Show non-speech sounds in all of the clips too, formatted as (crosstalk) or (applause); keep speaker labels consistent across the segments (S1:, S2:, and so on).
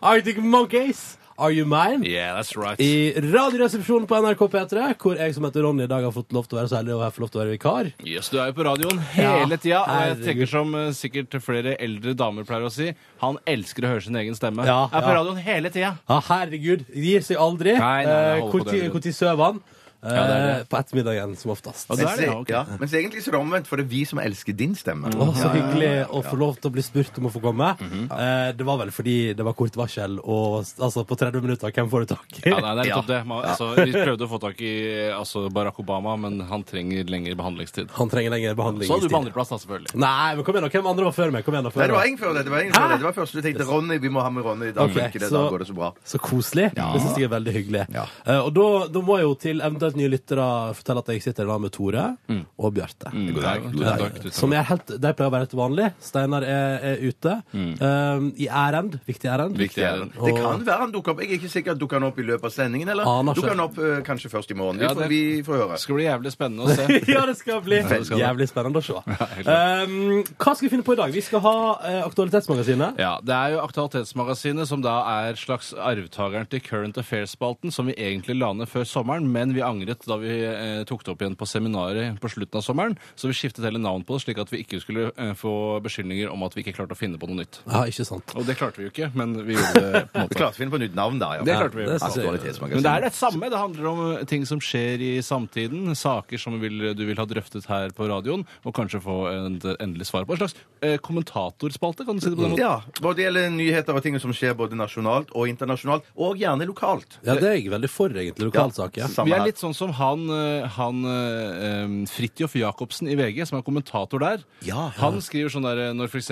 S1: Arctic Monkeys, Are You Mine?
S2: Yeah, that's right.
S1: I Radioresepsjonen på NRK P3, hvor jeg som heter Ronny i dag har fått lov til å være så heldig og har fått lov til å være vikar.
S2: Yes, du er jo på radioen hele tida. Og jeg
S1: herregud.
S2: tenker som eh, sikkert flere eldre damer pleier å si, han elsker å høre sin egen stemme.
S1: Ja,
S2: er på
S1: ja.
S2: radioen hele tida.
S1: Ja, herregud, gir seg aldri. Eh,
S2: Nei, nei, nei, hold på det, du.
S1: Når sover han? Eh,
S2: Ja, det er det.
S1: På ettermiddagen, som oftest.
S2: Og
S1: Å,
S2: det er det, ja, ok.
S3: ja, mens egentlig så er det omvendt, for det er vi som elsker din stemme.
S1: så hyggelig å få lov til å bli spurt om å få komme.
S2: Mhm.
S1: eh, det var vel fordi det var kort varsel, og altså, på 30 minutter, hvem får du tak i?
S2: Ja, nei, det er nettopp det. Man, altså, vi prøvde å få tak i eh, altså, Barack Obama, men han trenger lengre behandlingstid.
S1: Han trenger lengre behandling.
S2: Så
S1: i
S2: hadde du på
S1: stille.
S2: andreplass, da, selvfølgelig.
S1: Nei, men kom igjen, da. Hvem andre var før meg? Kom igjen, da. før
S3: Nei, det var
S1: meg.
S3: ingen før det. Det var ingen før det. Det var først du tenkte Ronny, vi må ha med Ronny i dag.
S1: Ok,
S3: funker det,
S1: så-
S3: da går det så bra.
S1: Så koselig. Det syns jeg er veldig hyggelig. Eh, og da, da må jeg jo til eventuelt nye lyttere fortelle at jeg sitter i lag med Tore
S3: Mm.
S1: og Bjarte.
S2: God dag. God dag. Mm. Tusen
S1: Som
S2: takk.
S1: er helt, De pleier å være helt vanlig. Steinar er, er ute. Eh, I ærend. Viktig ærend.
S2: Viktig ærend.
S1: Og-
S3: Mm. Det kan være han dukker opp. Jeg er ikke sikker at dukker han opp i løpet av sendingen, eller
S1: Aner ikke.
S3: dukker han opp eh, kanskje først i morgen. Vi,
S2: Ja, det-
S3: får, vi får høre.
S2: Det skal bli jævlig spennende (laughs) å se.
S1: (laughs) ja, det skal
S3: (laughs)
S1: bli
S2: det skal det.
S1: jævlig spennende å se.
S2: helt
S1: Um, hva skal vi finne på i dag? Vi skal ha eh, Aktualitetsmagasinet.
S2: Ja, Det er jo Aktualitetsmagasinet, som da er slags arvtakeren til Current Affairs-spalten, som vi egentlig la ned før sommeren, men vi angret da vi eh, tok det opp igjen på seminaret på slutten av sommeren. Så vi skiftet hele navn på det, slik at vi ikke skulle eh, få beskyldninger om at vi ikke klarte å finne på noe nytt.
S1: Ja, ikke sant?
S2: Og det klarte vi jo ikke, men vi gjorde det på en
S3: Vi
S2: måte.
S3: klarte å finne på nytt navn der, ja.
S2: Det klarte vi.
S1: det synes jeg-
S2: (laughs) Men
S3: Aktualitetsmagasinet.
S2: det er det samme. Det handler om eh, ting som skjer i samtiden. Saker som vil, du vil ha drøftet her på radioen, og kanskje få et endelig svar på. En slags eh, kommentatorspalte, kan du si det på den måten?
S3: Ja, både det gjelder nyheter og ting som skjer både nasjonalt og internasjonalt, og gjerne lokalt.
S1: Ja, det er jeg veldig for, egentlig. Lokalsaker.
S3: Ja, samme
S2: Vi er
S3: her.
S2: litt sånn som han, eh, han eh, em, Fridtjof Jacobsen i VG, som er kommentator der.
S3: Ja, ja.
S2: Han skriver sånn der eh, når f.eks.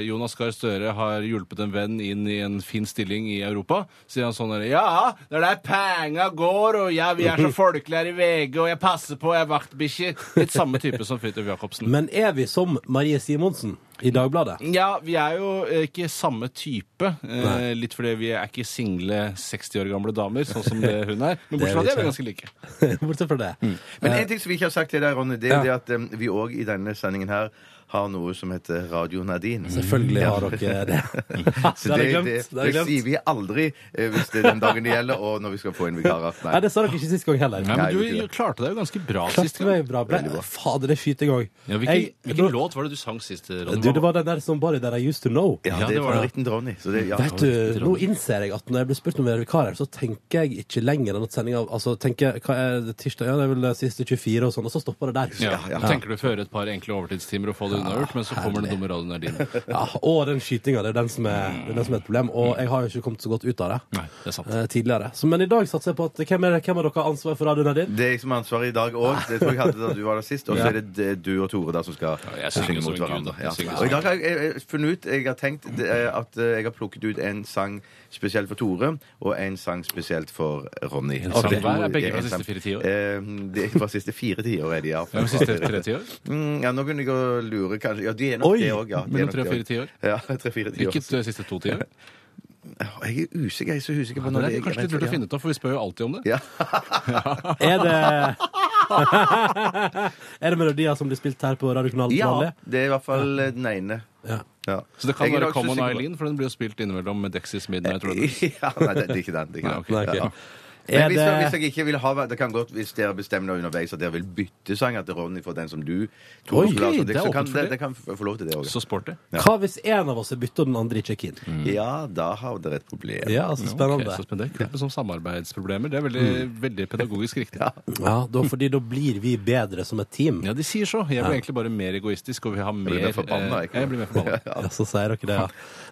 S2: Jonas Gahr Støre har hjulpet en venn inn i en fin stilling i Europa, sier han sånn der Ja, det er der penga går, og ja, vi er så folkelige her i VG, og jeg passer på, jeg er vaktbikkje. Litt samme type som Fridtjof Jacobsen.
S1: Men er vi som Marie Simonsen i Dagbladet? (laughs)
S2: Ja, vi er jo eh, ikke samme type. eh, Litt fordi vi er ikke single 60 år gamle damer, sånn som det hun er.
S1: Det er sånn,
S2: Men bortsett fra
S1: vi ikke.
S2: det er vi ganske like.
S1: Bortsett fra det.
S3: Men en ting som vi ikke har sagt til deg, Ronny, det er det at eh, vi òg i denne sendingen her har noe som heter Radio Nadine.
S1: Selvfølgelig har dere det.
S3: Så
S1: det har
S3: det,
S1: jeg
S3: det,
S1: glemt.
S3: det,
S1: Det har jeg
S3: sier
S1: glemt.
S3: vi aldri eh, hvis det er den dagen det gjelder, og når vi skal få inn vikarer. Nei.
S1: Nei, det sa dere ikke sist gang heller.
S2: Nei, men
S3: Nei, det er
S2: du
S3: ikke
S2: klarte deg jo ganske bra sist
S1: Klarte
S2: gang.
S1: meg bra. Ble, fader, det skyter jeg òg.
S2: Ja, hvilken
S1: Jeg-
S2: hvilken låt var det du sang sist, Ronny?
S1: Du, det var den der som bare der I used to know.
S3: Ja,
S2: Ja,
S3: det
S2: det
S3: er
S2: var
S3: fra
S2: det.
S3: Ritten Ronny. Så det, ja.
S1: Vet du, nå innser jeg at når jeg blir spurt om å være vikar her, så tenker jeg ikke lenger enn at sendinga Altså, tenker jeg, hva er det tirsdag? Ja, det er vel det siste 24 og sånn, og så stopper det der.
S2: Ja, ja. Tenker du fører et par enkle overtidstimer og får det unnagjort, men så kommer den dumme radioen der
S1: (laughs)
S2: din.
S1: Ja, og den skytinga, det er den som er, det er den som er et problem. Og jeg har jo ikke kommet så godt ut av det.
S2: Nei, det er sant.
S1: eh, Tidligere. Så, men i dag satser jeg på at Hvem er, hvem av dere har ansvar for radioen din?
S3: Det er jeg som har ansvaret i dag òg. Det tror jeg hadde da du var der sist. Og så er det d- du og Tore der som skal
S2: jeg synger
S3: synge
S2: som
S3: mot
S2: en gud,
S3: hverandre.
S2: jeg
S3: Ja.
S2: synger som
S3: Og i dag har jeg, jeg, jeg funnet ut Jeg har tenkt det, eh, at eh, jeg har plukket ut en sang spesielt for Tore, og en sang spesielt for Ronny.
S2: sang
S3: Så det-
S2: hver er begge fra
S3: en sang-
S2: siste fire tiår?
S3: Eh, Det er fra siste fire tiår, er de, ja.
S2: Hvem er siste tre tiår?
S3: Mm, ja, nå begynner jeg å lure, kanskje. Ja, de er nok
S1: Oi,
S3: det òg, ja. De er
S2: mellom
S3: nok
S2: tre og
S3: det
S2: fire
S3: også.
S2: tiår.
S3: Ja, (laughs) tre-fire tiår.
S2: Ikke de siste to tiår?
S3: Jeg er usikker. Jeg er så usikker på
S2: Det
S3: når
S2: er kanskje litt lurt å finne ut av, for vi spør jo alltid om det.
S3: Ja. (laughs)
S1: Er det (laughs) Er det melodier som blir spilt her på radiokanalen? til
S3: Ja,
S1: vanlig?
S3: det er i hvert fall eh, den ene.
S1: Ja.
S3: Ja.
S2: Så det kan
S3: Jeg er
S2: være
S3: nok så
S2: Come on
S3: sikker på-
S2: Eileen, for den blir jo spilt innimellom med Dexys
S3: (laughs)
S2: Midnight Runners.
S3: ja, nei, det, det er ikke den. Det er ikke
S2: Nei,
S3: den.
S2: ok.
S1: Nei, ok.
S3: Ja.
S1: Er
S3: Men hvis, jeg, hvis
S1: det
S3: jeg ikke vil ha Det kan godt hvis dere bestemmer noe underveis at dere vil bytte sanger til Ronny for den som du tror
S1: Oi,
S3: skulle ha som
S2: det
S3: dikt,
S2: er
S3: så kan
S2: åpent for
S3: det,
S2: det.
S3: det kan få lov til det òg.
S2: Så sporty.
S1: Hva hvis en av oss er bytta og den andre ikke er keen?
S3: Ja, da har dere et problem.
S1: Ja, altså, spennende.
S2: Mm.
S1: Mm.
S2: Ok, så spennende. Det er kult med sånne samarbeidsproblemer. Det er veldig, veldig pedagogisk riktig.
S1: Ja, da, fordi da blir vi bedre som et team.
S2: Ja, de sier så. Jeg blir egentlig bare mer egoistisk og vil ha mer
S3: blir mer forbanna,
S2: eh,
S3: jeg.
S2: Jeg blir mer forbanna.
S1: Ja, så sier dere det, ja.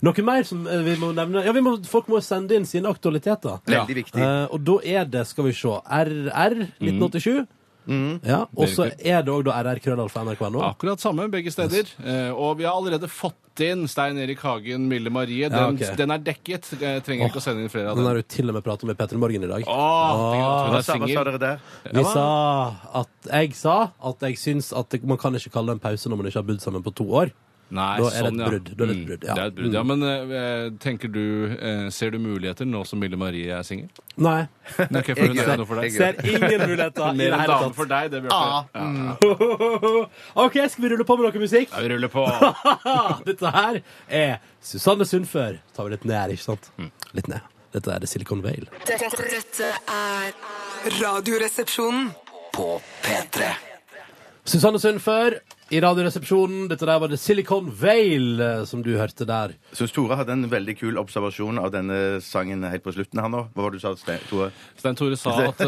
S1: Noe mer som eh, vi må nevne? Ja, vi må, folk må sende inn sine aktualiteter.
S2: Ja.
S3: Veldig viktig.
S1: Eh, og da er det, skal vi se, RR 1987.
S3: Mm.
S1: Ja, og så
S2: Det
S1: er det òg da RR-krøllalfa.nrk.no.
S2: Akkurat samme begge steder. Eh, og vi har allerede fått Send inn Stein Erik Hagen, Mille Marie. Den,
S1: Ja, ok.
S2: den er dekket. Jeg trenger ikke å sende inn flere av
S1: Den Ah,
S2: dem.
S1: har du til og med prata med Petter Morgen i dag.
S2: Åh,
S3: Hva
S2: tenk at hun
S3: sa, hva
S2: er
S3: sa
S2: singel.
S3: dere der?
S1: Vi sa at Jeg sa at jeg syns at det, man kan ikke kalle det en pause når man ikke har bodd sammen på to år.
S2: Nei,
S1: Da er det
S2: sånn,
S1: et
S2: ja.
S1: brudd. Da er det et
S2: Mm,
S1: brudd, ja.
S2: Det er et brudd, ja. Men eh, tenker du, eh, ser du muligheter nå som Mille Marie er singel?
S1: Nei.
S2: Ok, for hun er
S3: gjør-
S2: noe for deg.
S3: jeg
S1: (laughs)
S3: gjør-
S1: Ser ingen muligheter i
S2: Mer
S1: det
S2: en
S1: hele
S2: dame for
S1: tatt. Ah. Mm.
S2: deg, det, Bjarte. Ja.
S1: (laughs) OK, skal vi rulle på med noe musikk?
S2: Ja, vi ruller på.
S1: (laughs) Dette her er Susanne Sundfør. Så tar vi litt ned, ikke sant?
S3: Mm.
S1: Litt ned. Dette er The Silicon Vale.
S4: Dette, dette er Radioresepsjonen.
S5: På P3.
S1: Susanne Sundfør i Radioresepsjonen. Dette der var The Silicon Vale eh, som du hørte der.
S3: Syns Tore hadde en veldig kul observasjon av denne sangen helt på slutten her nå. Hva var det du sa, Ste- Tore?
S2: Stein Tore
S3: (laughs)
S2: sa at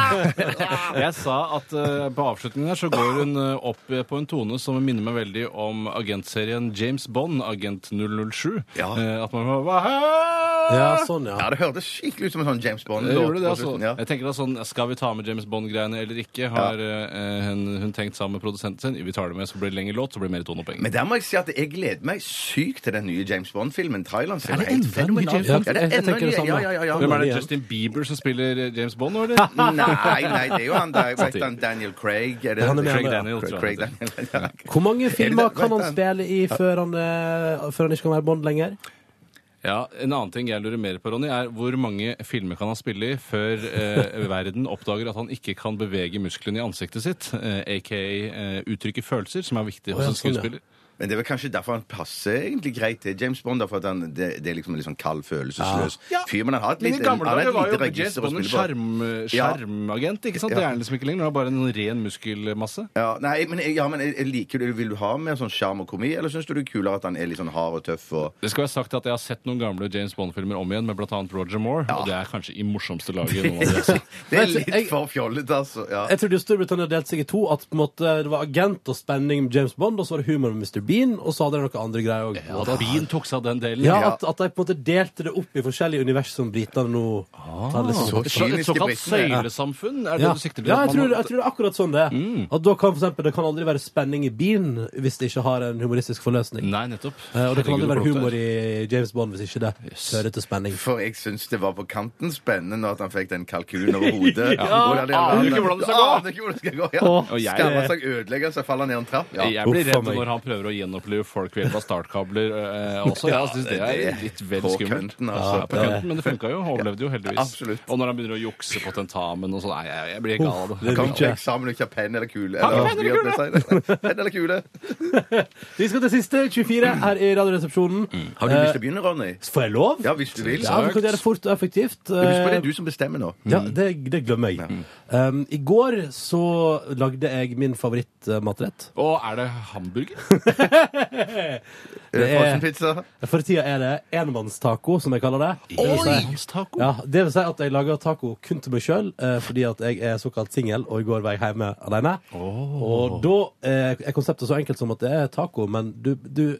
S2: eh, Jeg sa at eh, på avslutningen her så går hun eh, opp eh, på en tone som minner meg veldig om agentserien James Bond, Agent 007.
S3: Ja.
S2: Eh, at man bare Hva?
S1: Ja, sånn,
S3: Ah! Ja,
S1: ja.
S3: det hørtes skikkelig ut som en sånn James Bond.
S2: Jeg gjorde det,
S3: på
S2: altså.
S3: slutten,
S2: Jeg tenker da sånn, Skal vi ta med James Bond-greiene eller ikke? Har eh, hun, hun tenkt sammen med produsenten sin? Vi tar det med, så blir det lengre låt, så blir det mer tonepenger.
S3: Men der må jeg si at jeg gleder meg sykt til den nye James Bond-filmen. Traileren ser
S1: Er det
S3: jo
S1: enda en
S3: helt
S1: ny
S3: fenomenal
S1: James
S3: ut.
S1: Bond?
S3: Ja, det
S1: Jeg-
S3: er
S1: jeg
S3: enda
S1: tenker
S3: en
S1: det
S3: ny.
S1: samme.
S3: Ja, ja, ja.
S2: Hvem
S3: ja.
S2: er det?
S1: igjen.
S2: Justin Bieber som spiller eh, James Bond, nå,
S3: (laughs)
S2: eller?
S3: Nei, nei, det er jo han der. Hva heter han? Daniel Craig? Er det
S1: Han er med,
S2: Craig
S1: ja.
S2: Daniel, tror jeg.
S3: Craig
S2: han heter.
S3: Daniel. Ja.
S1: Hvor mange filmer
S3: det-
S1: kan han
S3: vent,
S1: spille i før han, eh, før han ikke kan være Bond lenger?
S2: Ja, En annen ting jeg lurer mer på, Ronny, er hvor mange filmer kan han spille i før (laughs) eh, verden oppdager at han ikke kan bevege musklene i ansiktet sitt, eh, aka eh, uttrykke følelser, som er
S1: Å,
S2: viktig
S1: ja,
S2: hos en
S1: sånn, ja.
S2: skuespiller?
S3: Men det er vel kanskje derfor han passer egentlig greit til James Bond. da, For at han, det, det er liksom en litt sånn kald, følelsesløs
S2: Ah. Ja.
S3: fyr. Men han har et
S2: Men I
S3: lite,
S2: gamle
S3: han har
S2: dager
S3: et
S2: var jo
S3: lite
S2: James
S3: register å
S2: Bond en
S3: spille på.
S2: skjerm,
S3: Ja.
S2: skjermagent. ikke sant?
S3: Ja.
S2: Det er han liksom ikke lenger. Nå er det bare en ren muskelmasse.
S3: Ja, nei, men, jeg- ja, men jeg jeg liker det. Vil du ha mer sånn sjarm og komi, eller syns du det er kulere at han er litt sånn hard og tøff? og...
S2: Det skal være sagt at Jeg har sett noen gamle James Bond-filmer om igjen med bl.a. Roger Moore. Og det er kanskje i morsomste laget. noen
S3: (laughs)
S2: av de har sett.
S3: Det er
S1: Men jeg- jeg-
S3: litt for fjollete, altså. Ja.
S1: Jeg trodde jo Storbritannia delte seg i to. At på en måte det var agent og spenning med James Bond, og så var det humor med Mr. Bean, og så hadde de noen andre greier òg.
S2: At Bean tok seg av den delen.
S1: Ja, at, at de på en måte delte det opp i forskjellige univers som britene nå tar liksom
S3: så
S2: Et sla- et
S3: kyniske
S2: såkalt
S3: britene, ja.
S2: søylesamfunn? Er det
S1: Ja,
S2: du sikter til?
S1: ja
S2: At
S1: jeg,
S2: man-
S1: tror, jeg tror det er akkurat sånn det er. At da kan for eksempel, Det kan aldri være spenning i Bean hvis det ikke har en humoristisk forløsning.
S2: Nei, nettopp.
S1: Eh, Og det kan aldri være
S2: Herregud,
S1: humor
S2: hvor flott det er.
S1: i James Bond hvis ikke det fører til spenning.
S3: For jeg syns det var på kanten spennende når at han fikk den kalkunen over hodet. ja. Hvordan det-
S2: Aner ikke hvordan det skal gå.
S3: Aner ikke hvordan det skal gå, ja.
S1: Åh.
S2: Og jeg-
S3: Skammer seg, ødelegger seg, faller ned en trapp. Ja.
S2: Jeg blir
S1: Uff,
S2: redd
S1: faen meg.
S2: når han prøver å gjenopplive folk ved hjelp av startkabler eh, også.
S3: Ja,
S2: Jeg synes det er litt vel
S3: på
S2: skummelt.
S3: kønten,
S2: Ja, på
S3: altså.
S2: kønten, men det funka jo. Overlevde jo heldigvis.
S3: Ja, absolutt.
S2: Og når han begynner å jukse på tentamen og sånn, nei, jeg, jeg blir gal av det.
S3: Du
S1: det
S3: kan
S1: vil
S3: ikke
S1: ikke.
S3: eksamen og ikke ha penn eller kule.
S2: Har
S3: Eller,
S2: ikke penn eller
S3: kule. penn eller kule.
S1: Vi skal til siste 24 her i Radioresepsjonen. Eh,
S3: Har du lyst til å begynne, Ronny?
S1: Får jeg lov?
S3: Eh, Ja, hvis du vil.
S1: Ja, vi kan gjøre det fort og effektivt. Eh,
S3: Husk på det er du som bestemmer nå.
S1: Ja, det, det glemmer jeg. Um, I går så lagde jeg min favorittmatrett.
S2: Og er det hamburger?
S1: Det er-
S3: Eh, Frossenpizza.
S1: For tida er det enmannstaco, som jeg kaller det. Det vil si-
S2: Taco.
S1: Ja, det vil si at jeg lager taco kun til meg sjøl, eh, fordi at jeg er såkalt singel, og i går var jeg hjemme alene. Og da eh, er konseptet så enkelt som at det er taco, men du, du,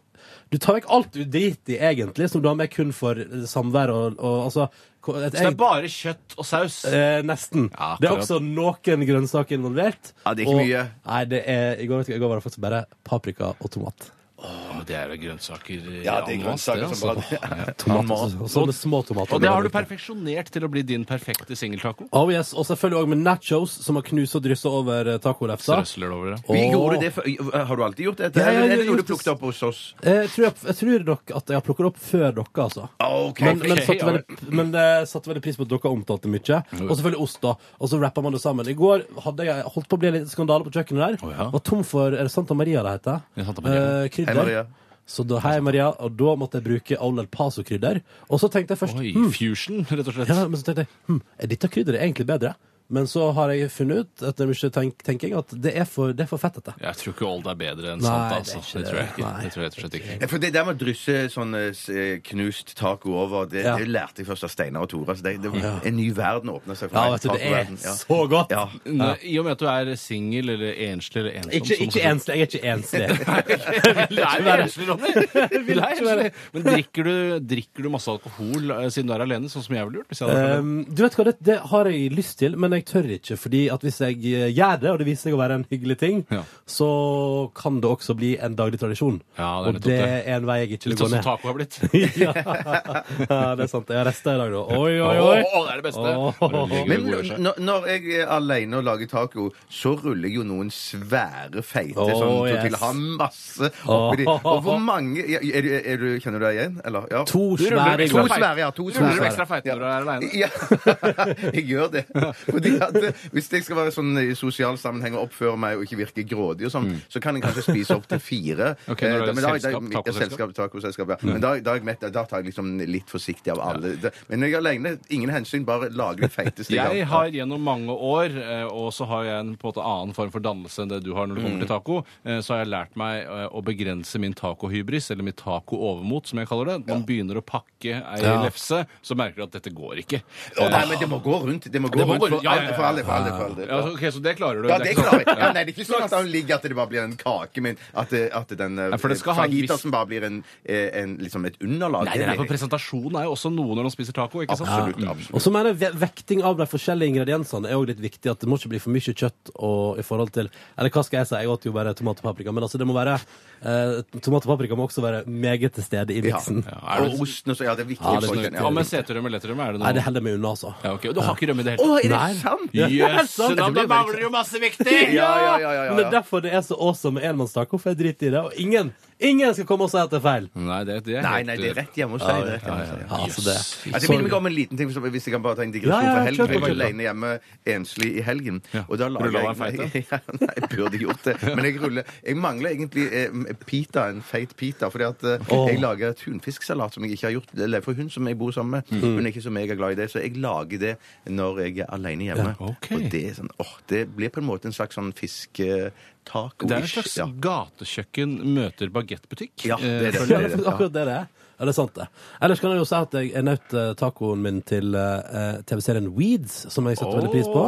S1: du tar vekk alt du driter i, egentlig, som du har med kun for eh, samvær og, og altså ko- et
S2: Så det er
S1: egg-
S2: bare kjøtt og saus.
S1: Eh, nesten.
S2: Ja,
S1: det er
S2: akkurat.
S1: også noen grønnsaker involvert.
S3: Ja, det er ikke
S1: og,
S3: mye.
S1: Nei, det er, i, går, vet du, I går var det faktisk bare paprika og tomat.
S2: Å, det er jo grønnsaker. i
S3: Ja, det er
S2: ananas,
S3: grønnsaker
S2: det,
S3: som
S2: altså.
S3: bare
S1: tomat altså. og, og sånne små tomater.
S2: Og det har du perfeksjonert til å bli din perfekte singeltaco.
S1: Oh yes, Og selvfølgelig også med nachos, som har knust og dryssa over eh, tacolefsa.
S2: Strøsler det over det.
S3: Vi
S1: Åh.
S3: gjorde det før. Har du alltid gjort dette?
S1: Ja, ja,
S3: Eller
S1: jeg
S3: er det
S1: har
S3: noe du
S1: gjort det.
S3: plukket opp hos oss?
S1: Eh, Jeg tror, jeg, jeg tror nok at jeg har plukket opp før dere, altså.
S3: Ok.
S1: Men, men,
S2: Ok,
S1: satte
S2: ja.
S1: veldig, men eh, satte veldig pris på at dere omtalte mye. Og selvfølgelig ost, da. Og så rappa man det sammen. I går hadde jeg holdt på å bli en liten skandale på kjøkkenet der.
S2: Å, ja.
S1: Var tom for Er det Santa Maria det heter?
S2: Ja, Santa Maria.
S1: Eh, krydder.
S3: Hei, Maria.
S1: Så da, hei, Maria. Og da måtte jeg bruke Old El Paso-krydder. Og så tenkte jeg først
S2: Oi,
S1: hm,
S2: fusion, rett og slett.
S1: ja, men så tenkte jeg, hm, er dette krydderet egentlig bedre? Men så har jeg funnet ut etter mye tenk tenking at det er for, det er for fettete.
S2: Jeg tror ikke Old er bedre enn
S1: Nei,
S2: Santa.
S1: det er
S2: Altså.
S1: ikke
S2: Det,
S1: det.
S2: tror jeg ikke.
S1: Nei.
S2: Det tror jeg rett og slett ikke.
S3: Ja, For det der med å drysse sånn eh, s- eh, knust taco over, det,
S1: Ja.
S3: det lærte jeg først av Steinar og Tore. Så det, det, En ny verden åpna seg for
S1: Ja,
S3: meg.
S1: vet du, det er
S3: Tacoverden,
S1: så godt!
S3: Ja.
S2: Nei, I og med at du er singel eller enslig eller ensom
S1: Ikke,
S2: som-
S1: ikke
S2: (laughs)
S1: enslig. Jeg er ikke enslig.
S2: Du er jo enslig, Ronny! Du er enslig. Men drikker du,
S1: Ehm,
S2: drikker du masse alkohol eh, siden du er alene, sånn som jeg ville gjort? Hvis jeg hadde vært alene?
S1: Um, du vet hva, det, det har jeg lyst til, men men jeg tør ikke. fordi at hvis jeg eh, gjør det, og det viser seg å være en hyggelig ting,
S2: Ja.
S1: så kan det også bli en daglig tradisjon.
S2: Ja, det er
S1: og
S2: nettopp
S1: det
S2: det.
S1: er en vei jeg ikke vil
S2: Litt
S1: gå
S2: sånn som
S1: ned.
S2: taco har blitt.
S1: (laughs) ja. ja, det er sant. Jeg har rester i dag, da. Oi, oi, oi.
S2: Å, det er det beste.
S1: Åh.
S2: Bare legger det
S3: Men
S2: gode i seg.
S3: når, når jeg er alene og lager taco, så ruller jeg jo noen svære, feite
S1: Åh,
S3: sånn
S1: yes.
S3: tortilla. Har masse oppi de. Og hvor mange ja, er, du- er du, Kjenner du deg igjen? Eller? Ja.
S1: To
S2: Du ruller
S1: svære
S2: ekstra
S3: To
S1: glass.
S2: feite.
S3: svære, ja, to
S2: Du ruller
S3: svære.
S2: ekstra feite når du er aleine.
S3: Ja, (laughs) jeg gjør det. Fordi at eh, Hvis jeg skal være sånn i sosial sammenheng og oppføre meg og ikke virke grådig, og sånn, så kan jeg kanskje spise opp til fire.
S2: Mm. (laughs) Ok, når
S3: Eh,
S2: du er
S3: da- men da- da-
S2: selskap, Mm.
S3: ja, selskap, tacoselskap. Ja. Men da, da, er jeg mett, da tar jeg liksom litt forsiktig av alle. Da- Men når jeg er alene, ingen hensyn, bare lager det feiteste
S2: Jeg
S3: kan.
S2: har gjennom mange år, eh, og så har jeg en på en måte annen form for dannelse enn det du har når det kommer
S3: Mm.
S2: til taco, eh, så har jeg lært meg eh, å begrense min tacohybris, eller mitt taco-overmot, som jeg kaller det. Man begynner å pakke ei
S1: Ja.
S2: lefse, så merker du at dette går ikke.
S3: Å, nei, men det må gå rundt. Det må gå
S2: Det må
S3: rundt
S2: gå
S3: for
S2: rundt, ja, ja,
S3: alle,
S2: ja.
S3: for alle. For alle, for alle.
S2: Ja, altså, ok, Så det klarer du?
S3: Ja,
S2: Det er
S3: det
S2: ikke
S3: klarer jeg.
S2: sant?
S3: Ja, nei, det er ikke sånn at han ligger at det bare blir en kake, men at, det- at den eh,
S2: for det skal ha en viss-
S3: fajitasen bare blir en, eh, en, liksom et underlag.
S2: Nei, det er for presentasjon er jo også noe når man spiser taco. ikke sant?
S3: Absolutt.
S2: Ja.
S3: absolutt.
S1: Og så mener jeg ve- vekting av de forskjellige ingrediensene er også litt viktig. At det må ikke bli for mye kjøtt og, i forhold til Eller hva skal jeg si, jeg åt jo bare tomat og paprika. Men altså, det må være eh, Tomat og paprika må også være meget til stede i miksen.
S3: Ja.
S2: er det-
S3: Og osten også. Ja, det er viktig.
S2: Er det
S3: for
S2: sånn-
S3: den, ja.
S2: Hva med seterømme og letterømme? Er det
S1: Nei, det
S2: noe?
S1: holder jeg meg unna, altså.
S2: Ja, ok, Du har ikke rømme i det
S3: Å,
S2: hele tatt?
S3: er det
S1: Nei.
S3: sant?
S1: Ja, det er
S2: Jøsse
S1: sant.
S2: navn, da
S3: Det blir veldig-
S2: mangler jo masse viktig!
S3: (laughs) Ja, ja, ja, ja, ja.
S1: Men det er derfor det er så awesome med enmannstaco, for jeg driter i det. Og ingen, ingen skal komme og si at det er feil.
S2: Nei, det, det er
S3: Nei,
S2: helt-
S3: nei, det er rett hjemme hos deg. Det er rett hjemme hos deg, ja.
S1: Altså, det.
S3: Altså, jeg minner meg om en liten ting, hvis jeg kan bare ta en
S1: Ja,
S3: digresjon
S1: ja,
S3: fra
S1: ja,
S3: helgen.
S1: kjør på,
S3: Jeg var
S1: kjør på.
S3: alene hjemme enslig i helgen. Og da
S2: Rulla
S3: lager jeg
S2: du en
S3: (laughs) ja, Nei, jeg burde gjort det. Men jeg ruller Jeg mangler egentlig eh, pita, en feit pita, fordi at eh,
S1: Åh.
S3: jeg lager tunfisksalat som jeg ikke har gjort. Eller for hun som jeg bor sammen med,
S1: Mm.
S3: hun er ikke så megaglad i det, så jeg lager det når jeg er alene hjemme.
S2: Ja, ok.
S3: Og det er sånn åh, det blir på en måte en slags sånn fisketaco.
S2: Det er en slags gatekjøkken møter bagettbutikk.
S3: Ja, det er det.
S1: (laughs)
S2: Eh,
S1: Ja, det
S2: føler
S1: er
S2: jeg.
S1: faktisk akkurat det det er. Ja, det er sant, det. Ellers kan jeg jo si at jeg jeg nøt eh, tacoen min til eh, TV-serien Weeds, som jeg setter veldig pris på.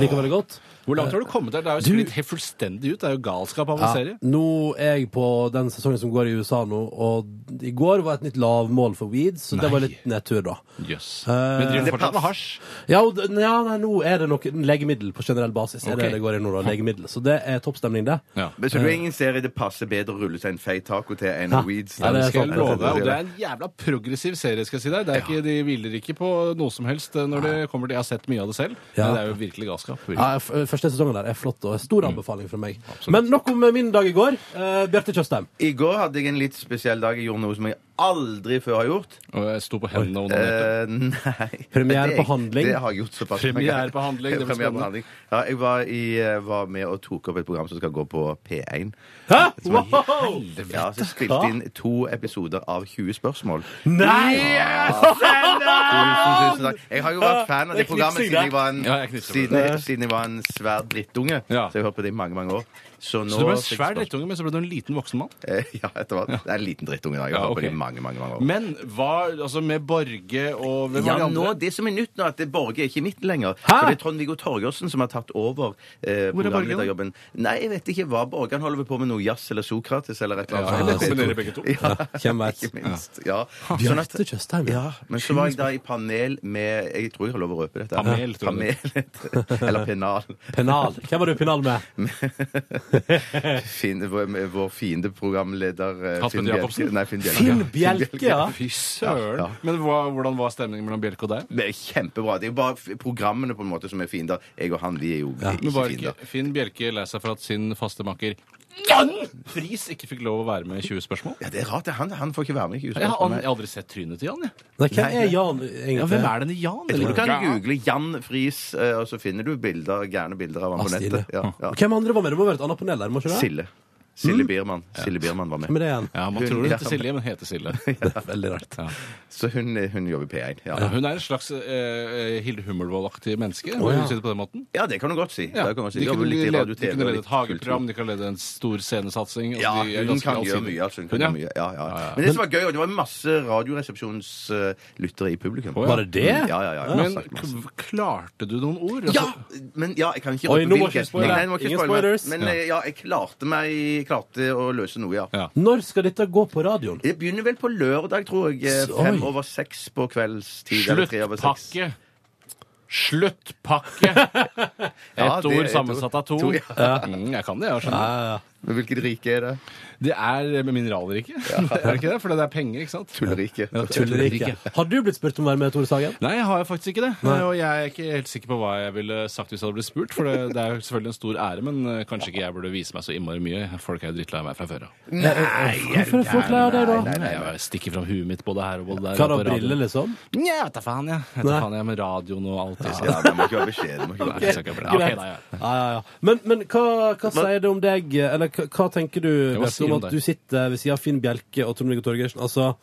S1: Liker veldig godt.
S2: Hvor langt har du kommet der? Det er jo sklitt helt fullstendig ut. Det er jo galskap av en serie.
S1: Nå er jeg på den sesongen som går i USA nå, og i går var et nytt lavmål for Weeds, så det var litt nedtur, da.
S2: Jøss. Men driver
S3: Eh, det
S2: du fortsatt med
S3: pass.
S2: hasj?
S1: Ja, og d- ja nei, nå er det noe legemiddel på generell basis. Er
S2: Ok.
S1: det det går i nå, da. Legemiddel. Så det er toppstemning, det.
S2: Ja.
S3: Men så du er ingen serie det passer bedre å rulle seg en feit taco til enn
S1: Ja.
S3: Weeds?
S1: Ja, det er
S2: Skal jeg
S1: sant.
S2: love deg, og det er en jævla progressiv serie, skal jeg si deg. Det er ikke, de hviler ikke på noe som helst eh, når det kommer til Jeg har sett mye av det selv.
S1: Ja.
S2: Men det er jo virkelig galskap.
S1: Ja, f- eh, Første sesongen der er flott, og stor anbefaling fra meg. Men nok om eh, min dag i går. Eh, Bjarte Tjøstheim.
S3: I går hadde jeg en litt spesiell dag. Jeg gjorde noe som jeg aldri før har gjort.
S2: Og jeg sto på hendene og onanerte.
S3: Eh, nei.
S1: Premiere
S3: Det-
S1: på handling.
S3: Det har jeg gjort såpass.
S2: Premiere på handling, det blir
S3: Premiere på
S2: spennende.
S3: handling. Ja, jeg var, i, eh, var med og tok opp et program som skal gå på P1.
S1: Hæ?!
S3: Som er-
S1: Wow!
S3: Ja, så spilte jeg inn to episoder av 20 spørsmål.
S1: Nei!
S3: Tusen, tusen takk. Jeg har jo vært fan av
S1: Det
S3: det
S1: knipser
S3: programmet
S1: i
S3: siden
S1: deg.
S3: jeg var en,
S2: Ja, jeg knipser på
S3: siden, jeg- siden jeg var en svær drittunge.
S2: Ja.
S3: Så jeg har hørt på det i mange mange år. Så, nå
S2: Så du ble en
S3: fikk
S2: svær
S3: spørsmål-
S2: drittunge, men så ble du en liten voksen mann.
S3: Eh, (laughs) Ja, etter hvert. Det er en liten drittunge. da. Jeg har
S2: Ja,
S3: hørt på det i
S2: ok.
S3: mange, mange, mange år.
S2: Men hva altså med Borge og hvem var
S3: Ja,
S2: de andre?
S3: nå, det som er nytt nå, er at det Borge er ikke i midten lenger.
S1: Hæ?
S3: For det er Trond-Viggo Torgersen som har tatt over
S2: Hvor
S3: eh,
S2: er Borge nå?
S3: programlederjobben. Nei, jeg vet ikke hva Borge Han holder vel på med noe jazz eller Sokrates eller et eller
S2: Ja,
S3: annet.
S2: eller kombinerer begge to.
S3: (laughs) Ja,
S1: Hvem vet?
S3: (laughs) ikke minst. Ja. Sånn at-
S1: Bjarte Tjøstheim.
S3: ja, men så var jeg da i panel med Jeg tror jeg har lov å røpe dette.
S2: Panel, tror jeg.
S3: Panel, (laughs) eller pennal.
S1: Penal. Hvem var du i penal med?
S3: Finn, vår, vår fiende programleder eh,
S2: Kasper
S3: Finn Bjelke.
S2: Jacobsen?
S3: Nei, Finn Bjelke.
S1: Finn Bjelke, ja.
S2: Fy søren.
S3: Ja, ja.
S2: Men hva, hvordan var stemningen mellom Bjelke og deg?
S3: Det er kjempebra. Det er jo bare f- programmene på en måte som er fiender. Jeg og han, vi er jo
S2: Men
S3: ikke
S2: var
S3: fiender.
S2: ikke Finn Bjelke lei seg for at sin faste makker Jan Friis ikke fikk lov å være med i 20 spørsmål?
S3: Ja, det er rart. det er Han, han får ikke være med. Ikke
S2: Jeg har, an- jeg har aldri sett trynet til Jan. Jeg.
S1: Nei, hvem er Jan, egentlig?
S2: Ja, hvem er denne Jan?
S3: jeg tror du kan
S2: Ja.
S3: google Jan Friis, eh, og så finner du bilder, gærne bilder av ham
S1: Ah, Mm.
S3: på
S1: Stine.
S3: nettet. Ja, ja.
S1: Hvem andre var med? Det må være et annet panel der, må ikke det?
S3: Sille. Sille Biermann. Sille Biermann var
S1: Hvem
S3: med.
S1: er det igjen?
S2: Ja, Man
S3: Hun-
S2: tror hun
S3: ja.
S2: heter Silje, men heter Silje.
S3: (laughs)
S1: Det er veldig rart.
S2: Ja.
S3: Så hun, hun jobber i P1. Ja.
S2: Hun er en slags eh, Hilde Hummelvold-aktig menneske.
S1: ja.
S2: Vil du si det på den måten?
S3: ja, det kan du godt si.
S2: Ja.
S3: Det kan du godt si.
S2: De
S3: Jobber
S2: kunne
S3: litt i radio,
S2: lede de
S3: TV,
S2: kunne lede
S3: litt
S2: et hageprogram,
S3: kultur.
S2: de kan lede en stor scenesatsing.
S3: Ja,
S2: altså, de er
S3: hun
S2: ganske
S3: kan gjøre
S2: allsidige.
S3: mye. altså. Hun kan
S2: Hun, ja.
S3: gjøre mye. Ja,
S2: Ja,
S3: ja,
S2: ja.
S3: ja. Men det som var gøy, og det var masse Radioresepsjonslyttere i publikum.
S2: Å, ja. Var
S1: det det?
S3: Ja, ja, ja. ja.
S2: Men
S3: Snakket masse.
S2: k- klarte du noen ord?
S3: Ja!
S2: Altså,
S3: (laughs) Men ja, jeg kan ikke
S1: Oi,
S3: røpe
S1: nå må
S3: hvilke.
S1: ikke spoile.
S3: Nei, jeg må ikke
S1: Ingen
S3: spoile, men-
S1: spoilers.
S3: Men eh, ja, jeg klarte meg Klarte å løse noe, ja.
S2: Ja.
S1: Når skal dette gå på radioen?
S3: Det begynner vel på lørdag, tror jeg. eh,
S1: Så-
S3: Fem
S1: oi.
S3: over seks på kveldstid. eller tre over seks.
S2: Sluttpakke! Sluttpakke! Ett
S3: (laughs) Ja, det er
S2: ord
S3: et
S2: sammensatt av to.
S3: ord. To,
S2: Mm, jeg kan det, jeg skjønner.
S3: Men hvilket rike er det?
S2: Det er mineralrike. (laughs) er det ikke det? For det er penger, ikke sant?
S3: Tulleriket.
S2: Ja,
S1: Tulleriket. Har du blitt spurt om å være med, Tore Sagen?
S2: Nei, jeg har jo faktisk ikke det. Og jeg er ikke helt sikker på hva jeg ville sagt hvis jeg hadde blitt spurt. For det, det er jo selvfølgelig en stor ære, men eh, kanskje ikke jeg burde vise meg så innmari mye. Folk er jo drittlei meg fra før av.
S3: Nei,
S1: Eh, Hvorfor er folk lei av deg, da?
S3: Nei, nei, nei.
S2: Jeg stikker fram huet mitt både her og både der.
S1: Kan du
S2: og
S1: ha
S2: på radioen.
S1: briller, liksom?
S2: Nja, jeg vet da faen, jeg. Jeg vet
S1: Nei.
S2: da faen, jeg med radioen og alt. det
S3: Ja, det må ikke være beskjed. det må ikke være
S2: Nei,
S3: beskjed.
S2: så ikke bra. Ok,
S1: Greit.
S2: da, ja.
S1: Ja, ja, ja. Men, men hva, hva sier det om deg, eller hva, hva tenker du
S2: hva
S1: Bjarte,
S2: sier
S1: om
S2: om
S1: at
S2: deg?
S1: du sitter ved siden av Finn Bjelke og Trond-Viggo Torgersen? Altså,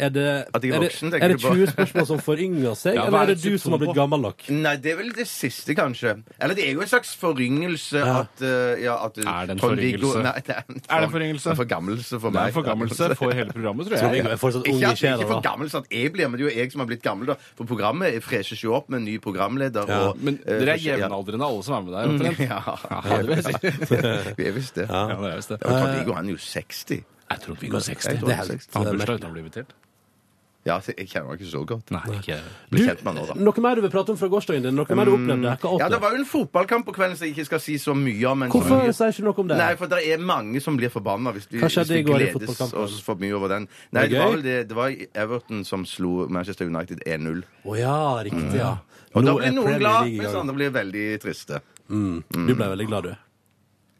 S1: er det,
S3: At jeg er
S1: er det,
S3: voksen, tenker
S1: er det
S3: du på?
S1: 20 spørsmål som forynger seg,
S2: (laughs) Ja, hva
S1: eller
S2: er
S1: er det du
S2: det
S1: som har
S2: symptom
S1: blitt
S2: på?
S1: gammel nok?
S3: Nei, det er vel det siste, kanskje. Eller det er jo en slags foryngelse at, uh, ja, at
S2: Er det en
S3: Trond-Viggo-
S2: foryngelse?
S3: Nei, det er, en
S2: Er det en foryngelse?
S3: Det er forgammelse for
S2: Det
S3: meg.
S2: er en
S3: (laughs)
S2: forgammelse for hele programmet, tror jeg.
S1: Trond-Viggo er fortsatt ung
S3: Ikke,
S1: i
S3: at, ikke
S1: sjela,
S3: for
S1: da.
S3: gammel sånn at jeg blir, men det er jo jeg som har blitt gammel. da For programmet freshes jo opp med en ny programleder.
S1: Ja,
S3: og,
S2: Men
S3: eh,
S2: dere er
S3: forskjell- (laughs)
S2: jevnaldrende, alle som er med der.
S3: Ja.
S2: omtrent. Mm. (laughs) Ja, det vil jeg si.
S3: (laughs) Vi er visst det.
S2: Ja, det er visst det.
S3: Og Trond-Viggo han er jo 60.
S2: Jeg tror Viggo er 60.
S3: Jeg tror
S2: Det
S3: han er
S2: er
S3: 60.
S2: Han har bursdag uten å bli invitert.
S3: Ja, så jeg kjenner han ikke så godt.
S2: Nei, ikke jeg.
S3: Blir kjent med han nå, da. Mm.
S1: Noe mer du vil prate om fra gårsdagen din? Noe mer du opplevde? Hva
S3: Ja, det
S1: åt du?
S3: var jo en fotballkamp på kvelden som jeg ikke skal si så mye om. Men
S1: Hvorfor
S3: så mye...
S1: sier du ikke noe om det?
S3: Nei, for det er mange som blir forbanna hvis vi,
S1: Hva
S3: hvis
S1: skjedde
S3: vi
S1: i går i
S3: gledes
S1: fotballkampen?
S3: oss for mye over den. Nei,
S1: det
S3: det
S1: gøy?
S3: var vel det, det var Everton som slo Manchester United 1-0.
S1: Å ja, riktig, ja.
S3: Og da
S1: Nå
S3: blir
S1: er
S3: noen
S1: Premier
S3: glad,
S1: League i
S3: mens
S1: gang.
S3: andre blir veldig triste.
S1: Du ble veldig glad, du.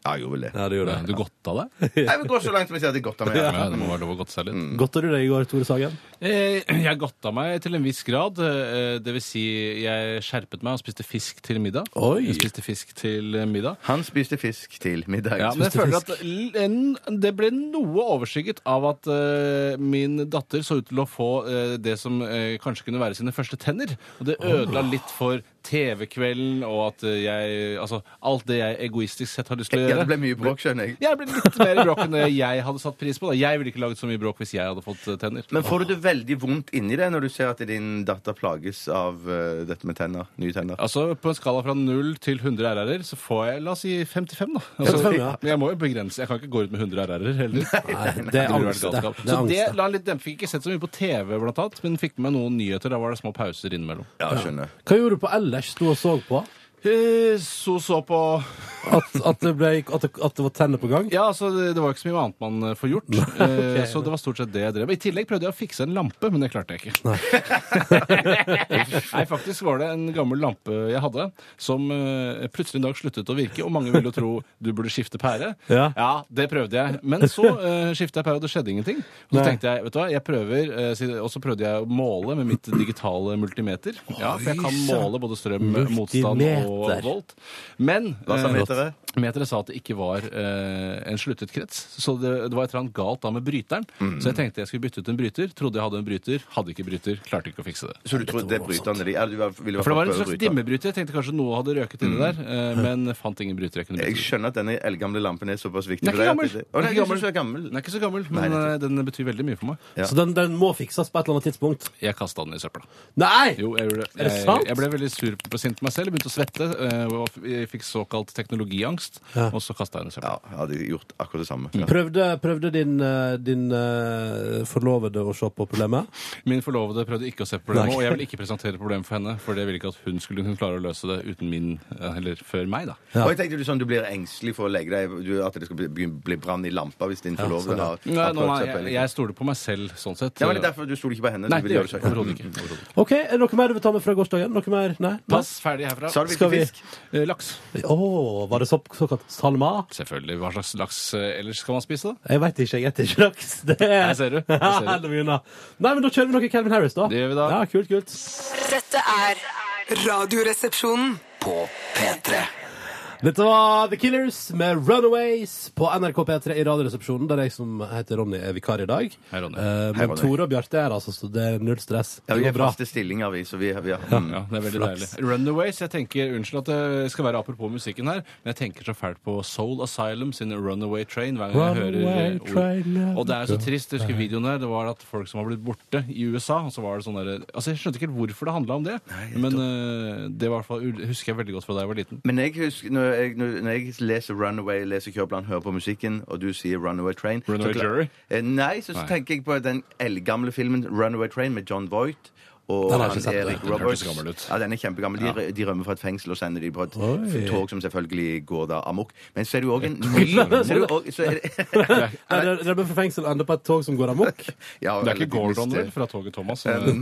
S3: Ja, jeg gjorde vel det.
S1: Ja, du gjorde
S2: (laughs) Ja, Mm.
S1: det.
S2: Du godta deg?
S3: Jeg vil gå så langt som jeg sier at det er godt av meg.
S2: (laughs) Ja, det må være lov å godte seg litt.
S1: Godta du deg i går, Tore
S2: (laughs)
S1: Sagen?
S2: Eh, Jeg godta meg til en viss grad. eh, Det vil si, jeg skjerpet meg og spiste fisk til middag.
S1: Oi.
S2: Jeg spiste fisk til eh, middag.
S3: Han spiste fisk til middag.
S2: Ja, men jeg føler at l- en- det ble noe overskygget av at eh, min datter så ut til å få eh, det som eh, kanskje kunne være sine første tenner. Og det ødela litt for TV-kvelden og at eh, jeg Altså alt det jeg egoistisk sett har lyst til å
S3: ja, det ble
S2: gjøre.
S3: mye bråk, skjønner jeg.
S2: Jeg ble litt mer bråk enn det jeg hadde satt pris på. Da. Jeg ville ikke laget så mye bråk hvis jeg hadde fått eh, tenner.
S3: Men får du det veldig vondt inni deg når du ser at din datter plages av eh, dette med tenner? Nye tenner?
S2: Altså, På en skala fra 0 til 100 RR-er så får jeg la oss si 55, da. Altså,
S1: 55, ja.
S2: Men jeg må jo begrense. Jeg kan ikke gå ut med 100 RR-er heller.
S1: Nei, det er
S2: ville vært
S1: angst, det.
S2: galskap.
S1: Det er
S2: Så det
S1: angst, det.
S2: la litt dempe. Fikk ikke sett så mye på TV, blant annet, men fikk med meg noen nyheter. Da var det små pauser innimellom.
S3: Ja, skjønner.
S1: Hva gjorde du på ellers? Sto og så på?
S2: Eh, Så så på
S1: At, at, det ble, at, det, at det var tenner på gang?
S2: Ja, altså, det det var ikke så mye annet man eh, får
S1: (laughs)
S2: gjort. Eh, Så det var stort sett det jeg drev med. I tillegg prøvde jeg å fikse en lampe, men det klarte jeg ikke. (laughs) Nei, faktisk var det en gammel lampe jeg hadde, som eh, plutselig en dag sluttet å virke, og mange ville jo tro du burde skifte pære.
S1: Ja.
S2: det prøvde jeg. Men så uh, skifta jeg pære, og det skjedde ingenting. Og så
S1: Nei.
S2: tenkte jeg, vet du hva, jeg prøver, eh, si- og så prøvde jeg å måle med mitt digitale multimeter. Ja, for jeg kan måle både strøm, motstand og
S1: Multimeter.
S2: volt. Men
S3: Hva sa
S2: eh,
S3: meteret?
S2: Meteret sa at det ikke var eh, en sluttet krets, så det, det var et eller annet galt da med bryteren.
S3: Mm.
S2: Så jeg tenkte jeg skulle bytte ut en bryter, trodde jeg hadde en bryter, hadde ikke bryter, klarte ikke å fikse det.
S3: Så du trodde det bryterne de eller du var- ville i hvert
S2: For det
S3: fall
S2: var en
S3: prøve
S2: slags
S3: bryteren.
S2: dimmebryter. Jeg tenkte kanskje noe hadde røket inni der, eh, men fant ingen bryter jeg kunne
S3: Mm. Jeg
S2: bytte. ut.
S3: skjønner at denne eldgamle lampen er såpass viktig
S2: Den er
S3: for
S2: ikke
S3: deg. at
S2: gammel.
S3: det- Å, nei,
S2: Den er ikke
S3: den er ikke så gammel.
S2: Den er ikke så gammel, men
S3: Nei, den
S2: eh,
S3: er
S2: den betyr veldig mye for meg.
S3: Ja.
S1: Så den, den må fikses på et eller annet tidspunkt.
S2: Jeg kasta den i søpla.
S1: Nei!
S2: Jo, jeg gjorde det.
S1: Er det
S2: Jeg,
S1: sant?
S2: jeg ble veldig sur på sint på meg selv, begynte å svette, eh, og f- jeg fikk såkalt teknologiangst, og så kasta jeg den i søpla.
S3: Ja, jeg hadde gjort akkurat det samme.
S1: Prøvde, prøvde din, eh, din eh, forlovede å se på problemet?
S2: Min forlovede prøvde ikke å se på problemet,
S1: Nei.
S2: og jeg vil ikke presentere problemet for henne, for jeg ville ikke at hun skulle kunne klare å løse det uten min, eh, eller før meg, da.
S1: Ja.
S3: Og jeg tenkte du sånn, du blir engstelig for å legge deg, du, at det skal bli, begyn- bli brann i lampa hvis din forlovede har
S2: Nei,
S3: har
S2: sånn, nå,
S3: prøvd
S2: nei,
S3: seg på
S2: jeg,
S3: en-
S2: jeg stoler på meg selv, sånn sett.
S3: Ja, men det er derfor du stoler ikke på henne.
S2: Nei,
S3: du
S2: det
S3: vil
S2: gjør
S3: gjøre
S2: jeg ikke.
S3: det Mm. selv.
S2: Overhodet ikke. Overhodet ikke.
S1: OK, er det noe mer du vil ta med fra gårsdagen? Noe mer? Nei? Nei?
S2: Pass, ferdig herfra.
S3: Sa du
S1: Skal
S3: hvilken
S1: vi-
S3: fisk?
S2: Eh, Laks.
S1: Å, var det så, såkalt salma?
S2: Selvfølgelig. Hva slags laks eh, ellers skal man spise, da?
S1: Jeg veit ikke, jeg spiser ikke laks. Det er
S2: Her ser du. Her ser du.
S1: Heldig mye unna. (laughs) Nei, men da kjører vi noe Calvin Harris, da.
S2: Det gjør vi da.
S1: Ja, kult, kult.
S4: Dette er Radioresepsjonen.
S5: På P3.
S1: Dette var The Killers med Runaways på NRK P3 i Radioresepsjonen, der jeg som heter Ronny er vikar i dag.
S2: Hei, Ronny.
S1: Eh,
S3: Hei,
S1: men
S3: Ronny.
S1: Tore og Bjarte er her, altså, så det er null stress.
S3: Ja,
S1: det
S3: vi
S1: går
S3: har
S1: bra.
S3: faste stillinger, vi, så vi, vi har... Mm.
S2: Ja, det er veldig deilig. Runaways. jeg tenker, Unnskyld at det skal være apropos musikken her, men jeg tenker så fælt på Soul Asylum sin Runaway Train hver gang jeg
S1: Runaway
S2: hører eh,
S1: train,
S2: ord.
S1: never
S2: Og det er så trist. Jeg husker videoen der. Det var at folk som har blitt borte i USA, og så var det sånn derre Altså, jeg skjønte ikke helt hvorfor det handla om det, men eh, det var i hvert fall husker jeg veldig godt fra da jeg var liten.
S3: Men jeg husker, når jeg, når jeg leser Runaway, leser Kjørplan, hører på musikken, og du sier Runaway Train så
S2: Runaway
S3: kla-
S2: Jury?
S3: Eh, Nei, så, så
S2: Nei.
S3: tenker jeg på den eldgamle filmen Runaway Train med John Voight. Og
S1: Den har jeg ikke sett.
S3: han Erik
S2: Den hørtes
S3: Roberts.
S2: gammel ut.
S3: Ja, den er kjempegammel. De, de rømmer fra et fengsel og sender de på et
S1: Oi.
S3: tog som selvfølgelig går da amok. Men så er det jo òg en ny så er det jo også- så er det-
S1: Nei, det- det ble fra fengsel ender på et tog som går amok.
S3: Ja,
S2: Det er
S3: eller
S2: ikke
S3: de
S2: Gordon,
S3: mister- Mm,
S2: vel, fra toget Thomas? eh,
S1: Han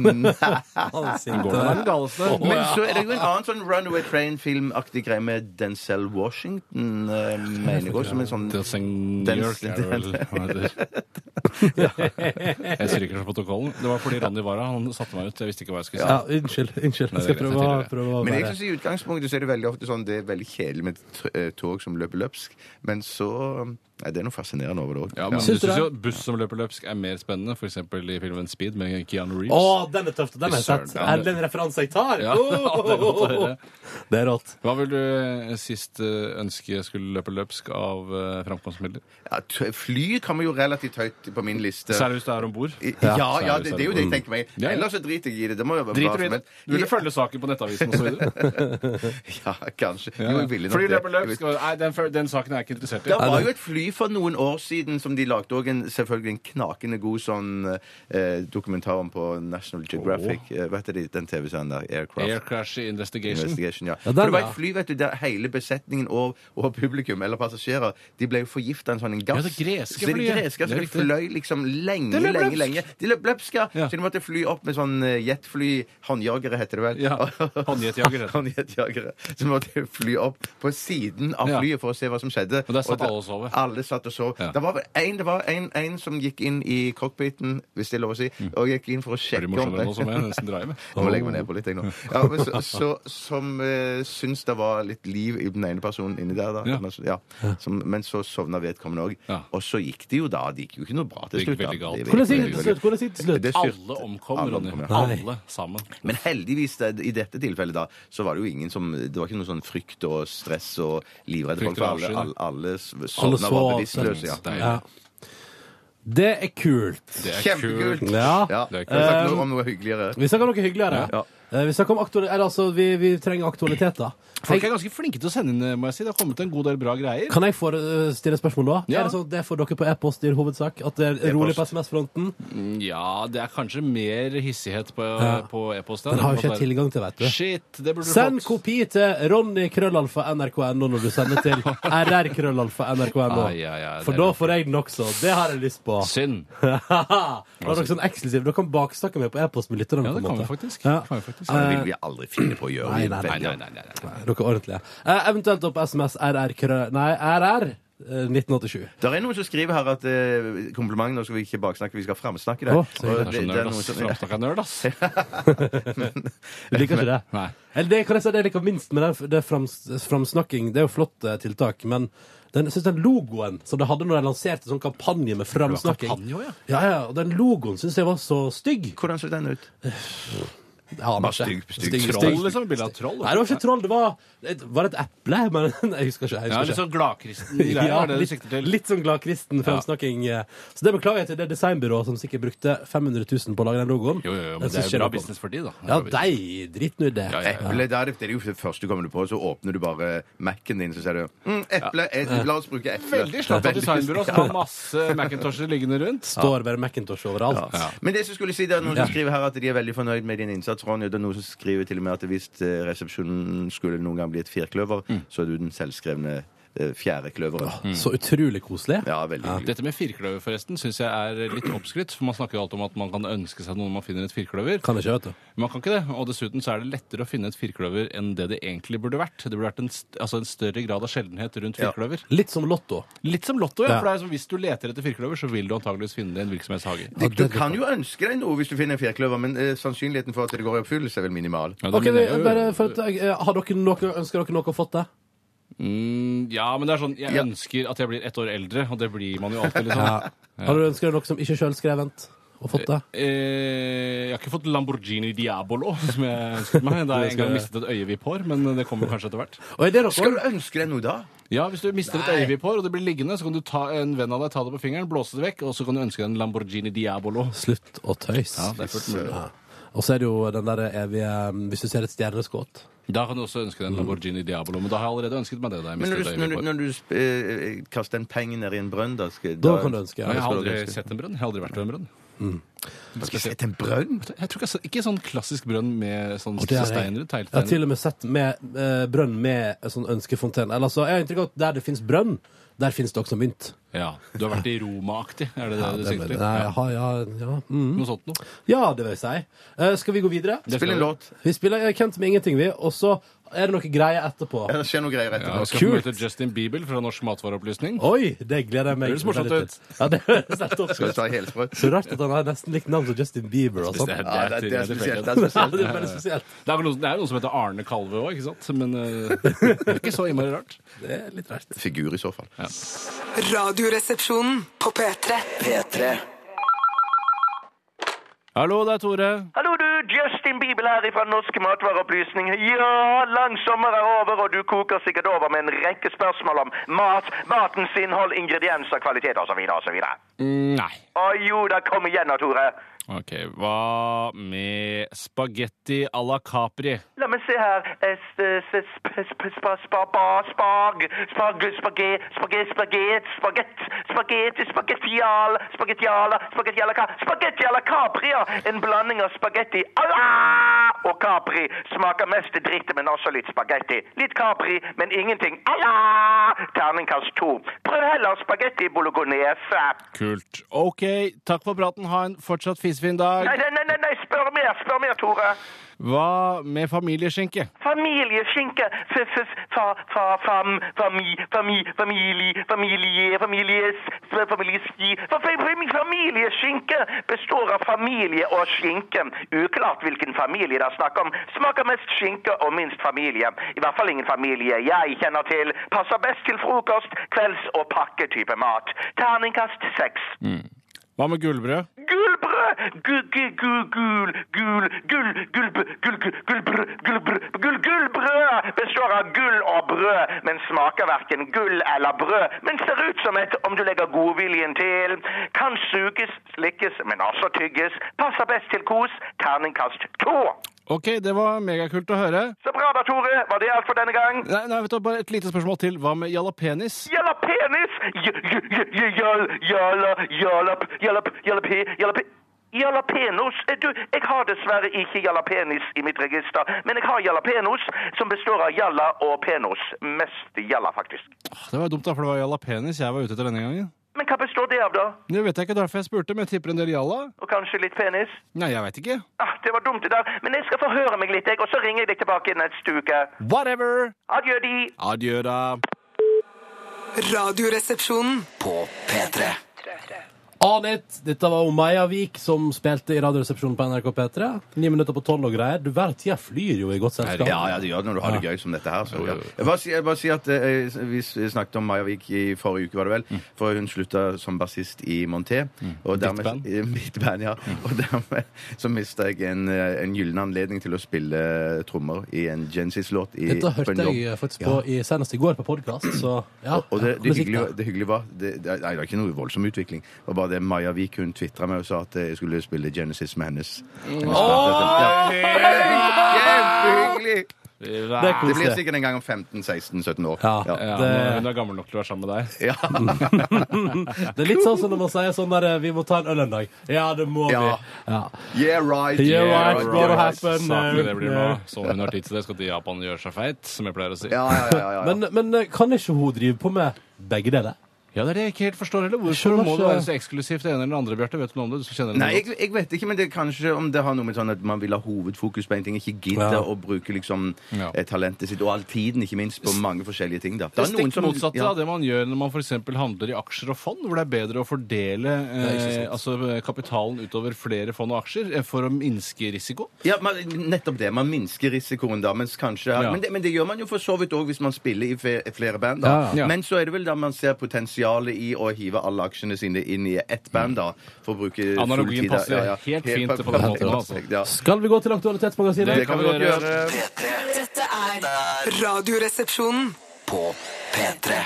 S1: sitter
S2: Gordon
S1: der.
S2: er den galeste.
S3: Men så er det jo en annen sånn Runaway Train-filmaktig greie med Denzel Washington, eh, mener jeg også, som en sånn
S2: Det er Saint New York, er det vel hva det heter. Jeg sier ikke det på protokollen. Det var fordi Ronny Wara han satte meg ut. Jeg visste ikke hva jeg skulle si.
S1: Ja, unnskyld. unnskyld. Jeg skal prøve, å- prøve å
S3: Men jeg
S1: være
S3: synes i utgangspunktet så er det veldig ofte sånn det er veldig kjedelig med t- eh, tog som løper løpsk, men så Nei, det er noe fascinerende over det òg.
S2: Ja, men
S1: Syns du
S2: du syns
S1: det?
S2: jo buss som løper løpsk er mer spennende, f.eks. i filmen Speed med Keanu Reeves.
S1: Å, den er tøff! Den har jeg sett.
S2: Søren, ja.
S1: Er det en referanse jeg tar?
S2: Ja, (laughs) det er godt å høre.
S1: Det er rått.
S2: Hva vil du eh, sist eh, ønske skulle løpe løpsk av eh, framkomstmidler?
S3: Ja, t- fly kommer jo relativt høyt på min liste.
S2: Særlig hvis du er om bord.
S3: I- Ja, ja,
S2: Særlig,
S3: det,
S2: særlig.
S3: det er jo det jeg tenker meg.
S2: Ja, ja.
S3: Ellers så driter jeg i det. Det må jo være
S2: Driter
S3: bra
S2: du i
S3: som
S2: det?
S3: helst.
S2: Du ville følge saken på nettavisen osv.?
S3: Ja, kanskje. (laughs) Jo, jeg ville nok
S2: Fordi
S3: det.
S2: løper løpsk og- Nei, den, føl- den saken er jeg ikke interessert i.
S3: Det var jo et fly for noen år siden som de lagde òg en selvfølgelig en knakende god sånn eh, dokumentar om på National Geographic. Eh, vet dere den TV-serien der? Aircraft.
S2: Air Crash Investigation.
S3: Investigation, ja.
S1: den,
S3: For det var
S1: ja.
S3: et fly vet du, der hele besetningen og, og publikum, eller passasjerer, de ble jo forgifta av en sånn en gass.
S2: Ja, det greske
S3: så det
S2: flyet.
S3: greske,
S2: Det
S3: så
S2: er
S3: de
S2: riktig.
S3: fløy liksom lenge,
S2: Det løp
S3: lenge,
S2: løpsk.
S3: lenge. De løp løpsk, ja.
S2: Ja.
S3: Så de måtte fly opp med sånn eh, jetfly, håndjagere heter det vel.
S2: Ja,
S3: (laughs)
S2: håndjetjagere. (laughs)
S3: Håndjetjagere. Så de måtte fly opp på siden av
S2: Ja.
S3: flyet for å se hva som skjedde.
S2: Og der satt
S3: da-
S2: alle og sov.
S3: Alle satt og sov.
S2: Ja.
S3: Det var vel en, det var en, en som gikk inn i cockpiten, hvis det er lov å si,
S2: Mm.
S3: og gikk inn for å
S2: Veldig
S3: sjekke om
S2: morsommere nå som jeg nesten drar med.
S3: jeg må legge meg ned på litt, jeg (laughs) nå. Ja, men så, så, som uh, syns det var litt liv i den ene personen inni der, da.
S2: Ja.
S3: Men, så- ja. Som, men så sovna vedkommende òg.
S2: Ja.
S3: Og så gikk det jo da. Det gikk jo ikke noe bra til
S2: Det gikk
S3: slutt. da.
S2: veldig galt.
S3: gikk
S1: Hvordan gikk det
S3: veldig
S1: til slutt? Hvordan gikk det til
S3: galt.
S1: slutt?
S3: Det styrte.
S2: Alle omkom,
S3: Alle
S2: Ronny.
S3: omkom, ja.
S1: Nei.
S2: Alle sammen.
S3: Men heldigvis, det, i dette tilfellet, da, så var det jo ingen som Det var ikke noe sånn frykt og stress og livredde
S2: Frykt
S3: folk. for
S2: og
S3: Alle,
S2: avsky,
S3: alle,
S2: da.
S3: alle s-
S1: Alle
S3: sovna var
S1: så
S3: bevisstløse. Ja.
S2: Deilig.
S1: Ja. Det er kult.
S2: Det er
S3: Kjempekult!
S2: kult.
S1: Ja.
S3: Ja.
S2: Det er kult.
S3: Kan vi snakke
S1: Um,
S3: noe om noe hyggeligere?
S1: Vi snakker om noe hyggeligere.
S3: Ja.
S1: Eh, Vi, snakker om aktuali- eller, altså, vi, vi trenger aktualiteter.
S2: Folk er ganske flinke til å sende inn, eh, må jeg si. Det har kommet en god del bra greier.
S1: Kan jeg få eh, stille et spørsmål da?
S2: Ja.
S1: Er det sånn at det får dere på e-post i hovedsak? At det er rolig på SMS-fronten?
S2: Ja, det er kanskje mer hissighet på, på e-post. da.
S1: Den har jo
S2: Det kan
S1: ikke jeg
S2: være-
S1: tilgang til, vet du.
S2: Shit, det burde du
S1: Send
S2: fått.
S1: kopi til ronny.krøllalfa.nrk.no når du sender
S2: (laughs)
S1: til rr.krøllalfa.nrk.no.
S2: Ai, ai, ai,
S1: For
S2: det er
S1: da
S2: bra.
S1: får jeg den også. Det har jeg lyst
S2: (laughs)
S1: på.
S2: Synd.
S1: Haha. det var noe sånn eksklusivt. Dere kan baksnakke meg på e-post med lytterne.
S2: Ja, det
S1: på en
S2: kan vi
S1: måte.
S2: faktisk.
S1: Ja.
S2: Kan vi faktisk.
S3: Det vil vi aldri finne på å gjøre.
S1: Nei, nei,
S3: Vi er
S2: Nei,
S3: veldig-
S2: nei, nei, nei, nei.
S1: Dere er ordentlige. Eh, eventuelt da på SMS rr. krøll- Nei, rr. eh, 1987.
S3: Der er noen som skriver her at eh, kompliment, nå skal vi ikke baksnakke, vi skal framsnakke det.
S1: Å, så hyggelig.
S3: Og
S2: Det er så
S3: det er
S2: nerd,
S3: noen
S2: ass.
S3: som-
S2: Framsnakka nerd, ass.
S1: Du liker ikke det?
S2: Nei.
S1: Eller det kan jeg si det jeg liker minst med den, det frams, framsnakking. Det er jo flott eh, tiltak, men den, jeg synes den logoen som det hadde når de lanserte sånn kampanje med framsnakking
S2: kampanje også, ja.
S1: ja, ja, og den logoen syns jeg var så stygg.
S3: Hvordan så den ut?
S1: Ja, men
S3: Bare
S1: ikke.
S3: stygg, stygg.
S2: Troll, liksom. Bilde av troll.
S1: Nei, det var ikke troll. Det var, det var et eple, (laughs) men jeg husker ikke. Jeg husker
S2: Ja,
S1: ikke.
S2: litt sånn gladkristen
S1: (laughs)
S2: greier,
S1: Ja,
S2: er det du
S1: litt,
S2: sikter til?
S1: litt sånn gladkristen fremsnakking. eh. Så det beklager jeg til det designbyrået som sikkert brukte 500 000 på å lage den logoen.
S2: Jo, jo, jo,
S1: Den
S2: men det
S1: synes
S2: er
S1: ikke
S2: jo bra
S1: noe om.
S2: business for de, da.
S1: Ja, de driter nå i det.
S2: Ja, ja, ja.
S3: Eple der, det er jo det første du kommer på, så åpner du bare Mac-en din, så sier du mm, eple, eh, la oss bruke eple.
S2: Veldig slapp av
S3: Veldig-
S2: designbyrå som har masse Macintosher liggende rundt.
S1: Står bare Macintosh overalt.
S3: Ja. Men det som skulle si, det er noen som skriver her at de er veldig fornøyd med din innsats, Ronny. og Det er noen som skriver til og med at hvis eh, resepsjonen skulle noen gang bli et firkløver, så er du den selvskrevne eh, fjerdekløveren.
S2: Mm.
S1: Så utrolig koselig.
S3: Ja, veldig hyggelig.
S2: Dette med firkløver forresten syns jeg er litt oppskrytt. For man snakker jo alltid om at man kan ønske seg noe når man finner et firkløver.
S1: Kan ikke, vet du.
S2: Men man kan ikke det. Og dessuten så er det lettere å finne et firkløver enn det det egentlig burde vært. Det burde vært en, st altså en større grad av sjeldenhet rundt
S3: Ja.
S2: firkløver.
S1: Litt som Lotto.
S2: Litt som Lotto, ja.
S1: Ja.
S2: For det er som, hvis du leter etter firkløver, så vil du antageligvis finne det i en virksomhetshage.
S3: Du, du kan jo ønske deg noe hvis du finner en firkløver, men eh, sannsynligheten for at det går i oppfyllelse, er vel minimal.
S2: Ja, det
S1: Ok, vi,
S2: minner jo-
S1: bare for at, jeg- eh, har dere noe, Ønsker dere noe å fått det?
S2: Mm, ja, men det er sånn Jeg
S3: Ja.
S2: ønsker at jeg blir ett år eldre, og det blir man jo alltid, liksom.
S1: Har du ønsker dere noe som ikke er sjølskrevent? Og fått det?
S2: Eh, jeg har ikke fått Lamborghini Diabolo, som jeg ønsket meg. Da jeg en gang mistet et øyevippår, men det kommer kanskje etter hvert.
S1: Og er det
S3: Skal du
S1: noe?
S3: ønske deg noe da?
S2: Ja, Hvis du mister et øyevippår, og det blir liggende, så kan du ta en venn av deg, ta det på fingeren, blåse det vekk, og så kan du ønske deg en Lamborghini Diabolo.
S1: Slutt å
S2: Ja,
S1: tøys.
S2: det er fullt mulig.
S1: Ja. Og så er det jo den der evige um, Hvis du ser et stjerneskudd
S2: Da kan du også ønske deg en Lamborghini Diablo, men da har jeg allerede ønsket meg det. da jeg
S3: Men når
S2: mistet
S3: du,
S2: et
S3: når du,
S2: øyevippår.
S3: når du eh, kaster en penge ned i en brønn, da skal
S1: Da kan du ønske, ja.
S2: Ja, jeg har
S3: skal du
S2: aldri
S3: ønske.
S2: sett en brønn. Jeg har aldri vært ved en brønn.
S3: Spesielt en brønn?
S2: Jeg tror ikke, så- ikke sånn klassisk brønn med sånn
S1: Og det har jeg.
S2: steiner.
S1: Jeg har til
S2: teglsteiner.
S1: og med sett med, eh, brønn med en sånn ønskefontene. Eller altså, jeg har inntrykk av at der det fins brønn, der fins det også mynt.
S2: Ja, Du har vært i Roma-aktig, er det det du
S1: Nei,
S2: sikter til?
S1: jeg har- ja, ja, mm.
S2: Noe sånt noe.
S1: ja, det vil jeg si. Eh, skal vi gå videre?
S2: Det
S3: Spill en
S2: skal-
S3: låt.
S1: Vi spiller eh, Kent med ingenting, vi. Og så er det noe greier etterpå.
S3: Ja, det skjer noen greier
S2: Ja,
S3: etterpå.
S2: vi skal
S1: Kult.
S2: få møte Justin Bieber fra Norsk matvareopplysning.
S1: Oi, det gleder jeg meg
S2: Høres morsomt
S1: veldig
S2: ut.
S1: til. Ja, det høres helt topp
S3: Skal vi
S1: ut.
S3: ta helsprøyt?
S1: Så rart at han har nesten likt navn som Justin Bieber. Og sånt.
S2: Det er-
S3: Ja, det, det er
S2: det er
S3: spesielt. Det
S1: (laughs)
S3: er
S1: Ja,
S3: spesielt.
S1: det er veldig spesielt.
S2: Det er vel noen, det er jo noen som heter Arne Kalve òg, ikke sant? Men eh, det er ikke så innmari rart.
S1: Det er litt rart.
S3: Figur, i så fall.
S4: Radioresepsjonen på P3.
S5: P3.
S2: Hallo, det er Tore.
S6: Hallo du, Justin Bibel her ifra Norske Matvareopplysning. Ja, lang sommer er over, og du koker sikkert over med en rekke spørsmål om mat, matens innhold, ingredienser, kvalitet osv. osv.
S2: Mm, Nei.
S6: Å jo da, kom igjen nå, Tore.
S2: Ok, Hva med spagetti à la Capri?
S6: La meg se her. Eh, s- s- sp- sp- spa- spa- ba- Spag Spag Spaget Spaget Spaget Spagett Spagetti Spagettial Spagettiala Spagettiala ka- Spagetti à la Capri, ja. En blanding av spagetti à la og Capri. Smaker mest dritt, men også litt spagetti. Litt Capri, men ingenting à la. Terningkast to. Prøv heller spagetti bolognese.
S2: Kult. Ok, takk for praten. Ha en fortsatt fisefin dag.
S6: Nei, nei, nei, nei, nei, spør mer, spør mer, Tore.
S2: Hva med familieskinke?
S6: Familieskinke f f f- fa fa fam fami fami famili familie families f- familieski fa- fa- fami- Familieskinke består av familie og skinke. Uklart hvilken familie det er snakk om. Smaker mest skinke og minst familie. I hvert fall ingen familie jeg kjenner til. Passer best til frokost, kvelds- og pakketype mat. Terningkast seks.
S2: Hva med gullbrød?
S6: Gullbrød! Gu- gu- gu- Gul, gul, gull, gullbrød, gullbrød, gullbrød, gull, gullbrød består av gull og brød, men smaker hverken gull eller brød, men ser ut som et om du legger godviljen til. Kan suges, slikkes, men også tygges. Passer best til kos. Terningkast to.
S2: Ok, det var megakult å høre.
S6: Så bra da, Tore. Var det alt for denne gang?
S2: Nei, nei, vet du, Bare et lite spørsmål til. Hva med jalapenis?
S6: Jalla penis! J- j- j- j- Jalla, jalla, jalla, p- jalla, p- jalla, pe, jalla, pe. Jalapenos? Eh, Du, jeg har dessverre ikke jalapenis i mitt register, men jeg har jalapenos, som består av jalla og penos. Mest jalla, faktisk.
S2: Det var dumt, da, for det var jalapenis jeg var ute etter denne gangen.
S6: Men hva består det av, da?
S2: Det vet jeg ikke, derfor jeg spurte, men jeg tipper en del jalla.
S6: Og kanskje litt penis?
S2: Nei, jeg veit ikke.
S6: Ah, det var dumt det der, men jeg skal forhøre meg litt, jeg, og så ringer jeg deg tilbake neste uke.
S2: Whatever!
S6: Adjø, de.
S2: Adjø, da.
S4: Radioresepsjonen.
S5: På P3.
S1: On it! Dette var jo Maja Vik som spilte i Radioresepsjonen på NRK P3. Ni minutter på tolv og greier. Du verden, tida flyr jo i godt selskap.
S3: Ja, ja, det gjør det når du har det gøy som dette her. Så, ja. jeg, bare, si- jeg bare sier at eh, Vi s- snakket om Maja Vik i forrige uke, var det
S1: Mm.
S3: vel? For hun slutta som bassist i Monté. Og dermed,
S2: band.
S3: eh, (laughs) Mitt band, ja.
S1: Mm.
S3: Og dermed så mista jeg en, eh, en gyllen anledning til å spille eh, trommer i en Genesis-låt. i-
S1: Dette
S3: på en
S1: hørte
S3: jobb.
S1: jeg eh, faktisk på i, senest i går på podkast, så ja.
S3: Og det, det,
S1: musikk
S3: hyggelige,
S1: der.
S3: det hyggelige var det, det, Nei, det var ikke noe voldsom utvikling. Det var bare det Maja Vik hun tvitra meg og sa at eh, jeg skulle spille Genesis med hennes. hennes plate. ja. Kjempehyggelig!
S1: Det er
S3: Det blir
S1: koselig.
S3: sikkert en gang om 15-16-17 år.
S1: Ja.
S2: Ja,
S1: Det,
S2: nå- Hun er gammel nok til å være sammen med deg.
S1: det er litt sånn som når man sier sånn der eh, Vi må ta en øl en dag. Ja, det må
S3: Ja.
S1: vi. Ja.
S3: Yeah, right.
S1: Yeah, right,
S3: right,
S1: gonna
S3: yeah,
S1: happen. eh.
S3: right.
S2: Saklig det blir nå. Så hun har tid til det, skal til Japan og gjøre seg feit, som jeg pleier å si.
S3: Ja, ja, ja,
S1: (laughs)
S3: ja, ja.
S1: Men, men eh, kan ikke hun drive på med begge deler?
S2: Ja, det er det jeg ikke helt forstår heller. Hvorfor
S1: skjønner
S2: må det
S1: ikke.
S2: være så eksklusivt det ene eller det andre, Bjarte? Vet du noe om det? Du som kjenner det
S3: Nei,
S2: godt.
S3: jeg, jeg vet ikke, men det er kanskje om det har noe med sånn at man vil ha hovedfokus på en ting. Ikke gidde
S1: Ja.
S3: å bruke liksom
S2: Ja.
S3: eh, talentet sitt, og all tiden, ikke minst, på mange forskjellige ting. da.
S2: Det
S3: Det
S2: er
S3: er noen
S2: stikk
S3: som-
S2: motsatte
S3: ja.
S2: av det man gjør når man f.eks. handler i aksjer og fond, hvor det er bedre å fordele eh, altså, kapitalen utover flere fond og aksjer eh, for å minske risiko.
S3: Ja, man, nettopp det. Man minsker risikoen da, mens kanskje
S2: Ja.
S3: men, det, men det gjør man jo for så vidt òg hvis man spiller i fe- flere band, da.
S1: Ja,
S2: ja.
S3: Men så er det vel da man ser potensialet i å hive alle aksjene sine inn i ett band, da. For å bruke
S2: Analogien
S3: full tid, da.
S2: passer helt fint på den måten, altså.
S3: Ja.
S1: Skal vi gå til Aktualitetsmagasinet?
S3: Det kan vi godt gjøre.
S5: P3.
S4: Dette er Radioresepsjonen.
S5: På P3.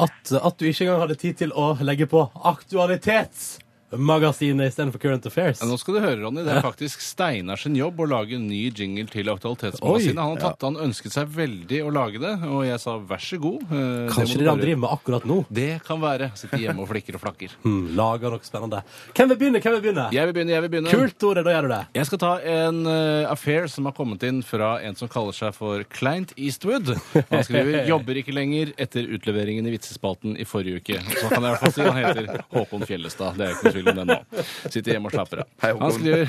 S1: At, at du ikke engang hadde tid til å legge på aktualitet magasinet istedenfor Current Affairs.
S2: Ja, Nå skal du høre, Ronny. Det er faktisk Steinar sin jobb å lage en ny jingle til Aktualitetsmagasinet.
S1: Oi.
S2: Han har tatt Han ønsket seg veldig å lage det, og jeg sa vær så god. eh, det må
S1: Kanskje det
S2: du
S1: han
S2: bare-
S1: driver med akkurat nå.
S2: Det kan være. Sitter hjemme og flikker og flakker.
S1: Hmm, lager noe spennende. Hvem vil begynne? Hvem vil begynne?
S2: Jeg vil begynne, jeg vil begynne.
S1: Kult, Tore. Da gjør du det.
S2: Jeg skal ta en eh, affair som har kommet inn fra en som kaller seg for Client Eastwood. Han skriver 'jobber ikke lenger' etter utleveringen i vitsespalten i forrige uke. Så kan jeg i hvert fall si han heter Håkon Fjellestad. Det er jo ikke noe tvil om det nå. Sitter hjemme og slapper av.
S3: Hei, Håkon.
S2: Han skriver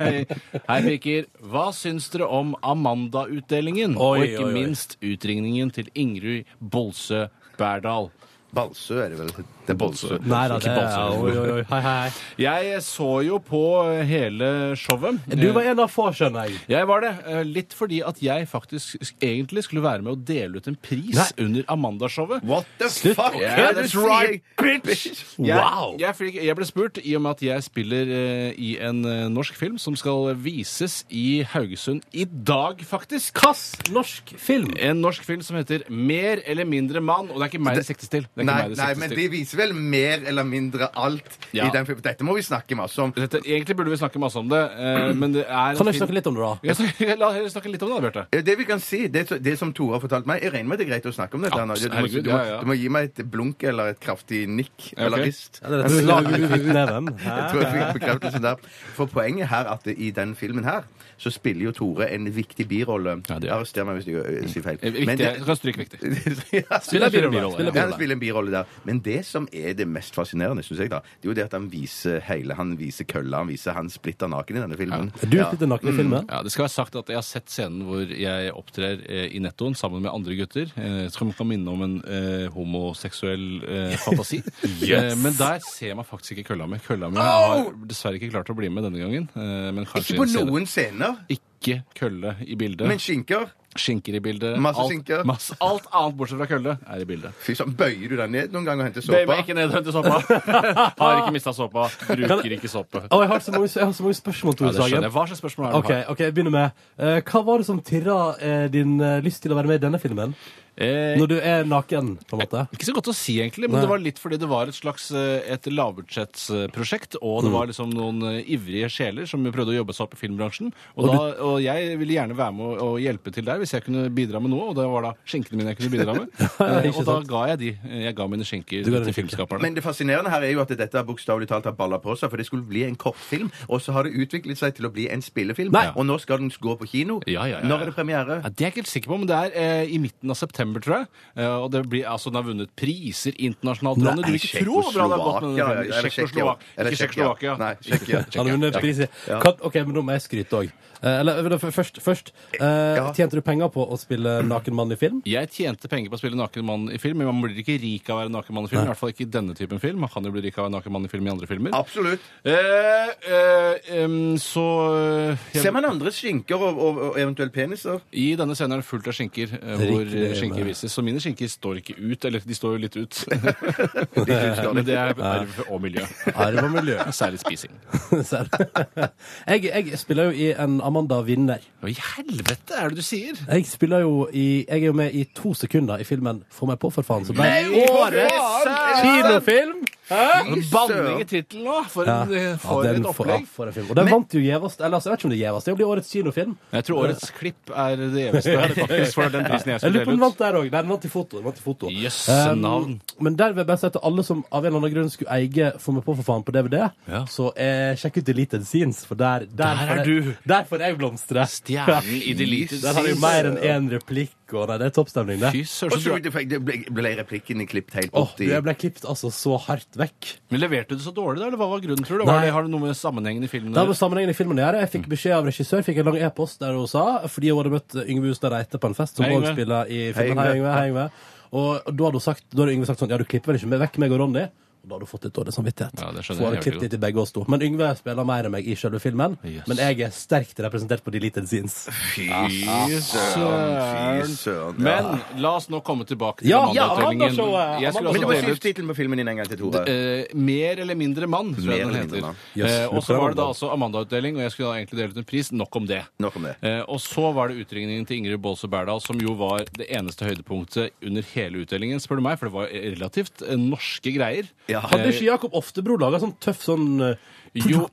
S2: Hei, hei piker. Hva syns dere om Amanda-utdelingen?
S1: Oi,
S2: Og ikke
S1: oi, oi.
S2: minst utringningen til Ingrid Bolsø Berdal.
S3: Balsø er det vel? Det er Bolsø.
S1: Nei da, det
S2: Ikke
S1: er
S2: Bolsø.
S1: Oi, oi, oi. Hei, hei.
S2: Jeg så jo på hele showet.
S1: Du var en av få, skjønner jeg.
S2: Jeg var det. eh, Litt fordi at jeg faktisk sk- egentlig skulle være med å dele ut en pris
S1: Nei.
S2: under Amanda-showet.
S3: What the fuck?
S2: Yeah,
S3: Yeah,
S2: that's
S3: that's right, bitch!
S2: Jeg,
S1: Wow!
S2: jeg, fikk, jeg ble spurt i og med at jeg spiller eh, i en eh, norsk film som skal vises i Haugesund i dag, faktisk.
S1: Kass norsk film.
S2: En norsk film som heter Mer eller mindre mann. Og det er ikke meg det siktes til. Det er ikke
S3: Nei,
S2: meg det
S3: nei,
S2: siktes
S3: men
S2: til.
S3: de viser vel mer eller mindre alt
S2: Ja.
S3: i den filmen. Dette må vi snakke masse om.
S2: Dette, egentlig burde vi snakke masse om det, eh, men det er
S1: Kan du ikke snakke litt om det, da?
S2: (laughs) La oss snakke litt om det, da, Bjarte.
S3: Det vi kan si, det, det som Tore har fortalt meg Jeg regner med det er greit å snakke om dette. her nå. Du, må,
S2: herregud,
S3: du, må,
S2: ja, ja.
S3: du må gi meg et blunk eller et kraftig nikk eller
S2: ok.
S3: rist.
S1: Ja, det er et slag i knyttneven.
S3: Jeg tror jeg fikk bekreftelsen der. For poenget her at i den filmen her så spiller jo Tore en viktig birolle.
S2: Ja, det gjør han.
S3: Arrester meg hvis jeg ø, sier feil.
S2: Viktig,
S3: Men det-
S2: Eh,
S3: (laughs)
S2: jeg kan stryke viktig.
S3: Ja,
S2: Spiller birolle, spiller
S3: Ja, han spiller en birolle der. Men det som er det mest fascinerende, synes jeg, da, det er jo det at han viser hele Han viser kølla, han viser han splitter naken i denne filmen.
S1: Du spilte naken i filmen.
S2: Ja, Det skal være sagt at jeg har sett scenen hvor jeg opptrer eh, i nettoen sammen med andre gutter. Eh, som kan minne om en eh, homoseksuell eh,
S3: (laughs)
S2: fantasi. eh, men der ser man faktisk ikke kølla mi. Kølla mi har dessverre ikke klart å bli med denne gangen. Eh, men kanskje
S3: Ikke på
S2: i en scene.
S3: noen scener,
S2: Ikke kølle i bildet.
S3: men skinker.
S2: skinker i bildet.
S3: Masse
S2: alt,
S3: skinker.
S2: masse- alt annet bortsett fra kølle er i bildet.
S3: Fy søren, bøyer du deg ned noen gang og henter
S2: Bøy meg
S3: såpa?
S2: ikke ned og henter
S3: (laughs)
S2: såpa. Mm. Har ikke mista såpa. Bruker ikke såpe.
S1: Å, jeg har så mange, jeg har så mange spørsmål,
S2: Ja,
S1: Tore
S2: det skjønner
S1: Sagen.
S2: jeg. Hva slags spørsmål er det du
S1: Ok,
S2: har?
S1: ok, jeg begynner med eh, Hva var det som tirra eh, din eh, lyst til å være med i denne filmen?
S2: Eh,
S1: Når du er naken, på en måte.
S2: Ikke så godt å si, egentlig, men
S1: Nei.
S2: det var litt fordi det var et slags eh, et lavbudsjettsprosjekt, og
S1: Mm.
S2: det var liksom noen eh, ivrige sjeler som prøvde å jobbe seg opp i filmbransjen. Og, da, og jeg ville gjerne være med og, og hjelpe til der hvis jeg kunne bidra med noe, og det var da skinkene mine jeg kunne bidra
S1: (laughs)
S2: med. Eh, og da
S1: sant.
S2: ga jeg de. Eh, Jeg ga mine skinker
S1: Du ga
S2: til
S1: dine skinker.
S2: filmskaperne.
S3: Men det fascinerende her er jo at dette bokstavelig talt har balla på seg, for det skulle bli en kortfilm, og så har det utviklet seg til å bli en spillefilm.
S2: Nei.
S3: Og nå skal den gå på kino.
S2: Ja, ja, ja, ja.
S3: Når er det premiere?
S2: Ja, det er jeg ikke helt sikker på, men det er eh, i midten av september, tror jeg. Eh, og det blir, altså, den har vunnet priser internasjonalt. Ronny, du vil ikke tro hvor bra det har gått med
S3: Tsjekkoslovakia,
S2: den
S3: ja,
S2: filmen.
S3: eller
S2: Tsjekkoslovak- Ikke Tsjekkoslovakia.
S3: Tsjekkia. Eller Tsjekkia. Nei, Tsjekkia.
S2: Ikke
S1: Han har vunnet
S2: Ja.
S1: pris i Kan- OK, men nå må jeg skryte òg. Eller eller, f- først, først eh, Tjente du penger på å spille naken mann i film?
S2: Jeg tjente penger på å spille naken mann i film, men man blir ikke rik av å være naken mann i film. I hvert fall ikke i denne typen film. Man kan jo bli rik av å være naken mann i film i andre filmer.
S3: Absolutt.
S2: Eh, eh, em, så eh, jeg,
S3: Ser man andre skinker og, og, og eventuelt peniser?
S2: I denne scenen er det fullt av skinker eh, hvor
S1: Riktig,
S2: eh, skinker
S1: men-
S2: vises. Så mine skinker står ikke ut. Eller de står jo litt
S1: (laughs)
S2: ut. (laughs)
S3: står
S2: men det er arv og miljø.
S1: Arv og miljø. (laughs)
S2: Særlig spising.
S1: Ser du? jeg, jeg spiller jo i en Amanda Vinner.
S2: Hva i helvete er det du sier?
S1: Jeg spiller jo i Jeg er jo med i to sekunder i filmen Få meg på, for faen. Så ble det årets kinofilm!
S2: Banning i tittelen nå! For, (laughs) en, eh, for
S1: den
S2: et
S1: får-
S2: opplegg.
S1: ja, for en film. Og den vant jo gjevast. Eller altså, jeg vet ikke om det er gjevast. Det blir årets kinofilm.
S2: Jeg tror årets klipp er det eneste (laughs) faktisk for den prisen jeg
S1: Jeg
S2: skulle
S1: lurer på om den
S2: dele
S1: vant
S2: ut.
S1: der òg. Den vant i foto. Den vant i foto.
S2: Jøsse
S1: Um,
S2: navn.
S1: men der vil jeg bare si til alle som av en eller annen grunn skulle eie Få meg på, for faen på DVD,
S2: Ja.
S1: så eh, sjekk ut Deleted Scenes, for der, der,
S2: Der
S1: får
S2: er
S1: jeg-
S2: du.
S1: der får jeg blomstre.
S2: Stjernen i
S1: (laughs)
S2: Deleted
S1: Der har du
S2: Scenes.
S1: mer enn én replikk, og nei, det er toppstemning, det.
S2: Fy
S3: Og
S2: søren,
S3: så
S2: så bra.
S3: ble, det ble, ble replikken klippet helt
S1: Åh,
S3: bort
S1: du,
S3: i
S1: jeg ble klippet altså så hardt vekk.
S2: Men leverte du så dårlig, da? Eller hva var grunnen, tror du?
S1: Nei.
S2: Var det, har det noe med sammenhengen i filmen
S1: Det
S2: å
S1: har med
S2: gjøre?
S1: sammenhengen i filmen å gjøre. Jeg fikk beskjed av regissør, fikk en lang e-post der hun sa, fordi hun hadde møtt Yngve Hustad Reite på en fest, som
S2: Hei,
S1: òg
S2: Yngve.
S1: spiller i
S3: Hei,
S1: filmen.
S3: Yngve.
S1: Hei, Yngve. Hei, Yngve. Og da hadde, hun sagt, da hadde Yngve sagt sånn, ja, du klipper vel ikke med- vekk meg og Ronny? Og da hadde hun fått litt dårlig samvittighet.
S2: Ja, det skjønner
S1: For hun
S2: jeg
S1: hadde
S2: jævlig
S1: klippet
S2: godt.
S1: litt i begge oss to. Men Yngve spiller mer enn meg i selve filmen,
S2: Yes.
S1: men jeg er sterkt representert på Deleted Scenes.
S2: Fy søren.
S3: Fy søren. ja.
S2: Men la oss nå komme tilbake til
S1: Ja, ja,
S2: Amanda-utdelingen.
S1: Amanda-showet.
S2: Jeg skulle
S3: Men du
S2: også
S3: må
S2: dele
S3: si
S2: ut
S3: tittelen på filmen din en gang til, Tore.
S2: eh, Mer eller mindre mann, tror jeg
S3: Mer
S2: den
S3: eller mindre
S2: heter.
S3: mann.
S1: Yes,
S2: Eh, og så
S1: lukker
S2: var det da
S1: Amanda.
S2: også Amanda-utdeling, og jeg skulle da egentlig dele ut en pris. Nok om det.
S3: Nok om det.
S2: Eh, og så var det utringningen til Ingrid Baase Berdal, som jo var det eneste høydepunktet under hele utdelingen, spør du meg, for det var relativt eh, norske greier.
S3: Ja, Ja.
S1: Hadde ikke Jakob Oftebro laga sånn tøff sånn eh,
S2: Jo.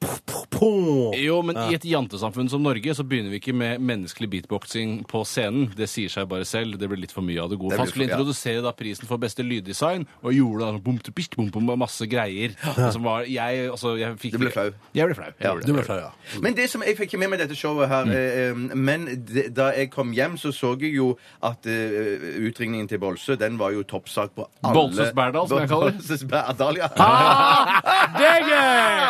S1: Pum.
S2: Jo, men i et jantesamfunn som Norge så begynner vi ikke med menneskelig beatboxing på scenen. Det sier seg bare selv. Det blir litt for mye av det gode.
S3: Det blir
S2: Han skulle
S3: for- ja.
S2: introdusere da prisen for beste lyddesign, og gjorde da sånn bom, tu, pist, bom, bom, og masse greier. Som var, jeg, altså, jeg fikk,
S3: Du ble flau.
S2: Jeg ble flau. Jeg
S3: Ja,
S2: gjorde det.
S1: Du ble flau, ja.
S3: Mm. Men det som jeg fikk ikke med meg dette
S2: Mm.
S3: showet her eh, eh, Men det, da jeg kom hjem, så så jeg jo at eh, utringningen til Bolsø, den var jo toppsak på alle
S2: Bolsøs Berdal, som jeg kaller det. Ah!
S3: Bolsøs Berdal, ja.
S2: Det er gøy!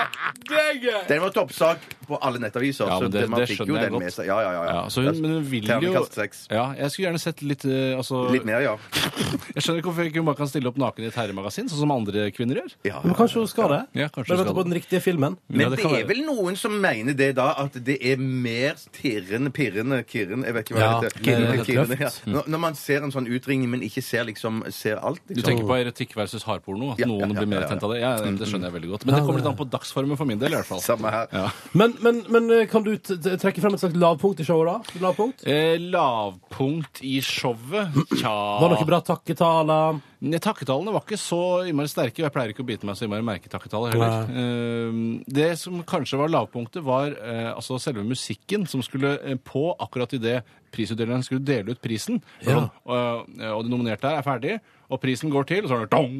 S2: Det er gøy!
S3: (laughs) Den var toppsak på alle nettaviser.
S2: Ja,
S3: så
S2: men det,
S3: det, man
S2: det
S3: fikk jo
S2: skjønner jeg
S3: den
S2: godt.
S3: med seg. Ja, ja, ja. ja.
S2: Ja, så hun, men hun vil jo
S3: Terningkast seks.
S2: ja, Jeg skulle gjerne sett litt eh, altså,
S3: Litt mer, ja.
S2: Jeg skjønner ikke hvorfor ikke hun bare kan stille opp naken i et herremagasin, sånn som andre kvinner gjør.
S3: ja,
S1: Men
S3: ja.
S1: kanskje hun skal det?
S2: Ja, kanskje
S1: Bare
S2: hun
S1: vent
S2: skal
S1: på den riktige filmen.
S2: Ja,
S3: Men
S2: det
S3: det
S2: kan
S3: er
S2: være.
S3: vel noen som mener det da, at det er mer tirrende, pirrende, kirrende Jeg vet ikke hva
S1: Ja,
S3: det heter.
S1: kirrende,
S3: Kirrende, kirrende, ja.
S1: tøft.
S3: når, når man ser en sånn utringning, men ikke ser liksom, ser alt,
S2: Du
S3: liksom.
S2: tenker på erotikk versus hardporno? At
S3: Ja,
S2: noen
S3: ja, ja,
S2: blir mer
S3: ja, ja.
S2: tent av det? Ja, det skjønner jeg veldig godt. Men det kommer litt an på dagsformen for min del, i hvert fall.
S3: Samme her.
S2: Ja.
S1: Men, men, men eh, kan du t t- trekke frem et slags lavpunkt i showet, da? Lavpunkt?
S2: Eh, lavpunkt i showet? Tja
S1: Var det noe bra takketaler?
S2: Nei, Takketallene var ikke så innmari sterke. og Jeg pleier ikke å bite meg så innmari merke takketaller heller. Eh, Det som kanskje var lavpunktet, var eh, altså selve musikken som skulle eh, på akkurat idet prisutdeleren skulle dele ut prisen.
S1: Ja.
S2: Og, eh, og de nominerte her er ferdig, og prisen går til, og så er det dong!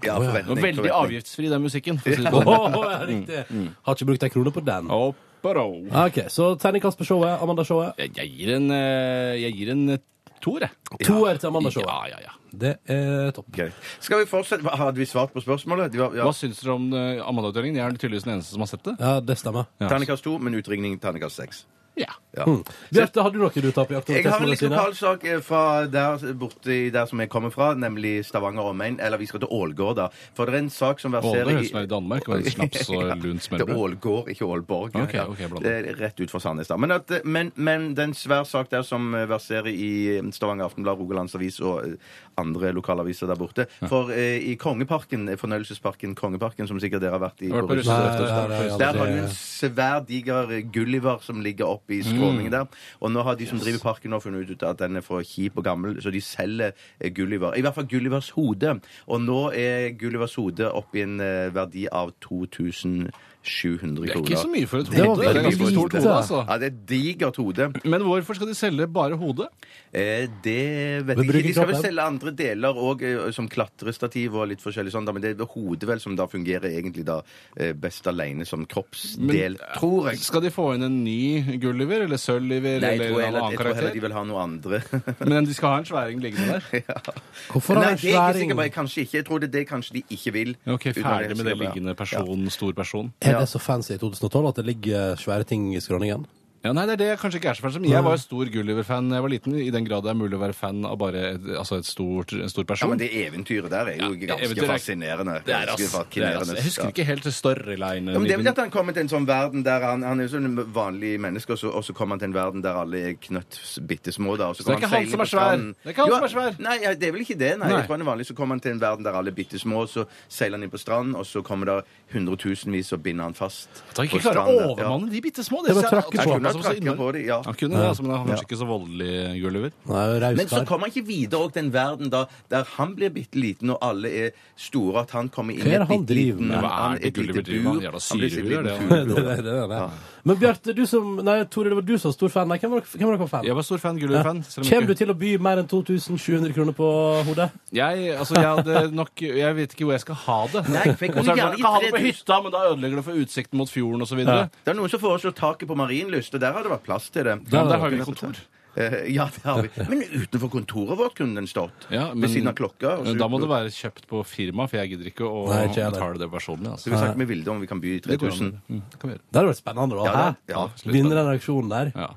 S3: Ja,
S2: Det var
S3: forventning.
S2: veldig
S3: forventning.
S2: avgiftsfri, den musikken. For å si det på
S1: (laughs)
S2: den.
S1: Åh, ja, riktig. Mm, Har ikke brukt ei krone på den.
S2: Opparo.
S1: OK, så terningkast på showet. Amanda-showet.
S2: Jeg, jeg gir en eh, Jeg gir en eh, toer, jeg.
S3: eh,
S1: Toer til
S2: Ja,
S1: Amanda-showet.
S2: ja, ja.
S1: Det er topp.
S3: Greit. Skal vi fortsette? Hva- Hadde vi svart på spørsmålet? De var, ja.
S2: Hva syns dere om eh, Amanda-utdelingen? Jeg er tydeligvis den eneste som har sett det.
S1: Ja, det stemmer.
S2: Ja.
S3: Terningkast to, men utringning terningkast seks.
S2: Ja.
S3: Ja.
S1: Bjarte, hadde du noe du tar på
S3: Jeg har en
S1: aktualitetsmålene
S3: litt
S1: sine?
S3: lokal sak eh, fra der, borte i der som jeg kommer fra, nemlig Stavanger omegn. Eller vi skal til Ålgård, da. For det er en sak som
S2: Ålgård
S3: verserer
S2: høres meg i Danmark, og en snaps
S3: (laughs)
S2: og
S3: Ja,
S2: lunt
S3: Det er
S2: smørbrød.
S3: Ålgård, ikke Ålborg.
S2: Ok,
S3: Ja.
S2: ok, blant
S3: det er rett ut fra Sandnes, da. Men, at, eh, men, men det er en svær sak der som eh, verserer i Stavanger Aftenblad, Rogalandsavis og eh, andre lokalaviser der borte. For eh, i Kongeparken, eh, fornøyelsesparken Kongeparken, som sikkert dere har vært i
S2: Har vært på
S3: på
S2: Russen.
S3: Russen. Der har du en svær, diger Gulliver som ligger oppe i skråningen der. Og nå har de som driver parken, nå funnet ut at den er for kjip og gammel, så de selger eh, Gulliver. I hvert fall Gullivers hode. Og nå er Gullivers hode oppe i en eh, verdi av 2700 kroner.
S2: Det er ikke så mye for et
S1: Det
S2: hode.
S1: var
S2: Det er
S1: veldig
S2: ganske stort
S1: lite.
S2: hode, altså.
S3: Ja, det er et digert hode.
S2: Men hvorfor skal de selge bare hodet?
S3: Eh, det
S1: Men
S3: vet jeg ikke.
S1: bruker
S3: De skal vel
S1: kroppen?
S3: selge andre deler òg, som klatrestativ og litt forskjellig sånn, da, men det er hodet vel som da fungerer egentlig da eh, best aleine som kroppsdel, tror jeg.
S2: eh, Skal de få inn en ny Gulliver eller Sølliver
S3: Nei, jeg
S2: eller
S3: tror,
S2: en
S3: heller,
S2: annen
S3: jeg tror heller
S2: karakter?
S3: de vil ha noe andre.
S2: Men de skal ha en sværing liggende der?
S3: (laughs) ja.
S1: Hvorfor har
S3: Nei, det er jeg ikke
S1: sværing
S3: sikker på. Jeg, kanskje ikke. jeg tror det er det kanskje de ikke vil.
S2: Ok,
S3: Uten at jeg er
S2: Ferdig med det
S3: sikker på, ja.
S2: liggende person, stor person.
S1: Er det så fancy i 2012 at det ligger svære ting i skråningen?
S2: Ja, nei, det er det jeg kanskje ikke er så ferdig som. Jeg var jo stor Gulliver-fan da jeg var liten, i den grad det er mulig å være fan av bare et, altså et stort, en stor
S3: Ja,
S2: person.
S3: men det eventyret der er jo
S2: Ja,
S3: ganske
S2: eventyret er-
S3: fascinerende.
S2: Det er, ass.
S3: Ganske
S2: Det er, ass.
S3: fascinerende.
S2: Jeg husker
S3: Ja.
S2: ikke helt storylinen.
S3: Ja, men det er vel
S2: i
S3: at han kommer til en sånn verden der han, han er jo sånn vanlig menneske, og så, og så kommer han til en verden der alle er knøtt bitte små. Da, og
S2: Så det er
S3: kommer
S2: ikke han
S3: seilende
S2: som er
S3: på stranden.
S2: svær? Det er ikke han
S3: Jo,
S2: som er svær?
S3: Nei, ja, det er vel ikke det. Nei.
S2: Nei.
S3: Jeg tror han er vanlig, så kommer han til en verden der alle er bitte små, og så seiler han inn på stranden, og så kommer det hundretusenvis og binder han fast.
S2: At han ikke
S3: på
S2: klarer å
S3: stranden.
S2: overmanne de bitte små.
S1: Det var trakk på.
S3: Ja. Han kunne
S2: sånn Han
S3: ha trakket på det, ja.
S2: kunne det, altså, men han var kanskje ikke så voldelig, Gulliver.
S1: Nei, raus
S3: Men så
S1: kar.
S3: kommer han ikke videre òg den verden da, der han blir bitte liten og alle er store. At han kommer inn
S1: Hva
S3: i
S1: er det
S3: et
S1: han
S3: bitte
S1: driver
S3: liten
S1: med?
S2: Hva er
S3: han-
S2: det
S3: et lite
S2: Gulliver driver
S3: bur.
S2: med? Han jævla
S3: blir sitt
S2: syrehue, er det han?
S3: liten
S1: (laughs)
S3: fugl,
S1: Det
S3: da.
S1: er det, det er. Men Bjarte, du som Nei, Tore, det var du som var stor fan. Nei, hvem var hvem var dere for fan?
S2: Jeg var stor fan Gulliver-fan. selv om
S1: Kommer du
S2: ikke-
S1: til å by mer enn 2700 kroner på hodet?
S2: Jeg, altså, jeg hadde nok Jeg vet ikke hvor jeg skal ha det.
S3: Nei, for jeg kunne
S2: Og så er det
S3: gjerne
S2: sånn,
S3: gitt
S2: jeg kan ha det på
S3: 3000.
S2: hytta, men da ødelegger det for utsikten mot fjorden osv. videre
S3: Det er noen som foreslår taket på Marienlyst, og der har det vært plass til det.
S2: Ja, men der har vi kontor.
S3: (laughs) Eh, Ja, det har vi. Men utenfor kontoret vårt kunne den stått.
S2: Ja, men-
S3: Ved siden av klokka. og så-
S2: Da må det være kjøpt på firma, for jeg gidder ikke å
S1: Nei, ikke jeg heller.
S2: betale det personlig. Altså.
S3: Så vi snakker med Vilde om vi kan by i
S2: Det går an.
S3: 3000.
S2: Mm, det kan vi gjøre.
S1: Det hadde vært spennende. da,
S3: Ja,
S1: Hæ?
S3: det- ja,
S2: absolutt.
S1: Vinne den auksjonen der.
S2: Ja.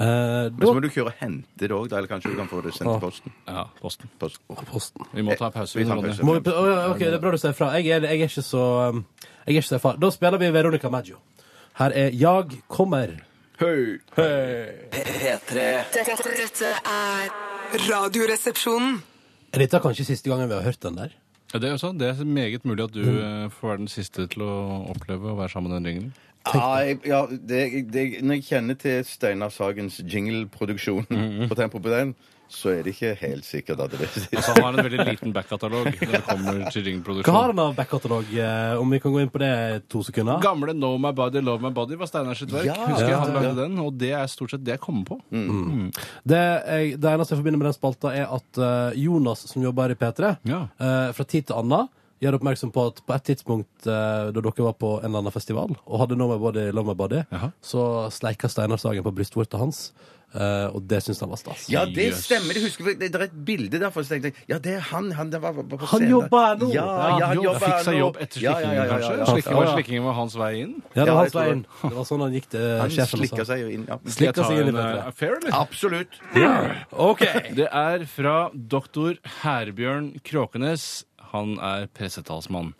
S1: Eh,
S3: Men så må
S1: da
S3: du kjøre og hente det òg, da. Eller kanskje du kan få det sendt i posten.
S2: ja, posten.
S3: Post.
S1: Posten.
S2: Vi må ta en pause.
S3: Eh, Vi tar en
S2: Ronny.
S3: pause.
S1: Må vi, pl- Å, ja, ok, Det er bra du sier fra. Jeg er, jeg er ikke så um, Jeg er ikke så erfaren. Da spiller vi Veronica Maggio. Her er Jag kommer.
S3: Høy!
S5: P3
S4: Dette, dette er Radioresepsjonen.
S1: Er Dette kanskje siste gangen vi har hørt den der.
S2: Ja, det, er jo sånn. det er meget mulig at du
S3: Mm.
S2: eh, får være den siste til å oppleve å være sammen med den ringen.
S3: Ja, jeg, ja det, det, når jeg kjenner til Steinar Sagens jingleproduksjon på tempoet på den så er det ikke helt sikkert at det er det.
S2: Altså, han har en veldig liten
S3: (laughs)
S2: backkatalog når det kommer til
S1: Hva har
S2: ringproduksjon.
S1: han av backkatalog, eh, om vi kan gå inn på det i to sekunder?
S2: Gamle Know My Body, Love My Body var Steinar sitt verk.
S3: Ja.
S2: Husker jeg han
S3: Ja.
S2: lagde den, og det er stort sett det jeg kommer på.
S3: Mm.
S1: Det, jeg, det eneste jeg forbinder med den spalta, er at eh, Jonas, som jobber her i P3,
S2: Ja.
S1: eh, fra tid til annen gjør oppmerksom på at på et tidspunkt eh, da dere var på en eller annen festival og hadde No My Body, Love My Body,
S2: Jaha.
S1: så sleika Steinar Sagen på brystvorta hans, eh, og det syns han var stas.
S3: Ja, det
S2: Jøss.
S3: stemmer. Det, husker, jeg. det, det er et bilde derfor. Så tenkte jeg, ja, det er han. Han, der var, var på
S1: Han
S3: scenen.
S1: jobber her nå.
S3: Ja,
S1: Ja,
S3: ja, han jobber
S2: fikk
S3: her
S2: seg
S3: nå.
S2: jobb etter
S3: Ja,
S2: slikkingen,
S3: ja, ja, ja, ja.
S2: kanskje? Slikking, var
S1: Ja, ja.
S2: slikkingen var hans vei inn?
S1: Ja, det
S3: Ja,
S1: var
S3: jeg
S1: hans
S3: tror
S1: vei
S3: det.
S1: inn. Det var sånn han gikk til eh,
S3: Han
S1: sjefen. og
S3: slikker
S1: sa.
S3: seg jo inn. Ja.
S2: Skal jeg
S1: Slikka
S2: ta
S1: seg inn i
S2: en
S1: P3.
S2: eh, affair, eller?
S3: Absolutt.
S1: OK.
S2: (laughs) Det er fra doktor Herbjørn Kråkenes. Han er pressetalsmann.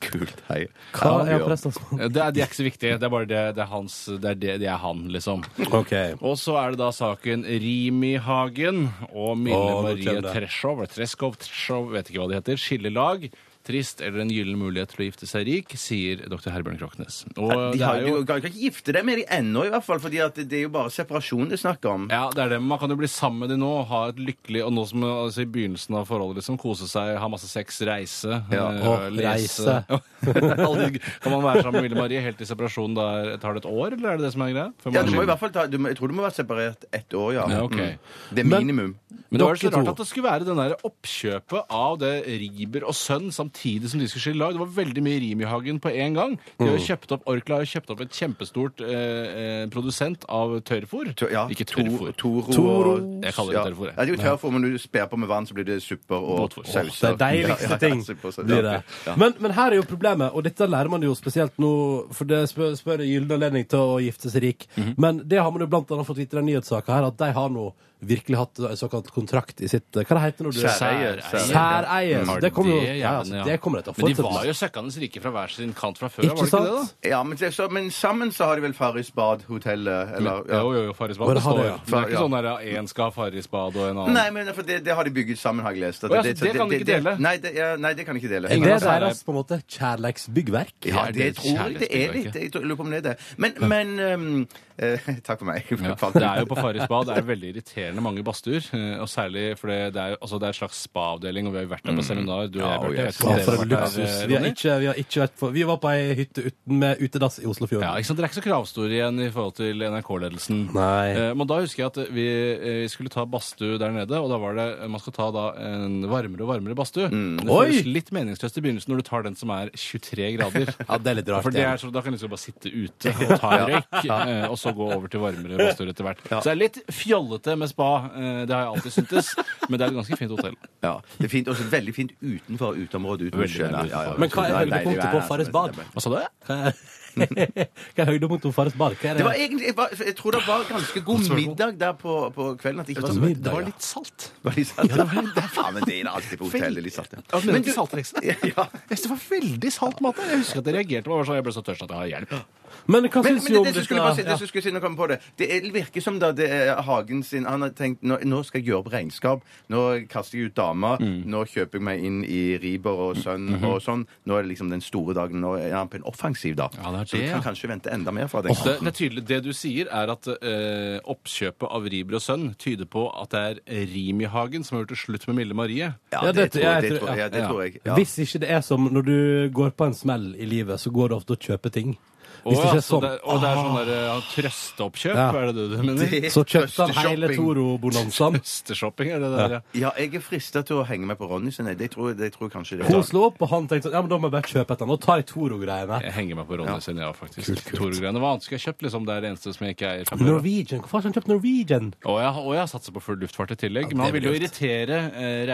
S3: Kult. Hei.
S1: Hva er
S3: Ja.
S1: prestensmann?
S2: Eh, Det er, det er ikke så viktig. Det er bare det, det er hans Det er, det, det er han, liksom.
S1: OK.
S2: Og så er det da saken Rimi Hagen og Mille
S1: Å, nå
S2: Marie
S1: kjenner jeg.
S2: Treshov, eller Treskov, Treshov, vet ikke hva det heter, skillelag. Trist eller en gyllen mulighet til å gifte seg rik, sier dr. Herbjørn Kråknes. Og
S3: De
S2: det
S3: har,
S2: er
S3: jo...
S2: jo
S3: Du kan ikke gifte deg med de ennå, i hvert fall, fordi at det er jo bare separasjon det er snakk om.
S2: ja, det er det. men Man kan jo bli sammen med de nå, ha et lykkelig Og nå som altså, i begynnelsen av forholdet, liksom, kose seg, ha masse sex, reise.
S3: Ja,
S2: eh,
S1: å, reise.
S2: (laughs) Alle de- kan man være sammen med Mille Marie helt til separasjon da er- tar det et år, eller er det det som er greia? Før man
S3: Ja, du må i
S2: skiller?
S3: hvert fall ta, du må, Jeg tror du må være separert ett år, ja.
S2: Ja, ok.
S3: mm. Det er minimum.
S2: Men det var så
S1: Dere
S2: rart
S1: to.
S2: at det skulle være den der oppkjøpet av det Riiber og Sønn samtidig som de skulle skille lag. Det var veldig mye rim i hagen på en gang. De
S1: Mm.
S2: har jo kjøpt opp, Orkla har jo kjøpt opp et kjempestort eh, eh, produsent av tørrfôr.
S3: To- ja,
S2: Ikke
S3: to-
S2: tørrfôr.
S3: Toro.
S1: Toro.
S3: og-
S2: Jeg kaller det tørrfôr, jeg.
S3: Ja, det er jo tørrfôr, men du sper på med vann, så blir det supper og
S2: Båtfôr.
S3: sauser.
S1: Det er deiligste ting.
S3: supper og sauser.
S1: blir det.
S3: Ja.
S1: Men, men her er jo problemet, og dette lærer man jo spesielt nå, for det spør, spør en gyllen anledning til å gifte seg rik.
S3: Mhm.
S1: Men det har man jo blant annet fått vite i den nyhetssaken her, at de har nå virkelig hatt en såkalt kontrakt i sitt Hva det heter når du Særeie.
S3: Særeie.
S1: Så
S2: Har
S1: Det kommer jo
S2: Mm. det
S1: ja,
S2: gjerne,
S1: altså,
S2: ja.
S1: det kommer det til å
S2: Men de
S1: fortsette
S2: var
S1: med.
S2: jo søkkende rike fra hver sin kant fra før,
S1: Ikke
S2: var det ikke det,
S1: sant?
S2: da?
S3: Ja, men, det- så, men sammen så har de vel Farris Bad-hotellet, eller ja.
S2: Jo, jo, jo, Farris
S1: Bare
S2: bad. Det
S1: ha det,
S2: står.
S1: ja.
S2: Men det er ikke
S3: Ja.
S2: sånn der ja, én skal ha Farris bad og en annen
S3: Nei, men for det, det har de bygget sammen, har jeg lest. At
S2: Å, ja, så det kan de ikke dele?
S3: Nei, det, ja, nei, det kan de ikke dele.
S1: Er
S2: Ingen
S1: det
S2: av særeie.
S1: deres på en måte kjærleiksbyggverk?
S3: Ja,
S2: Er det
S3: det
S2: et
S3: tror jeg det er
S2: kjærlighetsbyggverk?
S3: litt. Jeg tror- lurer på om det er det. Men, men ehm, eh, (laughs) Takk for meg.
S2: Ja,
S3: Fant
S2: det
S3: ut.
S2: er jo på Farris bad det er veldig irriterende mange badstuer. eh, Og særlig fordi det er, altså det er en slags spa-avdeling, og vi har jo vært der på seminar. Du og jeg,
S3: Ja, og
S2: Bjarte. Jeg vet
S3: yes.
S2: ikke om
S1: Mm. Ja, for
S2: dere har
S1: en
S2: vært der,
S1: luksus.
S2: eh,
S1: Vi, har
S2: Ronny?
S1: ikke, vi, har ikke vært på, vi var på ei hytte uten, med utedass i Oslofjorden.
S2: Ja, ikke sant? Dere er ikke så kravstore igjen i forhold til NRK-ledelsen.
S1: Nei.
S2: Eh, Men da husker jeg at vi eh, skulle ta badstue der nede, og da var det eh, man skal ta da en varmere og varmere badstue. Det
S1: Oi!
S2: føles litt meningsløst i begynnelsen når du tar den som er 23 grader.
S1: Ja, det er litt rart,
S2: For det
S1: det.
S2: er så, da kan du liksom bare sitte ute og ta en røyk, eh, og så gå over til varmere badstuer etter hvert. Så det er litt fjollete med spa, eh, det har jeg alltid syntes, men det er et ganske fint hotell.
S3: Ja, det er fint, også veldig fint utenfor uteområdet. Uten
S2: Veldig
S3: sjøen.
S2: deilig
S3: Ja, ja, ja.
S1: Men hva er
S3: Ja, deilig
S1: høydepunktet
S3: vær,
S1: på
S3: altså.
S1: Farris bad?
S2: Hva sa du?
S1: Hva er (laughs) hva er høydepunktet på Farris bad? Hva er
S3: Det var egentlig, jeg, var, jeg tror det var ganske god middag der på, på kvelden. At det ikke var så
S1: middag,
S3: det var
S1: ja.
S3: litt salt. Var litt salt. (laughs) det er faen men det er det alltid på hotellet. Litt sånn. salt. ja.
S2: Men du, saltreksene?
S3: Ja.
S2: Det var veldig salt mat. Jeg husker at jeg reagerte på det. sånn, Jeg ble så tørst at jeg har hjelp.
S1: Men hva
S3: Men,
S1: syns du
S3: men det,
S1: om
S3: det, som
S1: dette?
S3: skulle bare si, det
S1: Ja.
S3: som skulle si, nå kom jeg på det Det er- virker som da det er Hagen sin Han har tenkt nå, nå skal jeg gjøre opp regnskap. Nå kaster jeg ut dama. Nå kjøper jeg meg inn i Riiber og Sønn og sånn. Nå er det liksom den store dagen. Nå er han på en offensiv, da.
S2: Ja, det er
S3: Så du
S2: det,
S3: kan
S2: ja.
S3: kanskje vente enda mer fra den.
S2: Det, det er tydelig, det du sier, er at eh, oppkjøpet av Riber og Sønn tyder på at det er Rimi-Hagen som har gjort det slutt med Mille Marie.
S3: Ja,
S1: Ja,
S3: det,
S1: det-
S3: tror,
S1: jeg
S3: jeg, det,
S1: tror-
S3: tror,
S1: ja,
S3: ja, det
S2: ja.
S3: tror jeg. Ja.
S1: Hvis ikke det er som når du går på en smell i livet, så går det ofte å kjøpe ting. Hvis det
S2: Å,
S1: ikke
S2: ja,
S1: er
S2: så
S1: sånn,
S2: det, og det er sånn der, ja, trøsteoppkjøp,
S1: Ja.
S2: er det det du mener?
S3: Det-
S1: ah, så kjøpte han
S3: Trøsteshopping.
S1: hele Toro-bonanzaen.
S2: (laughs) Trøsteshopping, er det det der? Ja.
S3: Ja, jeg er frista til å henge meg på Ronny sin. jeg. Det tror, det tror jeg kanskje det
S1: Hun slo opp, og han tenkte sånn, ja, men da må jeg bare kjøpe et eller annet. Og ta i Toro-greiene.
S2: Jeg henger meg på Ronny sin, ja, faktisk. Toro-greiene. Hva annet skulle jeg kjøpt, liksom? Det er det eneste som jeg ikke eier. fra før.
S1: Norwegian, Hvorfor har han kjøpt Norwegian?
S2: Og jeg, og jeg satser på full luftfart i tillegg. men han ville jo irritere eh,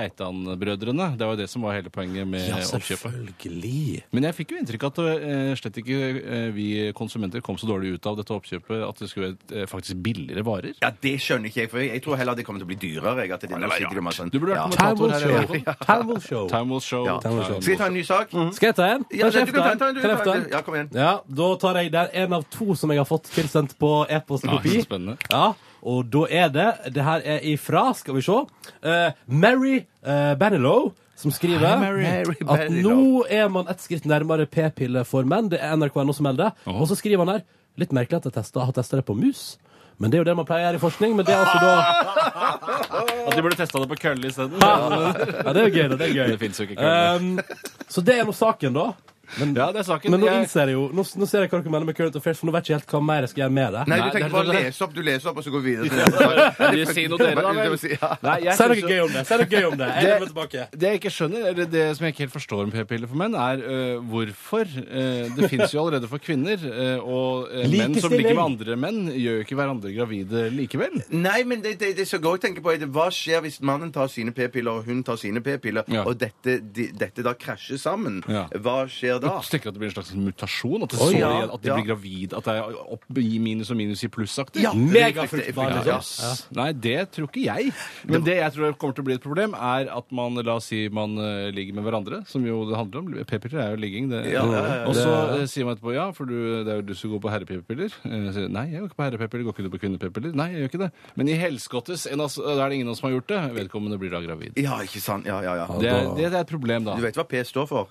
S2: Reitan-brødrene. Det var jo det som var hele poenget med
S1: Ja,
S2: oppkjøpet.
S1: selvfølgelig.
S2: Men jeg fikk jo inntrykk av at eh, slett ikke eh, vi konsumenter kom så dårlig ut av dette oppkjøpet at det skulle være eh, faktisk billigere varer.
S3: Ja, det skjønner ikke jeg, for jeg, jeg tror heller det kommer til å bli dyrere. Jeg, at det, nå sitter det masse sånn.
S2: Du burde vært
S3: ja.
S2: kommentator.
S1: Time will
S2: her,
S1: show.
S2: ja.
S1: Time will show.
S2: Time will show.
S3: Ja.
S1: Time will show.
S3: Skal jeg ta en ny sak?
S2: Mhm.
S1: Skal jeg ta en?
S3: Ja,
S1: Kan jeg
S3: du kan ta en,
S1: ta en?
S3: du
S1: Kan jeg
S3: kan
S1: ta
S3: ta
S1: en?
S3: en. Ja, kom igjen.
S1: Ja, da tar jeg der en av to som jeg har fått tilsendt på e-post
S2: Ja,
S1: kopi.
S2: så spennende.
S1: Ja, og da er det Det her er ifra, skal vi se. eh, Mary eh, Bannilow som skriver
S2: Mary.
S1: at nå er man et skritt nærmere p-pille for menn. Det er nrk.no som melder det. Og så skriver han her Litt merkelig at jeg testet, har testa det på mus. Men det er jo det man pleier å gjøre i forskning. Men det er altså
S2: (laughs)
S1: da
S2: At de burde testa det på kølle isteden.
S1: Ja, det er jo gøy, da. Det er
S2: Det
S1: gøy.
S2: fins jo ikke kølle.
S1: Um, så det er nå saken, da. Men,
S2: Ja, det er saken.
S1: men nå
S2: Jeg-
S1: innser jeg jo Nå, nå ser jeg hva dere mener med current affairs, for nå vet jeg ikke helt hva mer jeg skal gjøre med det.
S3: Nei,
S2: Nei,
S3: du
S2: det
S3: tenker
S2: er
S3: bare
S2: det-
S3: lese opp, du leser opp, og så går vi videre.
S2: (laughs)
S3: til
S2: Vil du si noe dere, da, vel?
S3: Det vil si, ja.
S2: Nei, jeg
S1: Si
S2: synes
S1: noe
S2: jo-
S1: gøy om det. Si noe gøy om det. Jeg
S2: Det-
S1: lever tilbake.
S2: Det jeg ikke skjønner, eller det som jeg ikke helt forstår om p-piller for menn, er øh, hvorfor. Øh, det fins jo allerede for kvinner, øh, og øh, menn som
S1: Likestilling.
S2: ligger med andre menn, gjør jo ikke hverandre gravide likevel.
S3: Nei, men det, det, det som går og tenker på er det, Hva skjer hvis mannen tar sine p-piller og hun tar sine p-piller,
S2: Ja.
S3: og dette, de, dette da krasjer sammen?
S2: Ja.
S3: Hva skjer da?
S2: Jeg tenker at det blir en slags mutasjon, at, det
S3: Oi,
S2: så,
S3: ja,
S2: igjen- at de
S3: ja.
S2: blir gravid, at det er opp i minus og minus i pluss-aktig.
S3: Ja,
S1: Megafruktbar,
S3: Ja,
S2: Ja,
S3: ja.
S1: liksom.
S2: ass. Nei, det tror ikke jeg. Men det jeg tror kommer til å bli et problem, er at man la oss si man eh, ligger med hverandre, som jo det handler om. P-piller er jo ligging. Det.
S3: Ja, ja, ja.
S2: Og så eh, sier man etterpå ja, for du, det er jo du som går på herre-p-piller. Eh, sier, Nei, jeg går ikke på herre-p-piller. Går ikke du på kvinne-p-piller? Nei, jeg gjør ikke det. Men i helskottes en av oss- da er det ingen av oss som har gjort det. Vedkommende blir da gravid.
S3: ja, ikke sant? Ja, ja, ja.
S2: Det er, det er et problem, da.
S3: Du vet hva P står for?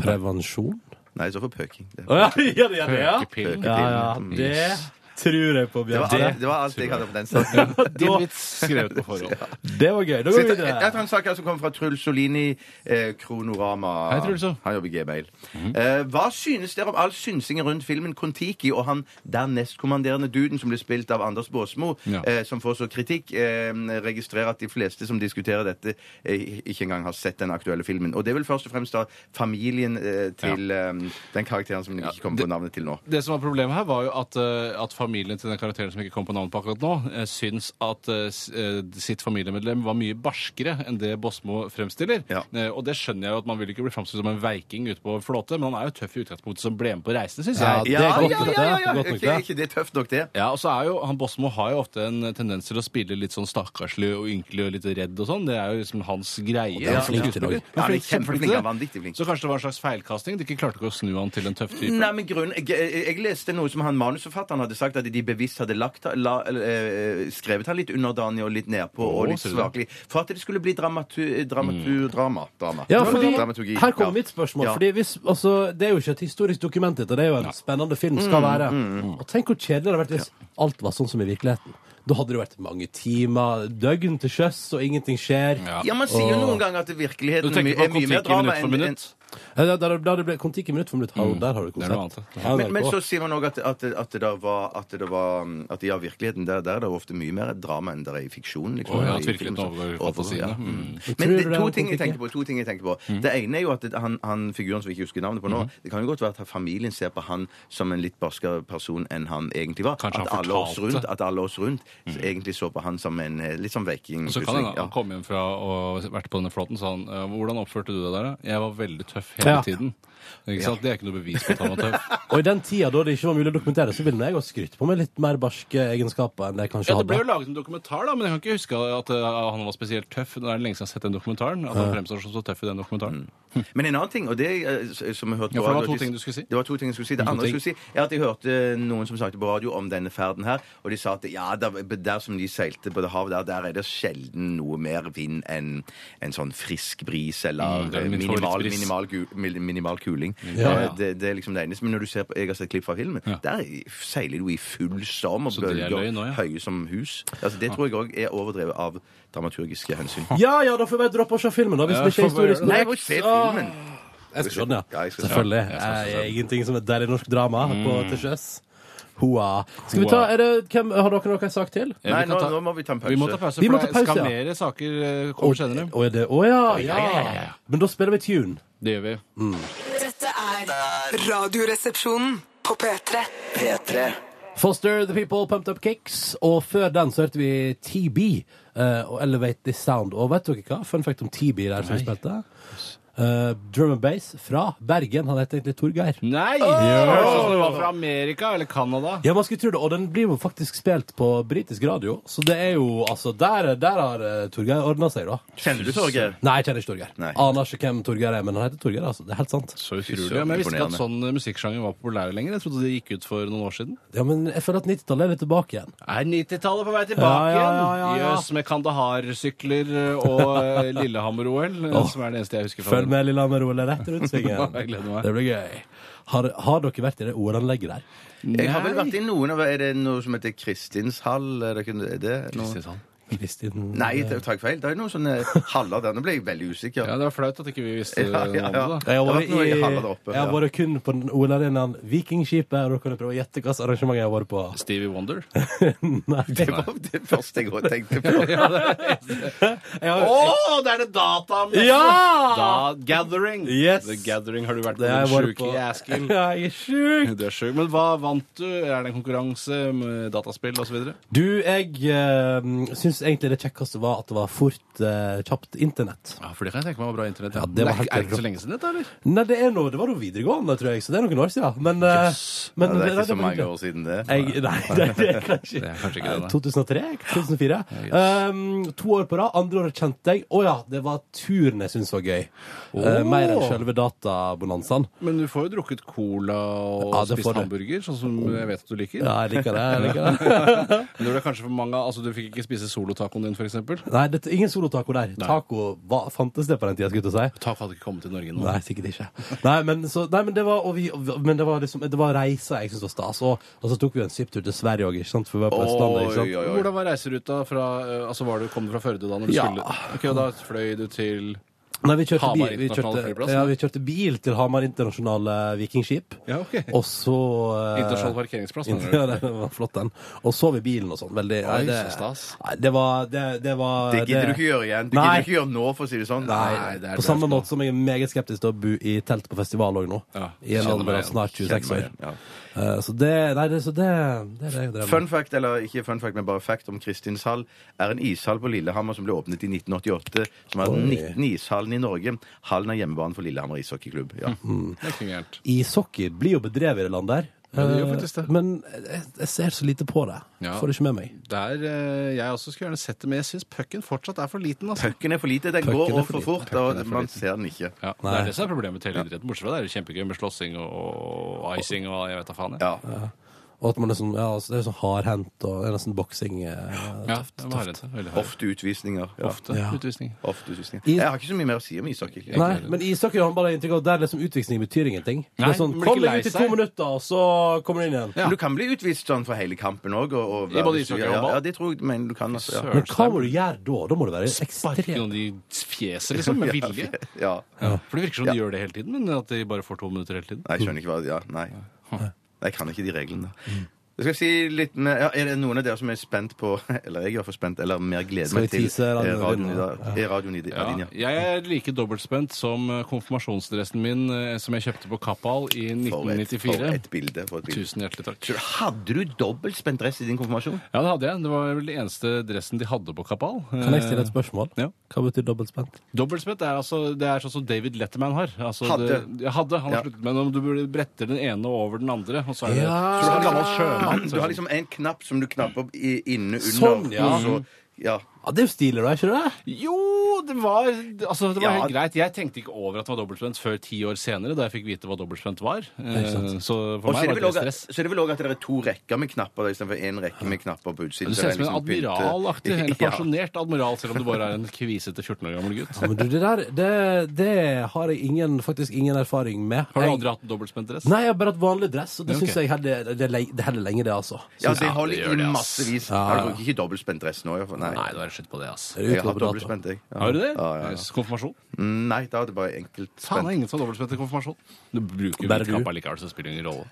S1: Prevensjon?
S3: Nei, det står for pøking.
S1: (laughs)
S3: Det,
S1: Å ja, ja, det er det, ja.
S2: Pøkepillen.
S1: Ja, ja. Det tror jeg på,
S3: det, var,
S1: Bjørn.
S3: alt- det var alt jeg hadde på den saken.
S1: (laughs)
S2: Din vits skrevet på forhånd.
S1: Det var gøy. Da går vi
S3: Jeg
S1: videre.
S3: tar en sak her som kommer fra Truls Solini, eh, Kronorama.
S2: Hei, Trulso.
S3: Han jobber i Gmail.
S1: Mhm.
S3: eh, hva synes dere om all synsingen rundt filmen Kon-Tiki og han dernest kommanderende duden som ble spilt av Anders Baasmo,
S2: Ja.
S3: eh, som får så kritikk? Eh, registrerer at de fleste som diskuterer dette, eh, ikke engang har sett den aktuelle filmen. Og det er vel først og fremst da familien eh, til eh, den karakteren som jeg ikke kommer på navnet til nå.
S2: Det som var Problemet her var jo at, eh, at familien til den karakteren som ikke kom på navnet på akkurat nå, eh, syns at eh, s- eh, sitt familiemedlem var mye barskere enn det Bosmo fremstiller.
S3: Ja.
S2: Eh, og det skjønner jeg jo at man vil ikke bli framstilt som en veiking ute på flåte, men han er jo tøff i utgangspunktet som ble med på reisen, syns
S1: Ja, det
S2: jeg.
S1: er godt
S3: ja,
S1: nok, det.
S3: ja, ja, ja.
S1: Godt nok,
S3: Ikke,
S1: det.
S3: ikke det er tøft nok, det.
S2: Ja, og så er jo, han Bosmo har jo ofte en tendens til å spille litt sånn stakkarslig og ynkelig og litt redd og sånn. Det er jo liksom hans greie.
S1: er han flink til også.
S3: Ja, han er
S2: Kjempeflink til
S3: kjempeflink,
S2: det.
S3: han er vanvittig flink.
S2: Så kanskje det var en slags feilkasting? De ikke klarte ikke å snu han til en tøff type?
S3: Nei, men grunnen, jeg, jeg, jeg leste noe som han manusforfatteren hadde sagt, at de bevisst hadde lagt, la, eh, skrevet han litt underdanig og litt nedpå
S2: Å,
S3: og litt
S2: ser du det?
S3: svakelig. For at det skulle bli dramatur, dramatur, drama,
S2: Mm.
S3: drama.
S1: Ja, fordi,
S3: Dramaturgi.
S1: her kommer
S3: Ja.
S1: mitt spørsmål.
S3: Ja.
S1: Fordi hvis, altså, det er jo ikke et historisk dokument, dette. Det er jo en spennende film. skal være. Og tenk hvor kjedelig det hadde vært hvis alt var sånn som i virkeligheten. Da hadde det vært mange timer, døgn til sjøs, og ingenting skjer.
S2: Ja.
S3: Ja, man sier jo noen ganger at virkeligheten
S2: Du tenker
S3: er
S2: på
S3: mye
S2: Kon-Tiki
S3: mer drama
S2: minutt for
S3: enn enn-
S2: minutt?
S1: Eh, Da Da da- da det ble Kon-Tiki minutt for minutt. Hallo, Mm. Der har du et
S2: Det er noe
S1: konsept.
S2: annet,
S1: Ja,
S3: Men, men
S1: NRK.
S3: så sier man òg at, at, at det da var At det da var mm, At ja, virkeligheten der, der er det jo ofte mye mer drama enn det er i fiksjon. Liksom,
S2: Å, ja, at
S3: I film
S2: virkeligheten
S3: og sånn.
S2: overgår
S3: Overfor,
S2: fantasiene.
S3: ja.
S2: Mm.
S3: Men
S1: Tror
S3: det,
S1: du det
S3: to,
S1: er
S3: ting jeg
S1: politikk,
S3: tenker på, to ting jeg tenker på. Det ene er jo at det- han, han figuren som vi ikke husker navnet på nå
S2: Mhm.
S3: Det kan jo godt være at familien ser på han som en litt barskere person enn han egentlig var.
S2: Kanskje
S3: at,
S2: han
S3: alle oss
S2: fortalte. Mm.
S3: rundt, at alle oss rundt egentlig så på han som en eh, litt sånn viking.
S2: Og Så kan
S3: plutselig.
S2: han, han
S3: ja.
S2: kom hjem fra å ha vært på denne flåten, sa han «Eh, Hvordan oppførte du deg der, da? Jeg var veldig tøff hele
S1: Ja.
S2: tiden. Ikke sant? Det er ikke noe bevis på at han var
S3: (laughs)
S2: tøff.
S1: Og i den tida da det ikke var mulig å dokumentere, så ville jeg ha skrytt på meg litt mer barske egenskaper enn det jeg kanskje
S2: Ja, det ble jo
S1: hadde.
S2: laget en dokumentar, da, men jeg kan ikke huske at eh, han var spesielt tøff. Det er lenge siden jeg har sett den dokumentaren. At han fremstår som så tøff i den
S3: Mm.
S2: dokumentaren.
S3: Men en annen ting, og det eh, s- som jeg hørte
S2: Ja,
S3: på
S2: for det var
S3: radio-
S2: to ting du skulle si.
S3: Det var to ting jeg skulle si. Det andre jeg
S2: ting.
S3: skulle si, er at jeg hørte noen som snakket på radio om denne ferden her, og de sa at ja, der, der som de seilte på det havet der, der er det sjelden noe mer vind enn en sånn frisk bris eller
S2: Mm, det er
S3: eh,
S2: min
S3: minimal,
S2: favorittbris.
S3: minimal, gu- min- minimal kuling.
S1: Ja,
S3: Eh,
S2: ja.
S3: Det, det er liksom det eneste. Men når du ser på, jeg har sett klipp fra filmen,
S2: Ja.
S3: der seiler du i full storm og
S2: Så det er
S3: bølger
S2: løgn også, ja.
S3: høye som hus. Altså, det tror jeg òg er overdrevet av dramaturgiske hensyn.
S1: Ja ja, da får vi bare droppe å se filmen, da, hvis
S2: Ja,
S1: det ikke er
S2: får vi
S1: historisk
S2: gjøre det.
S3: Nei, jeg
S1: korrekt.
S3: må se filmen!
S1: Jeg skal se den,
S3: Ja,
S1: ja.
S3: jeg skal se den.
S1: Selvfølgelig.
S2: Ja, jeg skal se
S1: Det er
S2: den.
S1: ingenting som et deilig norsk drama på til sjøs. Hoa. Skal vi ta, er det, hvem, Har dere noe sak til?
S2: Ja,
S3: Nei,
S2: vi
S3: nå,
S2: kan ta-
S3: nå må vi ta en pause.
S2: Vi må ta pause,
S1: Vi må ta
S2: for det skal
S1: pause, ja.
S2: mer saker eh, komme senere.
S1: Å, er det- å ja, ja.
S2: ja, ja, ja.
S1: Men da spiller vi tune.
S2: Det gjør vi.
S3: Mm.
S4: Dette er Radioresepsjonen på P3.
S5: P3.
S1: Foster the People, Pumped Up Kicks. Og før den så hørte vi TB eh, og Elevate This Sound. Og vet dere hva? Fun fact om TB der som vi spilte. eh, drum and bass fra Bergen. Han heter egentlig Torgeir.
S2: Nei! Det høres ut som det var fra Amerika eller Canada.
S1: Ja, man skulle tro det, og den blir jo faktisk spilt på britisk radio, så det er jo altså Der, der har eh, Torgeir ordna seg, da.
S3: Kjenner du Torgeir?
S1: Nei, jeg kjenner ikke Torgeir.
S3: Nei.
S1: Aner ikke hvem Torgeir er, men han heter Torgeir, altså. Det er helt sant.
S2: Så utrolig. Ja, men jeg visste ikke at sånn eh, musikksjanger var populær lenger. Jeg trodde det gikk ut for noen år siden.
S1: Ja, men jeg føler at 90-tallet er litt tilbake igjen.
S2: Er 90-tallet på vei
S1: Ja,
S2: tilbake
S1: ja,
S2: igjen?
S1: ja, ja, ja.
S2: Jøss, med Kandahar-sykler og eh, Lillehammer-OL, eh, som er det eneste jeg husker fra
S1: Følg med, Lillehammer OL, er rett rundt svingen.
S2: Jeg gleder meg.
S1: det blir gøy. Har, har dere vært i det OL-anlegget der?
S3: Jeg har vel
S2: Nei.
S3: vært i noen av Er det noe som heter Kristinshall? Er det, er det noe?
S2: Kristiansand.
S1: Kristin
S3: Nei, jeg tar feil. Det er noen sånne haller der. Nå ble jeg veldig usikker.
S2: Ja, det var flaut at ikke vi visste
S3: Ja, ja,
S2: noe om
S3: ja.
S2: det. da.
S1: Jeg har
S3: Det har
S1: vært,
S3: vært noe
S1: i,
S3: i Halland oppe,
S1: jeg har
S3: ja.
S1: vært kun på den OL-arenaen Vikingskipet, og da kan du prøve å gjette hva slags arrangement jeg har vært på.
S2: Stevie
S1: (laughs)
S2: Wonder.
S1: Nei.
S3: Det var (laughs) det første jeg også tenkte på.
S1: Jeg har,
S2: det er det data
S1: ja!
S2: Da, gathering.
S1: Yes.
S2: The Gathering har du vært på.
S1: Det har jeg
S2: Den
S1: vært
S2: sjuke
S1: på.
S2: i (laughs) Askild.
S1: (laughs) Ja, jeg er sjuk!
S2: Du er sjuk. Men hva vant du? Er det en konkurranse med dataspill osv.?
S1: Du, jeg uh, syns egentlig det kjekkeste var at det var fort, eh, kjapt internett.
S2: Ja, for det kan jeg tenke meg var bra internett.
S1: Ja, det var
S2: Men er,
S1: helt
S2: ikke- er det ikke
S1: rått.
S2: så lenge siden dette, eller?
S1: Nei, det er noe, det var jo videregående, tror jeg, så det er noen år siden. Men, eh, men
S3: Ja, det er
S1: nei,
S3: ikke så
S1: var
S3: mange år siden det.
S1: Jeg, nei,
S3: (laughs)
S1: det, Eh, det er kanskje,
S2: Det er kanskje ikke det, nei.
S1: 2003? 2004? Um, to år på rad. Andre året kjente jeg Å ja, det var turen jeg syntes var gøy. Eh, mer enn selve databonanzaen.
S2: Men du får jo drukket cola og
S1: Ja, det
S2: spist
S1: får du.
S2: hamburger, sånn som jeg vet at du liker.
S1: Ja, jeg liker det. jeg liker det
S2: (laughs)
S3: (laughs)
S2: Men det ble kanskje for mange Altså, du fikk ikke spise solotacoen din, f.eks.
S1: Nei, det, ingen solotaco der. Taco hva, fantes det på den tida, skulle jeg til å si.
S2: Taco hadde ikke kommet til Norge nå.
S1: Nei, sikkert ikke. Nei, men, så, nei, men det var, og vi, men det var, liksom, det var reiser jeg syntes var stas. Og, og så tok vi jo en svipptur til Sverige òg, ikke sant? For vi var på Østlandet, ikke sant?
S3: Oi, oi, oi.
S2: Hvordan var reiseruta fra eh, Altså, var du, kom du fra Førde da når du
S1: Ja.
S2: skulle Ok, og da fløy du til
S1: Nei, vi kjørte,
S2: Hamar
S1: bil, vi,
S2: internasjonale
S1: kjørte,
S2: flyplass,
S1: ja,
S2: da.
S1: vi kjørte bil til Hamar internasjonale vikingskip.
S2: Ja, ok.
S1: Og så eh,
S2: Internasjonal parkeringsplass,
S1: inter-
S2: mener du?
S1: Ja, (laughs) den var flott, den. Og så vi bilen og sånn. Veldig nei,
S2: Oi,
S1: det,
S2: så stas.
S1: nei, det var Det, det var
S3: Det gidder du ikke gjøre igjen. Det
S1: Nei.
S3: gidder du ikke gjøre nå, for å si det sånn.
S1: Nei,
S2: Nei, det er
S1: på samme
S2: tøft, da.
S1: måte som jeg er meget skeptisk til å bo i telt på festival òg nå.
S2: Ja,
S1: I en
S2: kjenner
S1: alder
S2: meg
S1: av
S2: igjen.
S1: snart 26 år.
S3: Kjenner meg igjen,
S1: Eh, Så det Nei, det, så det, det er det jeg drev med.
S3: Fun fact, eller ikke fun fact, men bare fact om Kristinshall er en ishall på Lillehammer som ble åpnet i 1988, som er den
S1: Oi.
S3: 19. ishallen i Norge. Hallen er hjemmebane for Lillehammer ishockeyklubb. Ja.
S2: Det er ikke gærent.
S1: ishockey blir jo bedrevet i det landet der.
S2: Ja, det gjør faktisk det.
S1: Eh, Men jeg, jeg ser så lite på det.
S2: Ja.
S1: Får det ikke med meg.
S2: Der, eh, jeg også skulle gjerne sett det, men jeg syns pucken fortsatt er for liten. altså.
S3: Pucken er for lite. Den
S1: Pucken
S3: går
S1: er
S3: over
S1: for
S3: for
S1: liten.
S3: fort, og man ser den ikke.
S2: Ja, det er det som er problemet med teleidretten. Bortsett fra det er det kjempegøy med slåssing og icing og jeg vet da faen. jeg.
S3: Ja.
S1: Og at man liksom, ja, altså, Det er sånn hardhendt og det er nesten boksing. eh,
S2: Ja, det var hardhendt. Veldig hardt.
S3: Ofte utvisninger. Ja.
S2: Ofte
S1: Ja.
S2: utvisning.
S3: Ofte utvisninger. Jeg har ikke så mye mer å si om ishockey.
S1: Nei, men ishockey og håndball har jeg inntrykk av at der liksom utvisning betyr ingenting. det
S2: Nei,
S1: er sånn,
S2: man blir
S1: Kom
S2: ikke
S1: deg
S2: lei
S1: ut i to
S2: seg.
S1: minutter, og så kommer du inn igjen.
S2: Ja.
S3: Men Du kan bli utvist sånn for hele kampen òg. Og, og
S2: I både ishockey og håndball?
S3: Ja, det tror jeg men du kan. Altså, ja.
S1: Men hva må du gjøre da? Da må du være
S2: Sparke
S1: ekstrem.
S2: noen i fjeset, liksom,
S1: (laughs)
S2: med vilje.
S3: (laughs) ja.
S2: For det virker som de gjør det hele tiden, men at de bare får to minutter hele tiden.
S3: Nei, jeg skjønner ikke hva ja, Nei. Nei, Jeg kan ikke de reglene.
S2: Mm.
S3: Jeg skal si litt mer, ja, Er det noen av dere som er spent på (laughs) Eller jeg er i hvert fall spent, eller mer gleder
S1: Skal vi
S3: meg til
S1: tease radioen din nå?
S3: eh, radioen i dag? eh, Radioen i di-
S2: Ja,
S3: radioen, ja.
S2: jeg er like dobbeltspent som eh, konfirmasjonsdressen min eh, som jeg kjøpte på Kappahl i
S3: For et, for
S2: 1994.
S3: et bilde. For et bilde.
S2: Tusen hjertelig takk.
S3: Så Hadde du dobbeltspent dress i din konfirmasjon?
S2: Ja, det hadde jeg. Det var vel den eneste dressen de hadde på Kappahl.
S1: Kan jeg stille et spørsmål?
S2: Ja.
S1: Hva betyr dobbeltspent?
S2: Dobbeltspett er, altså, det er sånn som David Letterman har. Altså,
S3: Hadde.
S2: Det, ja, hadde. Han har
S3: Ja.
S2: sluttet med det, men du burde bretter den ene over den andre. Og så er det,
S1: Ja.
S2: så du har gammel sjømann.
S3: Du har liksom en knapp som du knapper opp i, inne under.
S1: Sånn, ja.
S3: og
S2: Mm.
S3: så- ja.
S1: Ja, Det er jo stilig, da, er ikke det?
S2: Jo, det var, altså, det var
S3: Ja.
S2: helt greit. Jeg tenkte ikke over at det var dobbeltspent før ti år senere, da jeg fikk vite hva dobbeltspent var. Eh, Så for
S3: Og så
S2: meg
S3: er
S2: var det
S3: det vel også-
S2: stress.
S3: så er det vel òg at det er to rekker med knapper istedenfor én rekke med knapper på utsiden.
S2: Du
S3: så
S2: ser
S3: det
S2: ut som en
S3: er liksom pynt- (laughs)
S2: admiralaktig, en
S3: Ja.
S2: pensjonert admiral, selv om du bare er en kvisete 14 år gammel gutt.
S1: Ja, men du, Det der, det, det har jeg ingen, faktisk ingen erfaring med.
S2: Har du
S1: Jeg-
S2: aldri hatt dobbeltspent dress?
S1: Nei, jeg har bare hatt vanlig dress, og det
S2: Ja,
S1: syns
S2: ok.
S1: jeg heller, det, er le- det heller lenge, det, altså.
S3: Ja,
S2: Ja,
S3: det
S2: det
S3: holder
S2: gjør det,
S3: i
S2: ass.
S3: massevis.
S1: Ja,
S3: Nei,
S1: ja.
S3: du bruker ikke dobbeltspent dress nå. i hvert fall. Nei.
S2: Nei, du er slutt på det, ass.
S1: Det er jo
S3: Jeg har hatt
S1: utover dato.
S3: dobbeltspent, jeg. Ja.
S2: Har du det?
S3: Ja, ja, ja.
S2: Konfirmasjon?
S3: Mm, Nei, da er det bare enkelt
S2: Faen, det
S3: spent.
S2: er ingen som har dobbeltspent i konfirmasjon. Du bruker jo
S1: Bare
S2: hvit
S1: du.
S2: kappe likevel, så det spiller ingen rolle.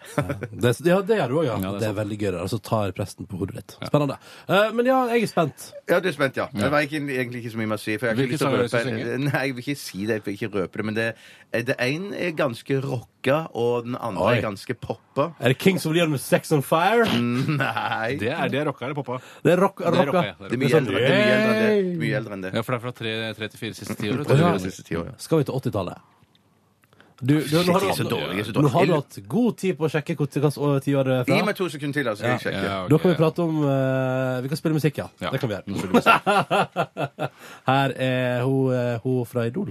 S1: Det, ja, det gjør du òg, ja.
S2: Ja, det er
S1: det, er
S2: sant.
S1: veldig gøy. det der. Og så tar presten på hodet ditt. Spennende. Eh, men ja, jeg er spent.
S3: Ja, du er spent, ja. Det var ikke, egentlig ikke så mye mer å si. For jeg har
S2: Hvilke
S3: ikke lyst til å
S2: sanger er det
S3: røpe
S2: som synger?
S3: Nei, jeg vil ikke si det, jeg vil ikke røpe det. Men det, det ene er ganske rocka, og den andre
S1: Oi.
S3: er ganske poppa.
S1: Er det Kings of Leon med Sex on Fire?
S3: Nei.
S2: Det er det rocka eller poppa?
S1: Det er rock,
S2: Det er
S1: rocka.
S2: rocka, ja. Det er
S3: Mm. Det er mye
S1: sånn,
S3: eldre, det er mye eldre enn
S1: yay!
S3: det. Mye eldre enn det.
S2: Ja, for det er fra 3 34 siste tiår.
S3: Det
S2: tror
S3: er
S2: jeg.
S3: de siste ti år, ja.
S1: Skal vi til 80-tallet? Du, du, nå, har
S3: Shit, jeg er så
S1: du,
S3: dårlig, jeg er så
S1: nå har du
S3: dårlig.
S1: hatt god tid på å sjekke hvor- hvilket år- tiår det er
S3: Gi
S1: fra.
S3: meg to sekunder til, altså. Jeg sjekker.
S2: Ja, ok.
S1: Da kan vi prate om eh, Vi kan spille musikk, ja.
S2: Ja.
S1: Det kan vi
S2: Nå
S1: gjøre.
S2: spiller vi musikk.
S1: (laughs) Her er hun, eh, hun fra Idol.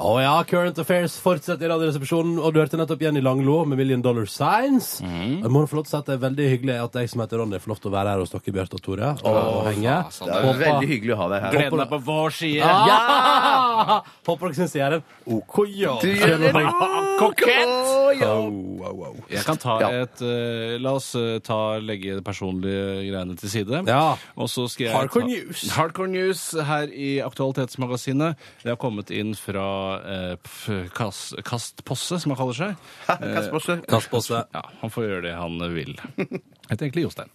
S1: Å ja, Current Affairs fortsetter i Radioresepsjonen, og du hørte nettopp Jenny Langlo med Million Dollar Signs. Og Jeg må få lov til å si at det er veldig hyggelig at jeg som heter Ronny får lov til å være her hos dere, Bjarte og Tore, og henge.
S2: faen,
S3: Det er
S1: Håper-
S3: veldig hyggelig å ha deg her.
S2: Gleden er på vår side.
S1: Ja! (laughs) Håper dere syns jeg er en OK jobb.
S3: Du gjør det bra. Å, ja.
S2: Jeg kan ta
S3: Ja.
S2: et eh, La oss eh, ta, legge de personlige greiene til side.
S1: Ja.
S2: Og så skal jeg
S1: Hardcore
S2: ta-
S1: news.
S2: Hardcore news her i Aktualitetsmagasinet. Det har kommet inn fra eh, pf, Kast, Kastposse, som han kaller seg.
S3: Eh, Kasper Posse.
S1: Kast på seg.
S2: Ja, han får gjøre det han vil. Heter egentlig Jostein.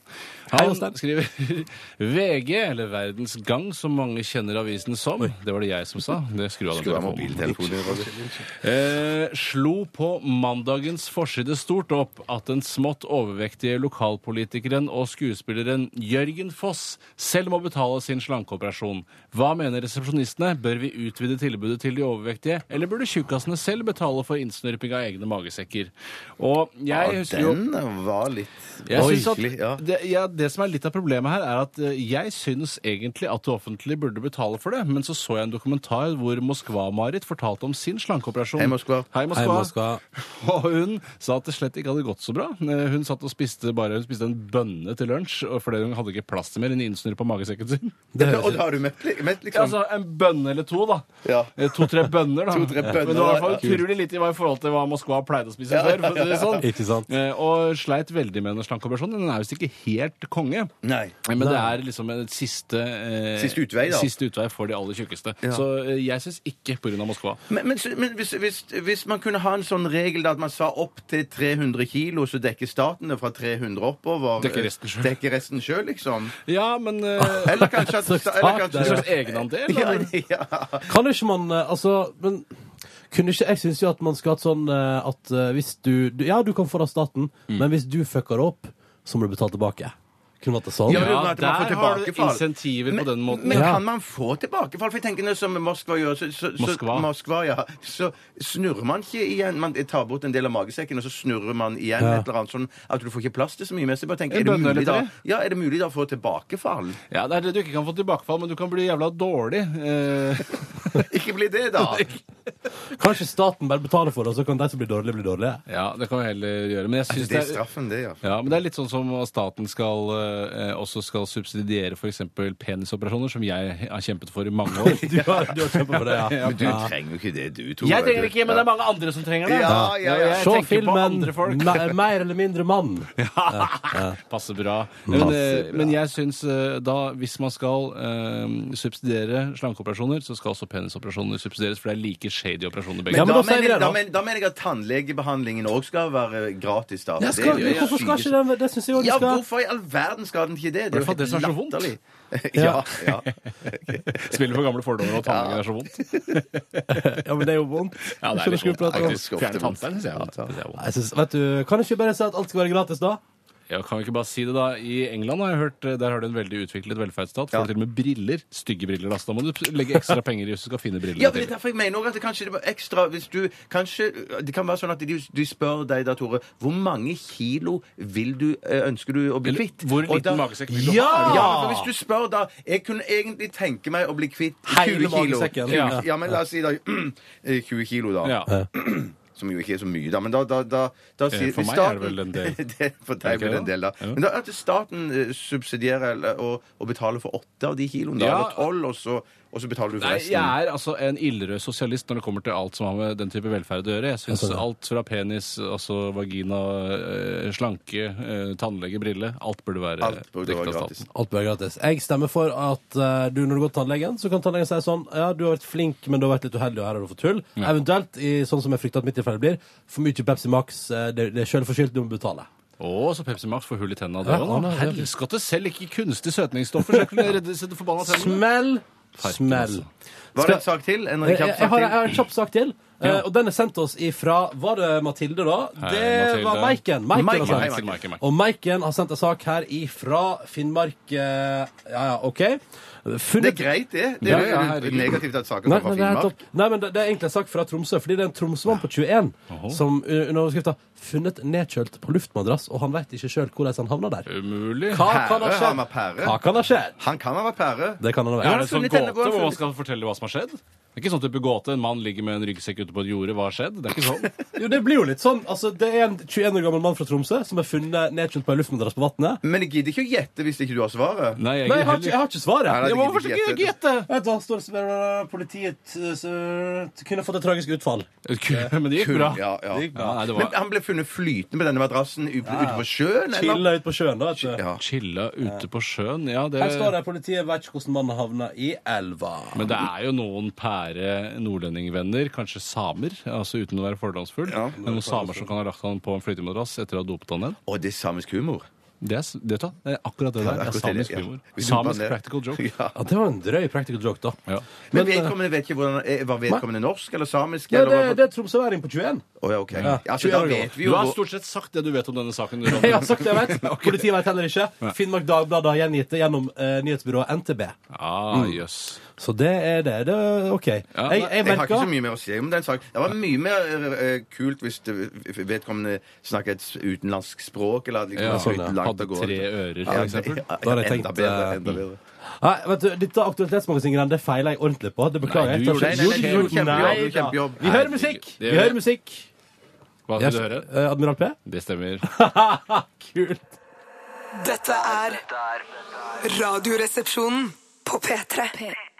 S1: Hei,
S2: Han
S1: Jostein.
S2: skriver (laughs) VG, eller Verdens Gang, som mange kjenner avisen som. Det var det jeg som sa. Det skrur av den
S3: Du har
S2: telefonen.
S3: mobiltelefonen. Roger.
S2: Eh, slo på mandagens forside stort opp at den smått overvektige lokalpolitikeren og skuespilleren Jørgen Foss selv må betale sin slankeoperasjon. Hva mener resepsjonistene? Bør vi utvide tilbudet til de overvektige, eller burde tjukkasene selv betale for innsnørping av egne magesekker? Og jeg
S3: Ja,
S2: husker jo
S3: den var litt
S2: jeg synes at
S3: Oi. Ja.
S2: det, ja, det som er litt av problemet her, er at eh, jeg syns egentlig at det offentlige burde betale for det, men så så jeg en dokumentar hvor Moskva-Marit fortalte om sin slankeoperasjon.
S3: Hei, Moskva.
S2: Hei, Moskva.
S1: Hei, Moskva.
S2: (laughs) Og hun sa at det slett ikke hadde gått så bra. Eh, Hun satt og spiste bare hun spiste en bønne til lunsj og fordi hun hadde ikke plass til mer enn innsnurr på magesekken sin.
S1: Det
S3: Og
S1: høres
S3: da har du mett, mett
S2: Ja,
S3: liksom.
S2: altså en bønne eller to, da.
S3: Ja.
S2: Eh, To-tre bønner, da.
S3: (laughs) To-tre bønner,
S2: Men det var i hvert fall
S3: ja.
S2: utrolig lite i hva- i forhold til hva Moskva pleide å spise før. for å si det sånn.
S3: (laughs)
S1: Ikke sant?
S2: Eh, Og sleit veldig med den slankeoperasjonen. Den er visst ikke helt konge. eh,
S3: Nei.
S2: Men det er liksom en siste, eh,
S3: Siste utvei, da.
S2: siste utvei for de aller tjukkeste. Så eh, jeg syns ikke pga. Moskva.
S3: Men, men, men hvis, hvis, hvis man kunne ha en sånn regel da, at man sa opp til 300 kilo, så dekker staten det fra 300 oppover. eh,
S2: Dekker resten selv.
S3: Dekker resten selv, liksom.
S2: Ja, men eh,
S3: Eller kanskje at sta- eller
S2: (laughs)
S3: kanskje-
S2: En slags egenandel?
S3: Ah. ja,
S2: eller?
S3: (laughs) ja.
S1: Kan ikke man eh, Altså, men kunne ikke, jeg syns jo at man skulle hatt sånn eh, at eh, hvis du, du Ja, du kan få det av staten,
S2: Mm.
S1: men hvis du fucker opp, så må du betale tilbake. Kunne vært det sånn.
S3: Ja,
S2: Ja,
S3: men at man får
S2: der har du
S3: tilbakefall.
S2: insentiver på den måten.
S3: Men
S1: Ja.
S3: kan man få tilbakefall? For jeg tenker når som Moskva gjør, så, så, så,
S2: Moskva.
S3: Moskva, ja, så snurrer man ikke igjen. Man tar bort en del av magesekken, og så snurrer man igjen et eller annet sånn at du får ikke plass til så mye. Men så jeg bare
S2: En
S3: tenker, er det,
S2: bønne eller
S3: mulig, da,
S2: tre?
S3: ja, er det mulig da å få
S1: (laughs)
S3: tilbakefall?
S2: Ja, det er det du ikke kan få tilbakefall, men du kan bli jævla dårlig. Eh,
S3: (laughs) Ikke bli det, da!
S1: Kanskje staten bare betaler for det, og så kan de som blir dårlige, bli
S2: (laughs)
S1: dårlige.
S2: ja, det kan vi heller gjøre. Men jeg synes
S3: Det
S2: det
S3: er
S2: er
S3: straffen, det, ja.
S2: ja, men det er litt sånn som at staten skal, eh, også skal subsidiere f.eks. penisoperasjoner, som jeg har kjempet for i mange (laughs) år.
S1: Du har, du har kjempet for det,
S2: (laughs)
S1: ja.
S3: Men du trenger jo ikke det, du, Tore.
S2: Jeg trenger det ikke, men det er mange andre som trenger det.
S3: Ja, ja, ja.
S2: Jeg
S1: Se
S2: tenker på
S1: filmen
S2: andre folk.
S1: Me- Mer eller mindre mann.
S2: Passer bra. Men, eh, men jeg syns eh, da, hvis man skal eh, subsidiere slankeoperasjoner, så skal også penisoperasjoner subsidieres, for det er like shady operasjoner begge.
S1: Ja, men
S3: da,
S1: da sier vi
S3: mener,
S1: det,
S3: da.
S1: da.
S3: mener, da mener jeg at tannlegebehandlingen òg skal være gratis. da.
S1: Ja, skal,
S3: Det er jo-
S1: hvorfor skal ikke den Det syns jeg òg du
S3: Ja,
S1: skal.
S3: hvorfor i all verden skal den ikke det? Det
S2: Hvertfall det som er så vondt.
S3: latterlig.
S1: (laughs)
S3: Ja, ja.
S2: Spiller på gamle fordommer, og tannlegen er så vondt.
S1: Ja, men det er jo vondt.
S2: Ja,
S1: Skjønner
S2: det er
S1: du
S2: litt
S1: skulle
S2: vondt.
S1: prate om-
S3: Faktisk ofte
S2: Fjerne
S3: vondt.
S2: tannstein, synes jeg. Det er vondt.
S1: Jeg synes, vet du, Kan ikke vi bare si at alt skal være gratis, da?
S2: Ja, kan vi ikke bare si det, da? I England har jeg hørt, eh, der har de en veldig utviklet velferdsstat. Får
S3: Ja.
S2: du til og med briller. Stygge briller, da. Så da må du legge ekstra penger i hvis du skal finne briller.
S3: Ja, men det er derfor jeg mener også at det kanskje det var ekstra hvis du, kanskje, Det kan være sånn at de, de spør deg da, Tore, hvor mange kilo vil du, eh, ønsker du å bli kvitt?
S2: Hvor
S3: Og da-
S2: liten magesekk vil du
S1: Ja!
S2: ha?
S3: Ja, men for hvis du spør da Jeg kunne egentlig tenke meg å bli kvitt 20
S1: Hele
S3: kilo.
S1: magesekken.
S3: 20, ja, men la oss si da (clears throat) eh, 20 kilo, da.
S2: Ja.
S3: Som jo ikke er så mye, da. Men da, da, da, da
S2: Eh,
S3: sier
S2: for
S3: hvis
S2: meg er det vel en del.
S3: (laughs) det,
S2: Er
S3: for
S2: det
S3: deg blir det
S2: ikke det?
S3: en del, da.
S2: Ja.
S3: Men da at staten eh, subsidierer eller, og, og betaler for åtte av de kiloene, da.
S2: Ja.
S3: Eller tolv, og så, og så betaler du for
S2: Nei,
S3: resten.
S2: jeg er altså en ildrød sosialist når det kommer til alt som har med den type velferd å gjøre. Jeg syns alt fra penis, altså vagina, eh, slanke, eh, tannlege, brille Alt burde være
S3: Alt burde være
S2: dekket av
S3: gratis.
S2: staten.
S1: Alt bør være gratis. Jeg stemmer for at eh, du, når du går til tannlegen, så kan tannlegen si sånn Ja, du har vært flink, men du har vært litt uheldig, og her har du fått hull. Eventuelt, i, sånn som jeg frykter at mitt tilfelle blir, for mye Pepsi Max. eh, det, det er sjølforskyldt, du må betale.
S2: Å, så Pepsi Max får hull i tenna, det
S1: Ja,
S2: òg.
S1: han
S2: Ja,
S1: er-
S2: Helskotte, selv ikke kunstig søtningsstoffer skal kunne redde sine forbanna tenner.
S1: Smell!
S2: Farken,
S1: Smell.
S2: altså.
S3: Var det en sak til? En
S1: Jeg,
S3: kjapp
S1: jeg,
S3: sak
S1: har,
S3: til?
S1: jeg har en kjapp sak til. Eh, og den er sendt oss ifra Var det Mathilde, da?
S2: Hei,
S1: det
S2: Mathilde.
S1: var Maiken. Maiken,
S3: Eh, Maiken,
S1: har sendt.
S3: hei,
S2: Maiken, Maiken, Maiken.
S1: Og Maiken har sendt en sak her ifra Finnmark. eh, ja, ja, OK.
S3: Det er
S1: Funnet
S3: greit, det. Det
S2: Ja,
S3: er
S2: ja,
S3: jo
S2: herregud.
S3: negativt at saken
S1: Nei,
S3: kommer fra
S1: men det, er helt
S3: Finnmark.
S1: topp. Nei, men det, det er egentlig en sak fra Tromsø, fordi det er en Tromsømann på 21 som uh, under overskrifta 'Funnet nedkjølt på luftmadrass', og han veit ikke sjøl hvordan han havna der.
S2: Umulig.
S1: Hva kan ha
S3: Pære har med
S1: skjedd?
S3: pære.
S1: Hva kan ha skjedd?
S3: Han kan ha vært pære.
S1: Det kan han ha
S2: Er
S1: vært.
S2: det sånn
S3: funnet
S2: gåte
S3: denne gåten?
S2: hvor man skal fortelle hva som har skjedd? Det er ikke sånn type gåte. En mann ligger med en ryggsekk ute på et jorde. Hva har skjedd? Det er
S3: (laughs)
S2: ikke sånn.
S1: Jo, det blir jo litt sånn. Altså, det er en 21 år gammel mann fra Tromsø som er funnet nedkjølt på en luftmadrass på vannet.
S3: Men jeg gidder ikke å gjette hvis ikke du har svaret.
S2: Nei, jeg,
S1: Nei, jeg har ikke, jeg har ikke svaret.
S3: Nei,
S2: Jeg
S3: det
S2: må
S3: gidder
S2: forstå
S3: ikke
S2: ikke
S3: gjette.
S2: gjette!
S1: Vet du, han står og spør øh, politiet øh, så- kunne fått et tragisk utfall.
S2: Kun- Men det gikk
S3: Kun,
S2: bra.
S3: ja, ja.
S2: Det gikk bra. Ja, nei, det
S3: Men
S2: var
S3: han ble funnet flytende med denne madrassen u- ute på sjøen, eller?
S1: Chilla ut på sjøen, da. vet du.
S3: Ja.
S2: chilla ute på sjøen. Ja, det
S1: Her står det politiet vet ikke hvordan mannen havna i elva.
S2: Men det er jo noen pære nordlendingvenner, kanskje samer, altså uten å være fordomsfull.
S3: Ja.
S2: Det er noen samer som kan ha lagt han på en flytemadrass etter å ha dopet han ned.
S3: Og det er samisk humor.
S2: Det er, s- det, vet du hva? det er akkurat det der. Det er
S3: akkurat det,
S2: samisk
S3: ja.
S2: humor.
S3: Vi doper han
S2: Samisk
S3: ned.
S2: practical joke.
S3: Ja.
S1: Ja, det var en drøy practical joke, da.
S2: Ja.
S3: Men
S1: Men,
S3: vedkommende vet ikke hvordan eh, Var vedkommende norsk eller samisk?
S1: Ja,
S3: eller
S1: det,
S3: hva-
S1: det er tromsøværing på (laughs) 21.
S3: Å, ja, ok.
S1: Ja.
S3: Altså, da vet vi
S2: Du
S3: jo
S2: har
S3: hvor-
S2: stort sett sagt det du vet om denne saken.
S3: (laughs)
S1: Jeg har sagt det jeg vet. Politiet vet heller ikke. Finnmark Dagblad har gjengitt det gjennom eh, nyhetsbyrået NTB. Mm.
S2: Ah, jøss.
S1: Så det er det. det er OK.
S2: Ja,
S1: Jeg, jeg
S3: Jeg har ikke
S1: merker
S3: så mye mer å si om den saken. Det var mye mer eh, kult hvis det, vedkommende snakket et utenlandsk språk eller liksom,
S2: Ja,
S3: var
S1: sånn, ja.
S3: langt
S2: Hadde
S3: av gårde.
S2: tre ører,
S3: Ja,
S2: for eksempel.
S3: ja,
S1: Da hadde jeg
S3: enda
S1: tenkt,
S3: bedre,
S1: eh,
S3: enda bedre.
S1: Nei, vet du, Dette aktualitetsmagasinet det feiler jeg ordentlig på. Det beklager
S2: Nei,
S1: jeg.
S2: du
S3: gjorde- Nei, nei, nei,
S1: Jo,
S3: du gjorde
S1: nei,
S3: kjempejobb, du
S1: da.
S3: kjempejobb.
S1: Vi hører musikk!
S2: Det
S1: Vi
S2: gjør vi.
S1: hører musikk.
S2: Hva skal du høre?
S1: Eh, Admiral P? (laughs)
S2: Det stemmer.
S1: Kult.
S4: Dette er Radioresepsjonen på P3.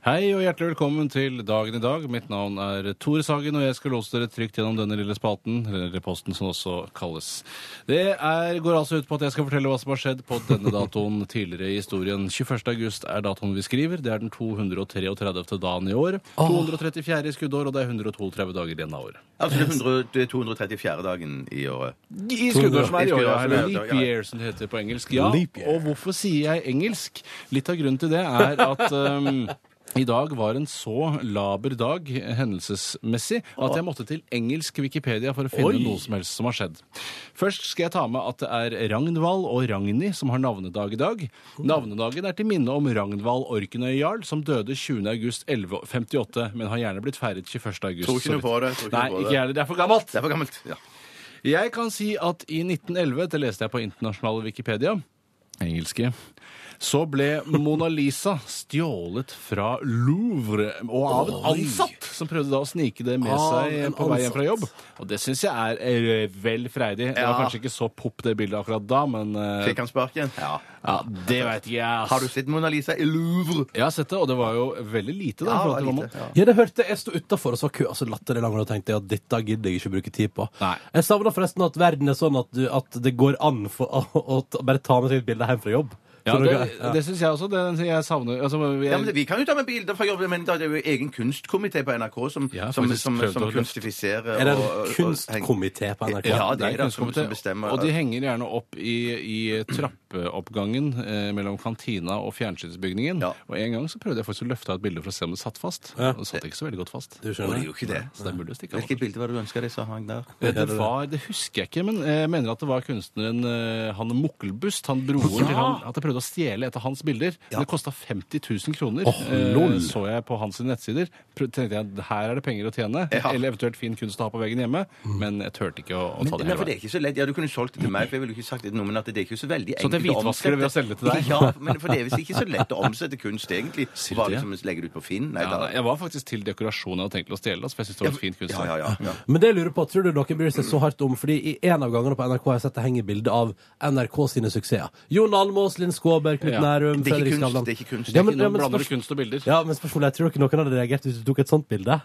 S2: Hei og hjertelig velkommen til Dagen i dag. Mitt navn er Tore Sagen, og jeg skal låse dere trygt gjennom denne lille spalten, eller posten som også kalles. Det er, går altså ut på at jeg skal fortelle hva som har skjedd på
S1: (laughs)
S2: denne datoen tidligere i historien. 21. august er datoen vi skriver. Det er den 233. dagen i år. 234. i skuddår, og det er 132 dager igjen av året.
S3: Altså det er 100, det er 234. dagen i året.
S2: I skuddår som er i året.
S3: I skuddår som er i
S2: Eller
S3: året,
S2: altså. leap
S3: ja.
S2: year, som det heter på engelsk. Ja,
S1: Leap year.
S2: og hvorfor sier jeg engelsk? Litt av grunnen til det er at um, i dag var en så laber dag eh, hendelsesmessig at jeg måtte til engelsk Wikipedia for å finne
S1: Oi.
S2: noe som helst som har skjedd. Først skal jeg ta med at det er Ragnvald og Ragnhi som har navnedag i dag. Navnedagen er til minne om Ragnvald Orkenøy Jarl, som døde 20. august 1158, men har gjerne blitt feiret 21. august.
S3: Tror ikke noe på det, tror ikke
S2: Nei,
S3: noe på
S2: ikke
S3: det.
S2: jeg heller. Det er for gammelt.
S3: Det er for gammelt. Ja.
S2: Jeg kan si at i 1911, det leste jeg på internasjonale Wikipedia, engelske, så ble Mona Lisa stjålet fra Louvre og av en ansatt som prøvde da å snike det med
S1: Av en
S2: seg på vei hjem fra
S1: ansatt.
S2: jobb. Og det syns jeg er eh, vel freidig. Det var
S3: Ja.
S2: kanskje ikke så popp det bildet akkurat da, men eh,
S3: Fikk han sparken? Ja.
S2: ja, det veit ikke jeg.
S3: Har du
S2: ass.
S3: sett Mona Lisa i Louvre?
S2: Jeg har sett det, og det var jo veldig lite da. i
S3: Ja,
S2: forhold
S3: det
S2: til
S3: var
S2: hva man-
S3: lite. Ja.
S1: Ja, det hørte jeg. Jeg sto utafor og så var kø altså latterlig lang, og da tenkte jeg at dette gidder jeg ikke bruke tid på.
S2: Nei.
S1: Jeg savner forresten at verden er sånn at, du, at det går an for, å, å, å bare ta med seg et bilde hjem fra jobb.
S2: Ja,
S1: Tror
S2: det,
S1: dere- ja.
S2: det syns jeg også. Det, jeg savner altså, jeg,
S3: Ja, men Vi kan jo ta med bilder fra jobben, men da er det jo egen kunstkomité på NRK som,
S2: Ja,
S3: som,
S2: faktisk
S3: som,
S2: prøvde å
S3: som
S2: løfte.
S3: kunstifiserer
S1: Er det
S3: og- og- og-
S1: en
S3: heng-
S1: kunstkomité på NRK?
S3: Ja, det er det som-
S2: kunstkomité,
S3: som bestemmer
S2: Og de
S3: at-
S2: henger gjerne opp i, i trappeoppgangen eh, mellom kantina og fjernsynsbygningen.
S3: Ja.
S2: Og en gang så prøvde jeg faktisk å løfte av et bilde for å se om det satt fast.
S1: Ja.
S2: Og det satt ikke så veldig godt fast.
S1: Du
S3: Å, det er
S1: skjønner.
S3: jo ikke det.
S2: Så det er mulig å stikke av.
S3: Hvilket bilde var det du ønska deg som hang der?
S2: Eh, Det, var, det husker jeg ikke, men eh, jeg mener at det var kunstneren eh, han Mukkelbust, han broren til han, at jeg prøvde å stjele et av hans bilder. Men det kosta 50 000 kroner, Eh,
S1: Åh, lol.
S2: så jeg på hans nettsider. Prøv- tenkte jeg her er det penger å tjene,
S3: Ja.
S2: eller eventuelt fin kunst å ha på veggen hjemme.
S1: Mm.
S2: Men jeg turte ikke å, å ta det
S3: Men, nei,
S2: hele
S3: for det
S2: veien.
S3: er ikke så lett. Ja, Du kunne solgt det til meg, for jeg ville ikke sagt det til noen, men at det er ikke så
S2: Så
S3: veldig
S2: at jeg
S3: enkelt å
S2: hvitvasker det ved å
S3: omsette.
S2: selge det til deg?
S3: Ja, men for det er visst ikke så lett å omsette kunst, egentlig.
S2: (laughs) Sier du
S3: Bare
S2: det?
S3: liksom legge det ut på Finn. Nei,
S2: Ja, nei,
S3: da.
S2: jeg var faktisk til dekorasjonen jeg hadde tenkt å stjele. Altså, for jeg synes det var et fint
S3: Ja,
S2: kunstverk.
S3: ja, ja, ja.
S1: Men det jeg lurer på, tror du noen bryr seg så hardt om? Fordi i en av gangene på NRK har jeg sett det henge bilde av NRK sine suksesser. Jon Almaas, Linn Skåber, Knut
S2: Ja.
S1: Nærum,
S3: Det er ikke
S1: Fredrik
S3: kunst,
S1: Skavlan.
S3: det er ikke kunst.
S1: Ja, men,
S2: Nå
S1: ja, men,
S2: blander du
S1: spørs-
S2: kunst og bilder. Ja.
S1: ja, men spørsmålet er, tror dere noen hadde reagert hvis du tok et sånt bilde?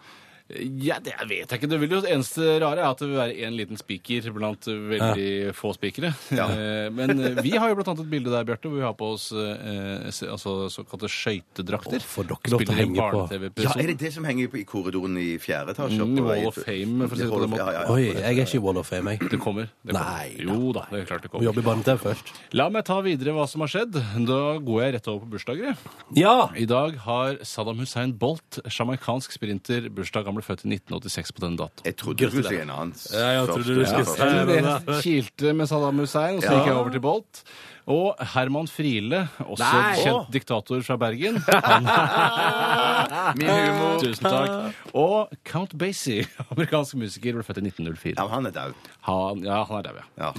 S2: det vet jeg ikke. Det, vil jo, det eneste rare er at det vil være én liten spiker blant veldig få spikere. (laughs) Eh, Men eh, vi har jo blant annet et bilde der, Bjarte, hvor vi har på oss eh, se- altså, såkalte skøytedrakter.
S1: Å, får dere lov til å henge på.
S3: Ja, er
S2: Ja,
S3: det det som henger på- i korridoren i fjerde etasje?
S2: Mm,
S3: oppe i-
S2: Wall of Fame, for å si det på den måten.
S3: Ja, ja, ja.
S1: Oi, jeg er ikke i Wall of Fame, jeg.
S2: det kommer. Det kommer.
S1: Nei,
S2: jo da, det er klart det
S1: Må
S2: kommer.
S1: jobbe i barne-TV først.
S2: La meg ta videre hva som har skjedd. Da går jeg rett over på bursdager. jeg.
S1: Ja!
S2: I dag har Saddam Hussein Bolt, sjamaikansk sprinter, bursdag. Han han ble født i 1986 på den datoen.
S3: Jeg trodde du skulle si en annen.
S1: Ja, jeg trodde du
S3: første.
S1: skulle si-
S3: Eh,
S2: Men Det kilte med Saddam Hussein, og så gikk jeg over til Bolt. Og Herman Friele, også
S3: Nei!
S2: kjent diktator fra
S3: (laughs)
S2: Bergen. Han-
S3: Min humor.
S2: Tusen takk. Og Count Basie, (laughs) amerikansk musiker, ble født i 1904.
S3: Ja, han er dau.
S2: Han, ja, han er dau, ja.
S3: Ja.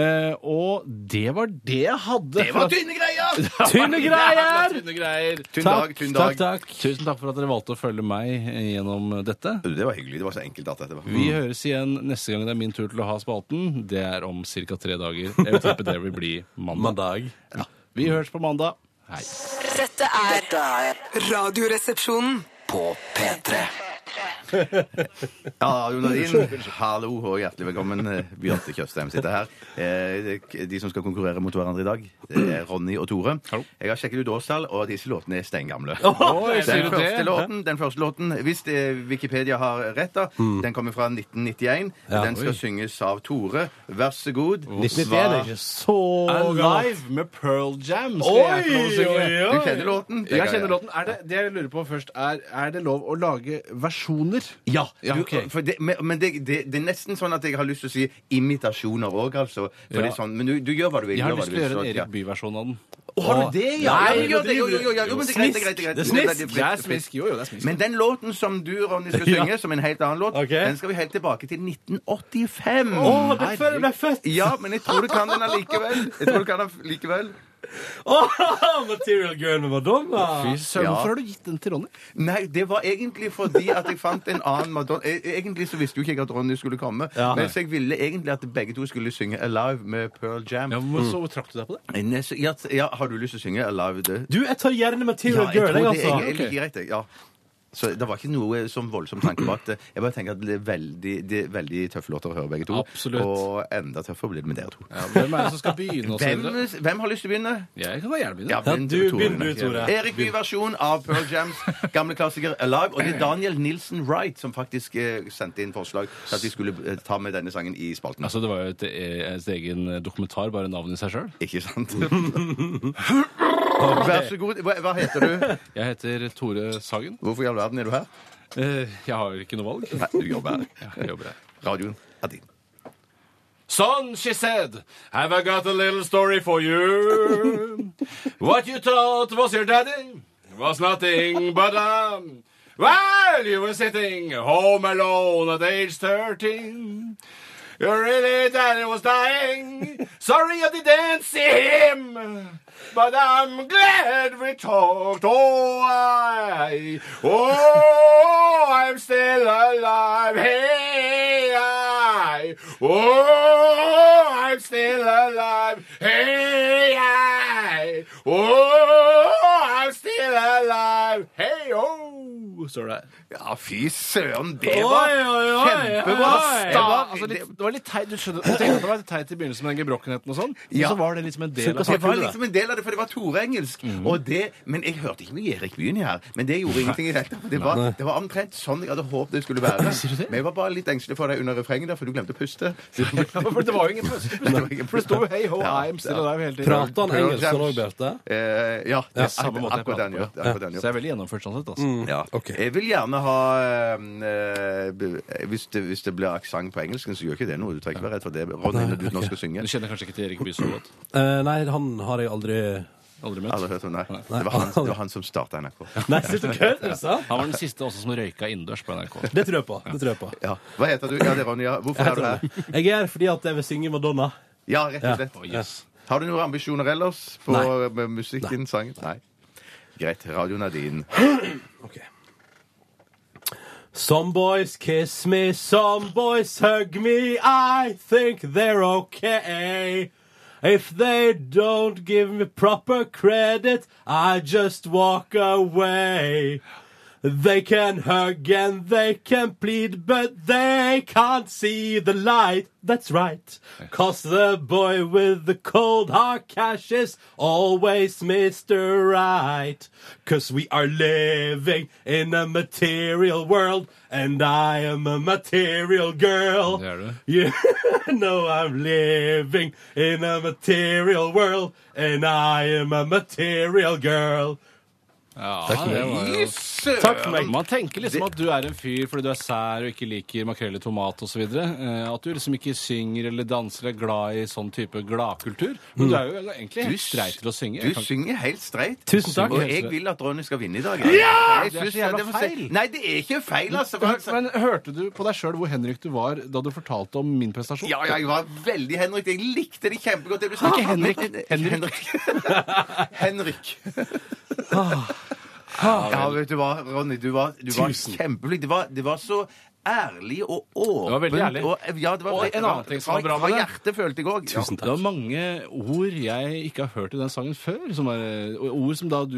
S2: Eh, og det var det jeg hadde.
S3: Det var tynne greier! (laughs)
S1: Tynne greier!
S2: Tynne greier!
S3: Tynn dag,
S1: Takk,
S3: tynn
S1: takk,
S3: dag.
S1: takk.
S2: Tusen takk for at dere valgte å følge meg gjennom dette.
S3: Det var hyggelig. Det var så enkelt at dette var.
S2: Vi høres igjen neste gang det er min tur til å ha spalten. Det er om ca. tre dager. Jeg vil tippe det vil bli mandag.
S1: Mandag.
S2: Vi høres på mandag. Hei.
S4: Dette er
S5: Dette er
S4: Radioresepsjonen.
S5: på P3.
S3: Ja, Jonadin, hallo og hjertelig velkommen. Eh, Bjarte Tjøstheim sitter her. Eh, det- De som skal konkurrere mot hverandre i dag, det er Ronny og Tore.
S2: Hallo.
S3: Jeg har sjekket ut årstall, og disse låtene er steingamle.
S2: Oi, sier
S3: Den
S2: du
S3: første,
S2: det?
S3: låten, den første låten, hvis det, Wikipedia har rett, da, den kommer fra 1991. den skal
S2: oi.
S3: synges av Tore. Vær så god.
S1: 1991 er ikke så gammelt.
S2: Alive med Pearl Jam. skal jeg få lov å
S1: Oi,
S2: synge.
S1: oi,
S3: Du
S1: oi!
S3: kjenner låten?
S2: Jeg kjenner låten. Er det, det jeg lurer på først, er er det lov å lage versjoner?
S3: Ja.
S2: Ja,
S3: du-
S2: ok.
S3: for det, men men det, det, det er nesten sånn at jeg har lyst til å si imitasjoner òg, altså. For
S2: Ja.
S3: det er sånn, men du, du gjør hva du vil.
S2: Jeg har
S3: gjør hva
S2: lyst
S3: du
S2: til å
S3: vil,
S2: gjøre
S3: så-
S2: en
S3: ja.
S2: Erik Bye-versjon av den.
S3: Har du det, ja?
S1: Nei,
S3: ja, men gjør det, jo, jo, jo, jo, men det er greit, det er greit, det er greit.
S1: Det er smisk.
S3: veldig fritt,
S2: Det er
S3: fritt.
S2: smisk. Jo, jo, det er smisk.
S3: Men den låten som du, Ronny,
S1: (laughs)
S3: skal
S1: Ja.
S3: synge, som en helt annen låt,
S1: Ok.
S3: den skal vi helt tilbake til 1985.
S1: Å, det er før jeg ble født!
S3: Ja, men jeg tror du kan den allikevel. Jeg tror du kan den likevel.
S1: Å, (laughs) Material Girl med Madonna!
S2: Fy søren,
S3: Ja.
S2: Hvorfor har du gitt den til Ronny?
S3: Nei, det var egentlig fordi at jeg fant en annen Madonna E- Egentlig så visste jo ikke jeg at Ronny skulle komme,
S1: Ja.
S3: men så jeg ville egentlig at begge to skulle synge Alive med Pearl Jam.
S2: Ja,
S1: Mm.
S2: men så trakk du deg på det?
S3: Nei, så- Ja, ja, har du lyst til å synge Alive? Det?
S1: Du, jeg tar gjerne Material
S3: jeg
S1: Girl,
S3: tror
S1: jeg,
S3: det er
S1: altså.
S3: egentlig greit, det. Ja. Så det var ikke noe sånn voldsom tanke bak det. Jeg bare tenker at det er veldig, det er veldig tøffe låter å høre, begge to.
S2: Absolutt.
S3: Og enda tøffere blir det med dere to.
S2: Hvem er det som skal begynne? og så
S3: Hvem,
S2: videre?
S3: hvem har lyst til å begynne?
S2: Jeg kan da gjerne begynne.
S3: Ja, begynn
S1: du
S3: Tore.
S1: begynner, du, Tore.
S3: Erik Bye-versjon av Pearl Jams gamle klassiker Alive. Og det er Daniel Nilsen Wright som faktisk eh, sendte inn forslag til at vi skulle eh, ta med denne sangen i spalten.
S2: Altså, Det var jo et, et egen dokumentar, bare navnet i seg sjøl.
S3: Ikke sant? Vær så god. Hva, hva heter du?
S2: Jeg heter Tore Sagen.
S3: Hvorfor i all verden er du her?
S2: Eh, Jeg har ikke noe valg.
S3: Nei, du jobber her.
S2: Ja, jeg jobber her.
S3: Radioen er din.
S2: Son, she said, have I got a little story for you? What you thought was your daddy was nothing but um. While you were sitting home alone at age 13, your really daddy was dying. Sorry you didn't see him, but I'm glad we talked. Oh, I, oh, I'm still alive. Hey, I, oh, I'm still alive. Hey, I, oh, I'm still alive. Hey, oh. Står det her.
S3: Ja, fy søren, det var
S2: Oi, oi, oi,
S3: kjempebra!
S2: oi.
S3: Det
S2: Det
S3: var-
S2: var, altså, litt, det var litt teit, du skjønner, jeg tenkte at det var litt teit i begynnelsen med den gebrokkenheten og sånn, men
S3: Ja.
S2: så var det liksom en del av
S3: Det var liksom en del av det, for det var Tore-engelsk.
S2: Mm.
S3: Og det, Men jeg hørte ikke mye Erik Byen her. Men det gjorde ingenting i det hele tatt. Det var, det var omtrent sånn jeg hadde håpet det
S2: (laughs)
S3: skulle være. Men jeg var bare litt engstelig for deg under refrenget, der, for du glemte å puste.
S2: For det var jo ingen
S3: (laughs)
S2: plutselig, for det sto jo (laughs) hey ho,
S3: Ja,
S2: I'm still alive hele tiden.
S1: Prater han
S3: Pearl
S1: engelsk
S3: Jams.
S1: sånn òg, Bjarte?
S3: Eh, ja, det
S2: Ja,
S3: er
S2: samme måte jeg
S3: akkurat den
S2: prater
S3: gjør.
S2: på,
S3: Akkurat den
S2: Så
S3: gjør.
S2: jeg er veldig gjennomført sånn sett, altså.
S3: Ja.
S1: ok.
S3: Jeg vil gjerne ha eh, eh, hvis, det, hvis det blir aksent på engelsken, så gjør ikke det noe. Du trenger ikke være redd for det. Ronny, når du nå
S2: (laughs)
S3: skal synge.
S2: Du kjenner kanskje ikke til Erik Bye så godt.
S1: Eh, nei, han har jeg aldri
S2: Aldri
S3: Aldri
S2: møtt.
S3: hørt om det. Det var han, det var han som starta NRK.
S1: Nei, slutt å kødde! du sa?
S2: Han var den siste også som røyka innendørs på NRK.
S1: Det tror jeg på. det tror Jeg på
S3: Ja. Hva heter du? Ja, det er Ronny. Ja. Hvorfor er du her?
S1: Jeg er her fordi at jeg vil synge Madonna.
S3: Ja, rett og
S1: Ja.
S3: slett.
S2: Å, yes.
S3: Har du noen ambisjoner ellers på
S1: Nei.
S3: med musikken, sangen? Nei. Greit. Radioen er din.
S1: Some boys kiss me, some boys hug me. I think they're okay. If they don't give me proper credit, I just walk away. They can hug and they can plead, but they can't see the light. That's right. Cause the boy with the cold hard cash is always Mr. Right. Cause we are living in a material world, and I am a material girl.
S2: Det er du.
S1: You (laughs) know I'm living in a material world, and I am a material girl.
S2: Ja,
S1: Takk for
S2: det
S1: meg.
S2: var jo-
S1: Takk for meg.
S2: Man tenker liksom at du er en fyr fordi du er sær og ikke liker makrell i tomat osv. At du liksom ikke synger eller danser eller er glad i sånn type gladkultur. Men du er jo egentlig
S3: Mm. Du
S2: helt
S3: s-
S2: streit til å synge.
S3: Du
S2: Jeg kan-
S3: synger helt streit.
S1: Tusen takk.
S3: Og jeg vil at Ronny skal vinne i dag. altså. Jeg
S2: Det er
S3: synes
S2: så jævla
S3: det for sent.
S2: feil.
S3: Nei, det er ikke feil, altså. for altså-
S2: Men hørte du på deg sjøl hvor henrykt du var da du fortalte om min prestasjon?
S3: Ja, ja, jeg var veldig Henrik. Jeg likte det kjempegodt. Det du sa.
S2: Ikke Henrik.
S3: Henrik. Henrik. Ja, vet du hva, Ronny. Du var, du var
S1: Tusen.
S3: kjempeflink. Det var, det var så ærlig og åpent.
S2: var veldig ærlig.
S3: Og, ja, det var,
S2: Og en annen ting som var bra med
S3: Fra
S2: det.
S3: hjertet følte jeg òg.
S1: Tusen
S2: Det var mange ord jeg ikke har hørt i den sangen før. Som er, ord som da du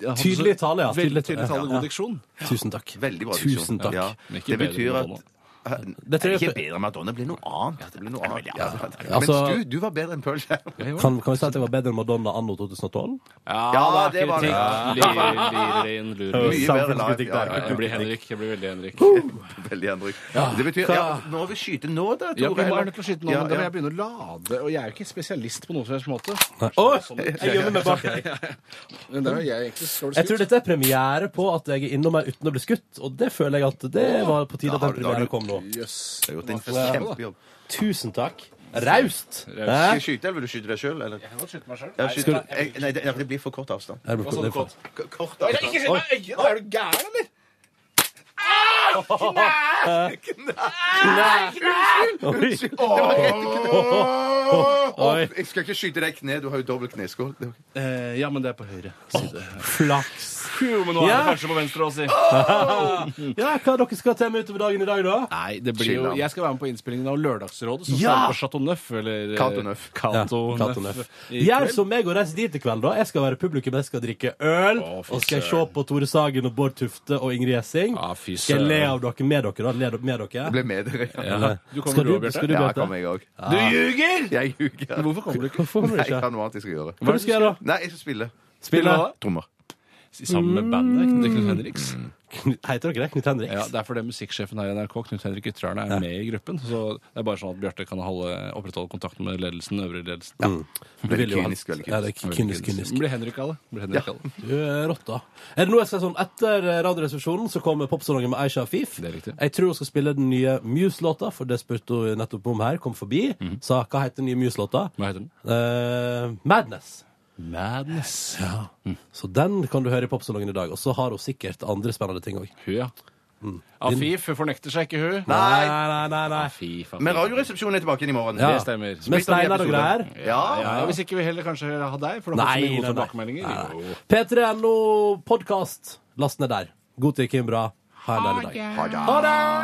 S2: hadde så-
S1: Tydelig tale, ja. Tydelig tale.
S2: Veldig tydelig tale,
S1: Ja.
S2: god diksjon.
S1: Tusen takk.
S3: Veldig bra.
S1: Tusen takk.
S3: Ja,
S2: Men ikke
S3: det
S2: bedre
S3: betyr
S2: enn
S3: at
S2: Madonna.
S1: Det tror jeg-
S3: Ikke bedre enn Madonna. Det blir noe annet. Det blir noe annet. Ja,
S1: Altså-
S3: Mens du, du var bedre enn Pearl Jam.
S1: Kan, kan vi si at jeg var bedre enn Madonna anno 2012?
S3: Ja, det var det.
S2: det.
S3: Mye bedre
S1: Samfunnskritikk
S3: live.
S1: der.
S3: Ja, ja, ja.
S2: Jeg blir Henrik. Jeg blir veldig Henrik.
S3: Veldig Henrik. Det betyr ja, Nå vil vi skyte nå, da, Tore.
S2: Ja, vi må
S3: eller?
S2: er nødt til å skyte nå,
S3: Ja,
S2: men da må
S3: ja.
S2: jeg begynne å lade. Og jeg er jo ikke spesialist på noen som helst måte.
S1: Oi,
S3: sånn.
S1: jeg gjemmer meg bak deg.
S2: Men der er jeg egentlig skål
S1: Jeg tror dette er premiere på at jeg er innom her uten å bli skutt, og det føler jeg at det var på tide at
S3: Da har
S1: den
S3: du- da har
S1: premieren
S3: du-
S1: kom nå.
S2: Jøss.
S3: Du har gjort en kjempejobb.
S1: Tusen takk. Raust.
S3: Skal
S1: Hæ?
S3: jeg skyte, eller vil du skyte deg sjøl? Eller?
S2: Jeg kan godt skyte meg sjøl.
S3: Ja, skyt- jeg- Nei, det, ja, for det blir for kort avstand.
S1: Jeg ble- det er for-
S3: K- Kort avstand.
S2: Ikke skyt meg i øyet! da! Er du gæren, eller?
S3: Ah!
S1: Oi. Oi.
S3: Jeg skal ikke skyte deg i kne. Du har jo dobbel kneskål. Det-
S2: Eh, ja, men det er på høyre side.
S1: Flaks.
S2: Jo, men nå
S1: er det
S2: kanskje på venstre også.
S1: Ja, hva dere skal til med utover dagen i dag, da?
S2: Nei, det blir jo
S3: Chill, da.
S2: Jeg skal være med på innspillingen av Lørdagsrådet, som
S1: Ja!
S2: starter på Chateau Neuf. Eller eh,
S3: Cato Neuf.
S2: Cato
S1: Ja, Cato
S2: Neuf.
S1: Neuf.
S2: i
S1: Gjør
S2: kveld.
S1: som meg og reis dit i kveld, da. Jeg skal være publikum, jeg skal drikke øl.
S2: Å, fy
S1: Og skal jeg se
S2: søren.
S1: på Tore Sagen og Bård Tufte og Ingrid Gjessing.
S2: Ja, fy
S1: Skal jeg le
S2: søren.
S1: av dere med dere, da? Le dere med
S3: Det
S1: dere?
S3: ble med dere. Ja,
S1: Eller-
S2: Du kommer
S1: skal
S2: du også, Bjarte?
S1: skal du,
S3: ja
S1: Bjarte?
S3: kom jeg òg.
S2: Du ljuger!
S3: Jeg ljuger.
S2: Hvorfor kommer du ikke?
S1: Hvorfor kommer du
S3: Nei, jeg
S1: ikke?
S3: har noe annet jeg skal gjøre.
S1: Hva er det du skal gjøre, da?
S3: Nei, jeg skal spille.
S1: Spille?
S3: Trommer.
S2: Sammen med bandet Knut Knut Henriks.
S1: Heter dere det? Knut Henriks?
S2: Ja, Det er fordi musikksjefen her i NRK, Knut Henrik Ytrerne, er med i gruppen. Så det er bare sånn at Bjarte kan holde, opprettholde kontakten med ledelsen, øvrig ledelsen.
S1: Du vil jo ha-
S3: kynisk, veldig kynisk.
S1: Ja, det er kynisk, kynisk.
S2: Blir Henrik av det. Blir Henrik av det.
S1: Du er rått, da. Er det noe jeg skal sånn Etter eh, Radioresepsjonen så kommer popsalongen med Aisha Afif.
S2: Det er riktig.
S1: Jeg tror hun skal spille den nye Muse-låta, for det spurte hun nettopp om her. Kom forbi. Sa hva heter den nye Muse-låta?
S2: Mhm. Hva heter den?
S1: Eh, Madness.
S2: Madness.
S1: Så den kan du høre i popsalongen i dag. Og så har hun sikkert andre spennende ting òg.
S2: Hun, ja. Afif hun fornekter seg ikke, hun.
S3: Nei.
S1: nei, nei, nei.
S2: Afif, Afif.
S3: Men Radioresepsjonen er tilbake igjen i morgen.
S1: Ja.
S2: Det stemmer.
S1: Med Steinar og greier.
S3: Ja,
S2: Ja, hvis ikke vi heller kanskje ha deg, for da
S1: Nei,
S2: får vi gode
S1: nei, nei.
S2: tilbakemeldinger. Jo.
S1: P3NO podkast. Last ned der. God tid, Kimbra. Ha en deilig dag.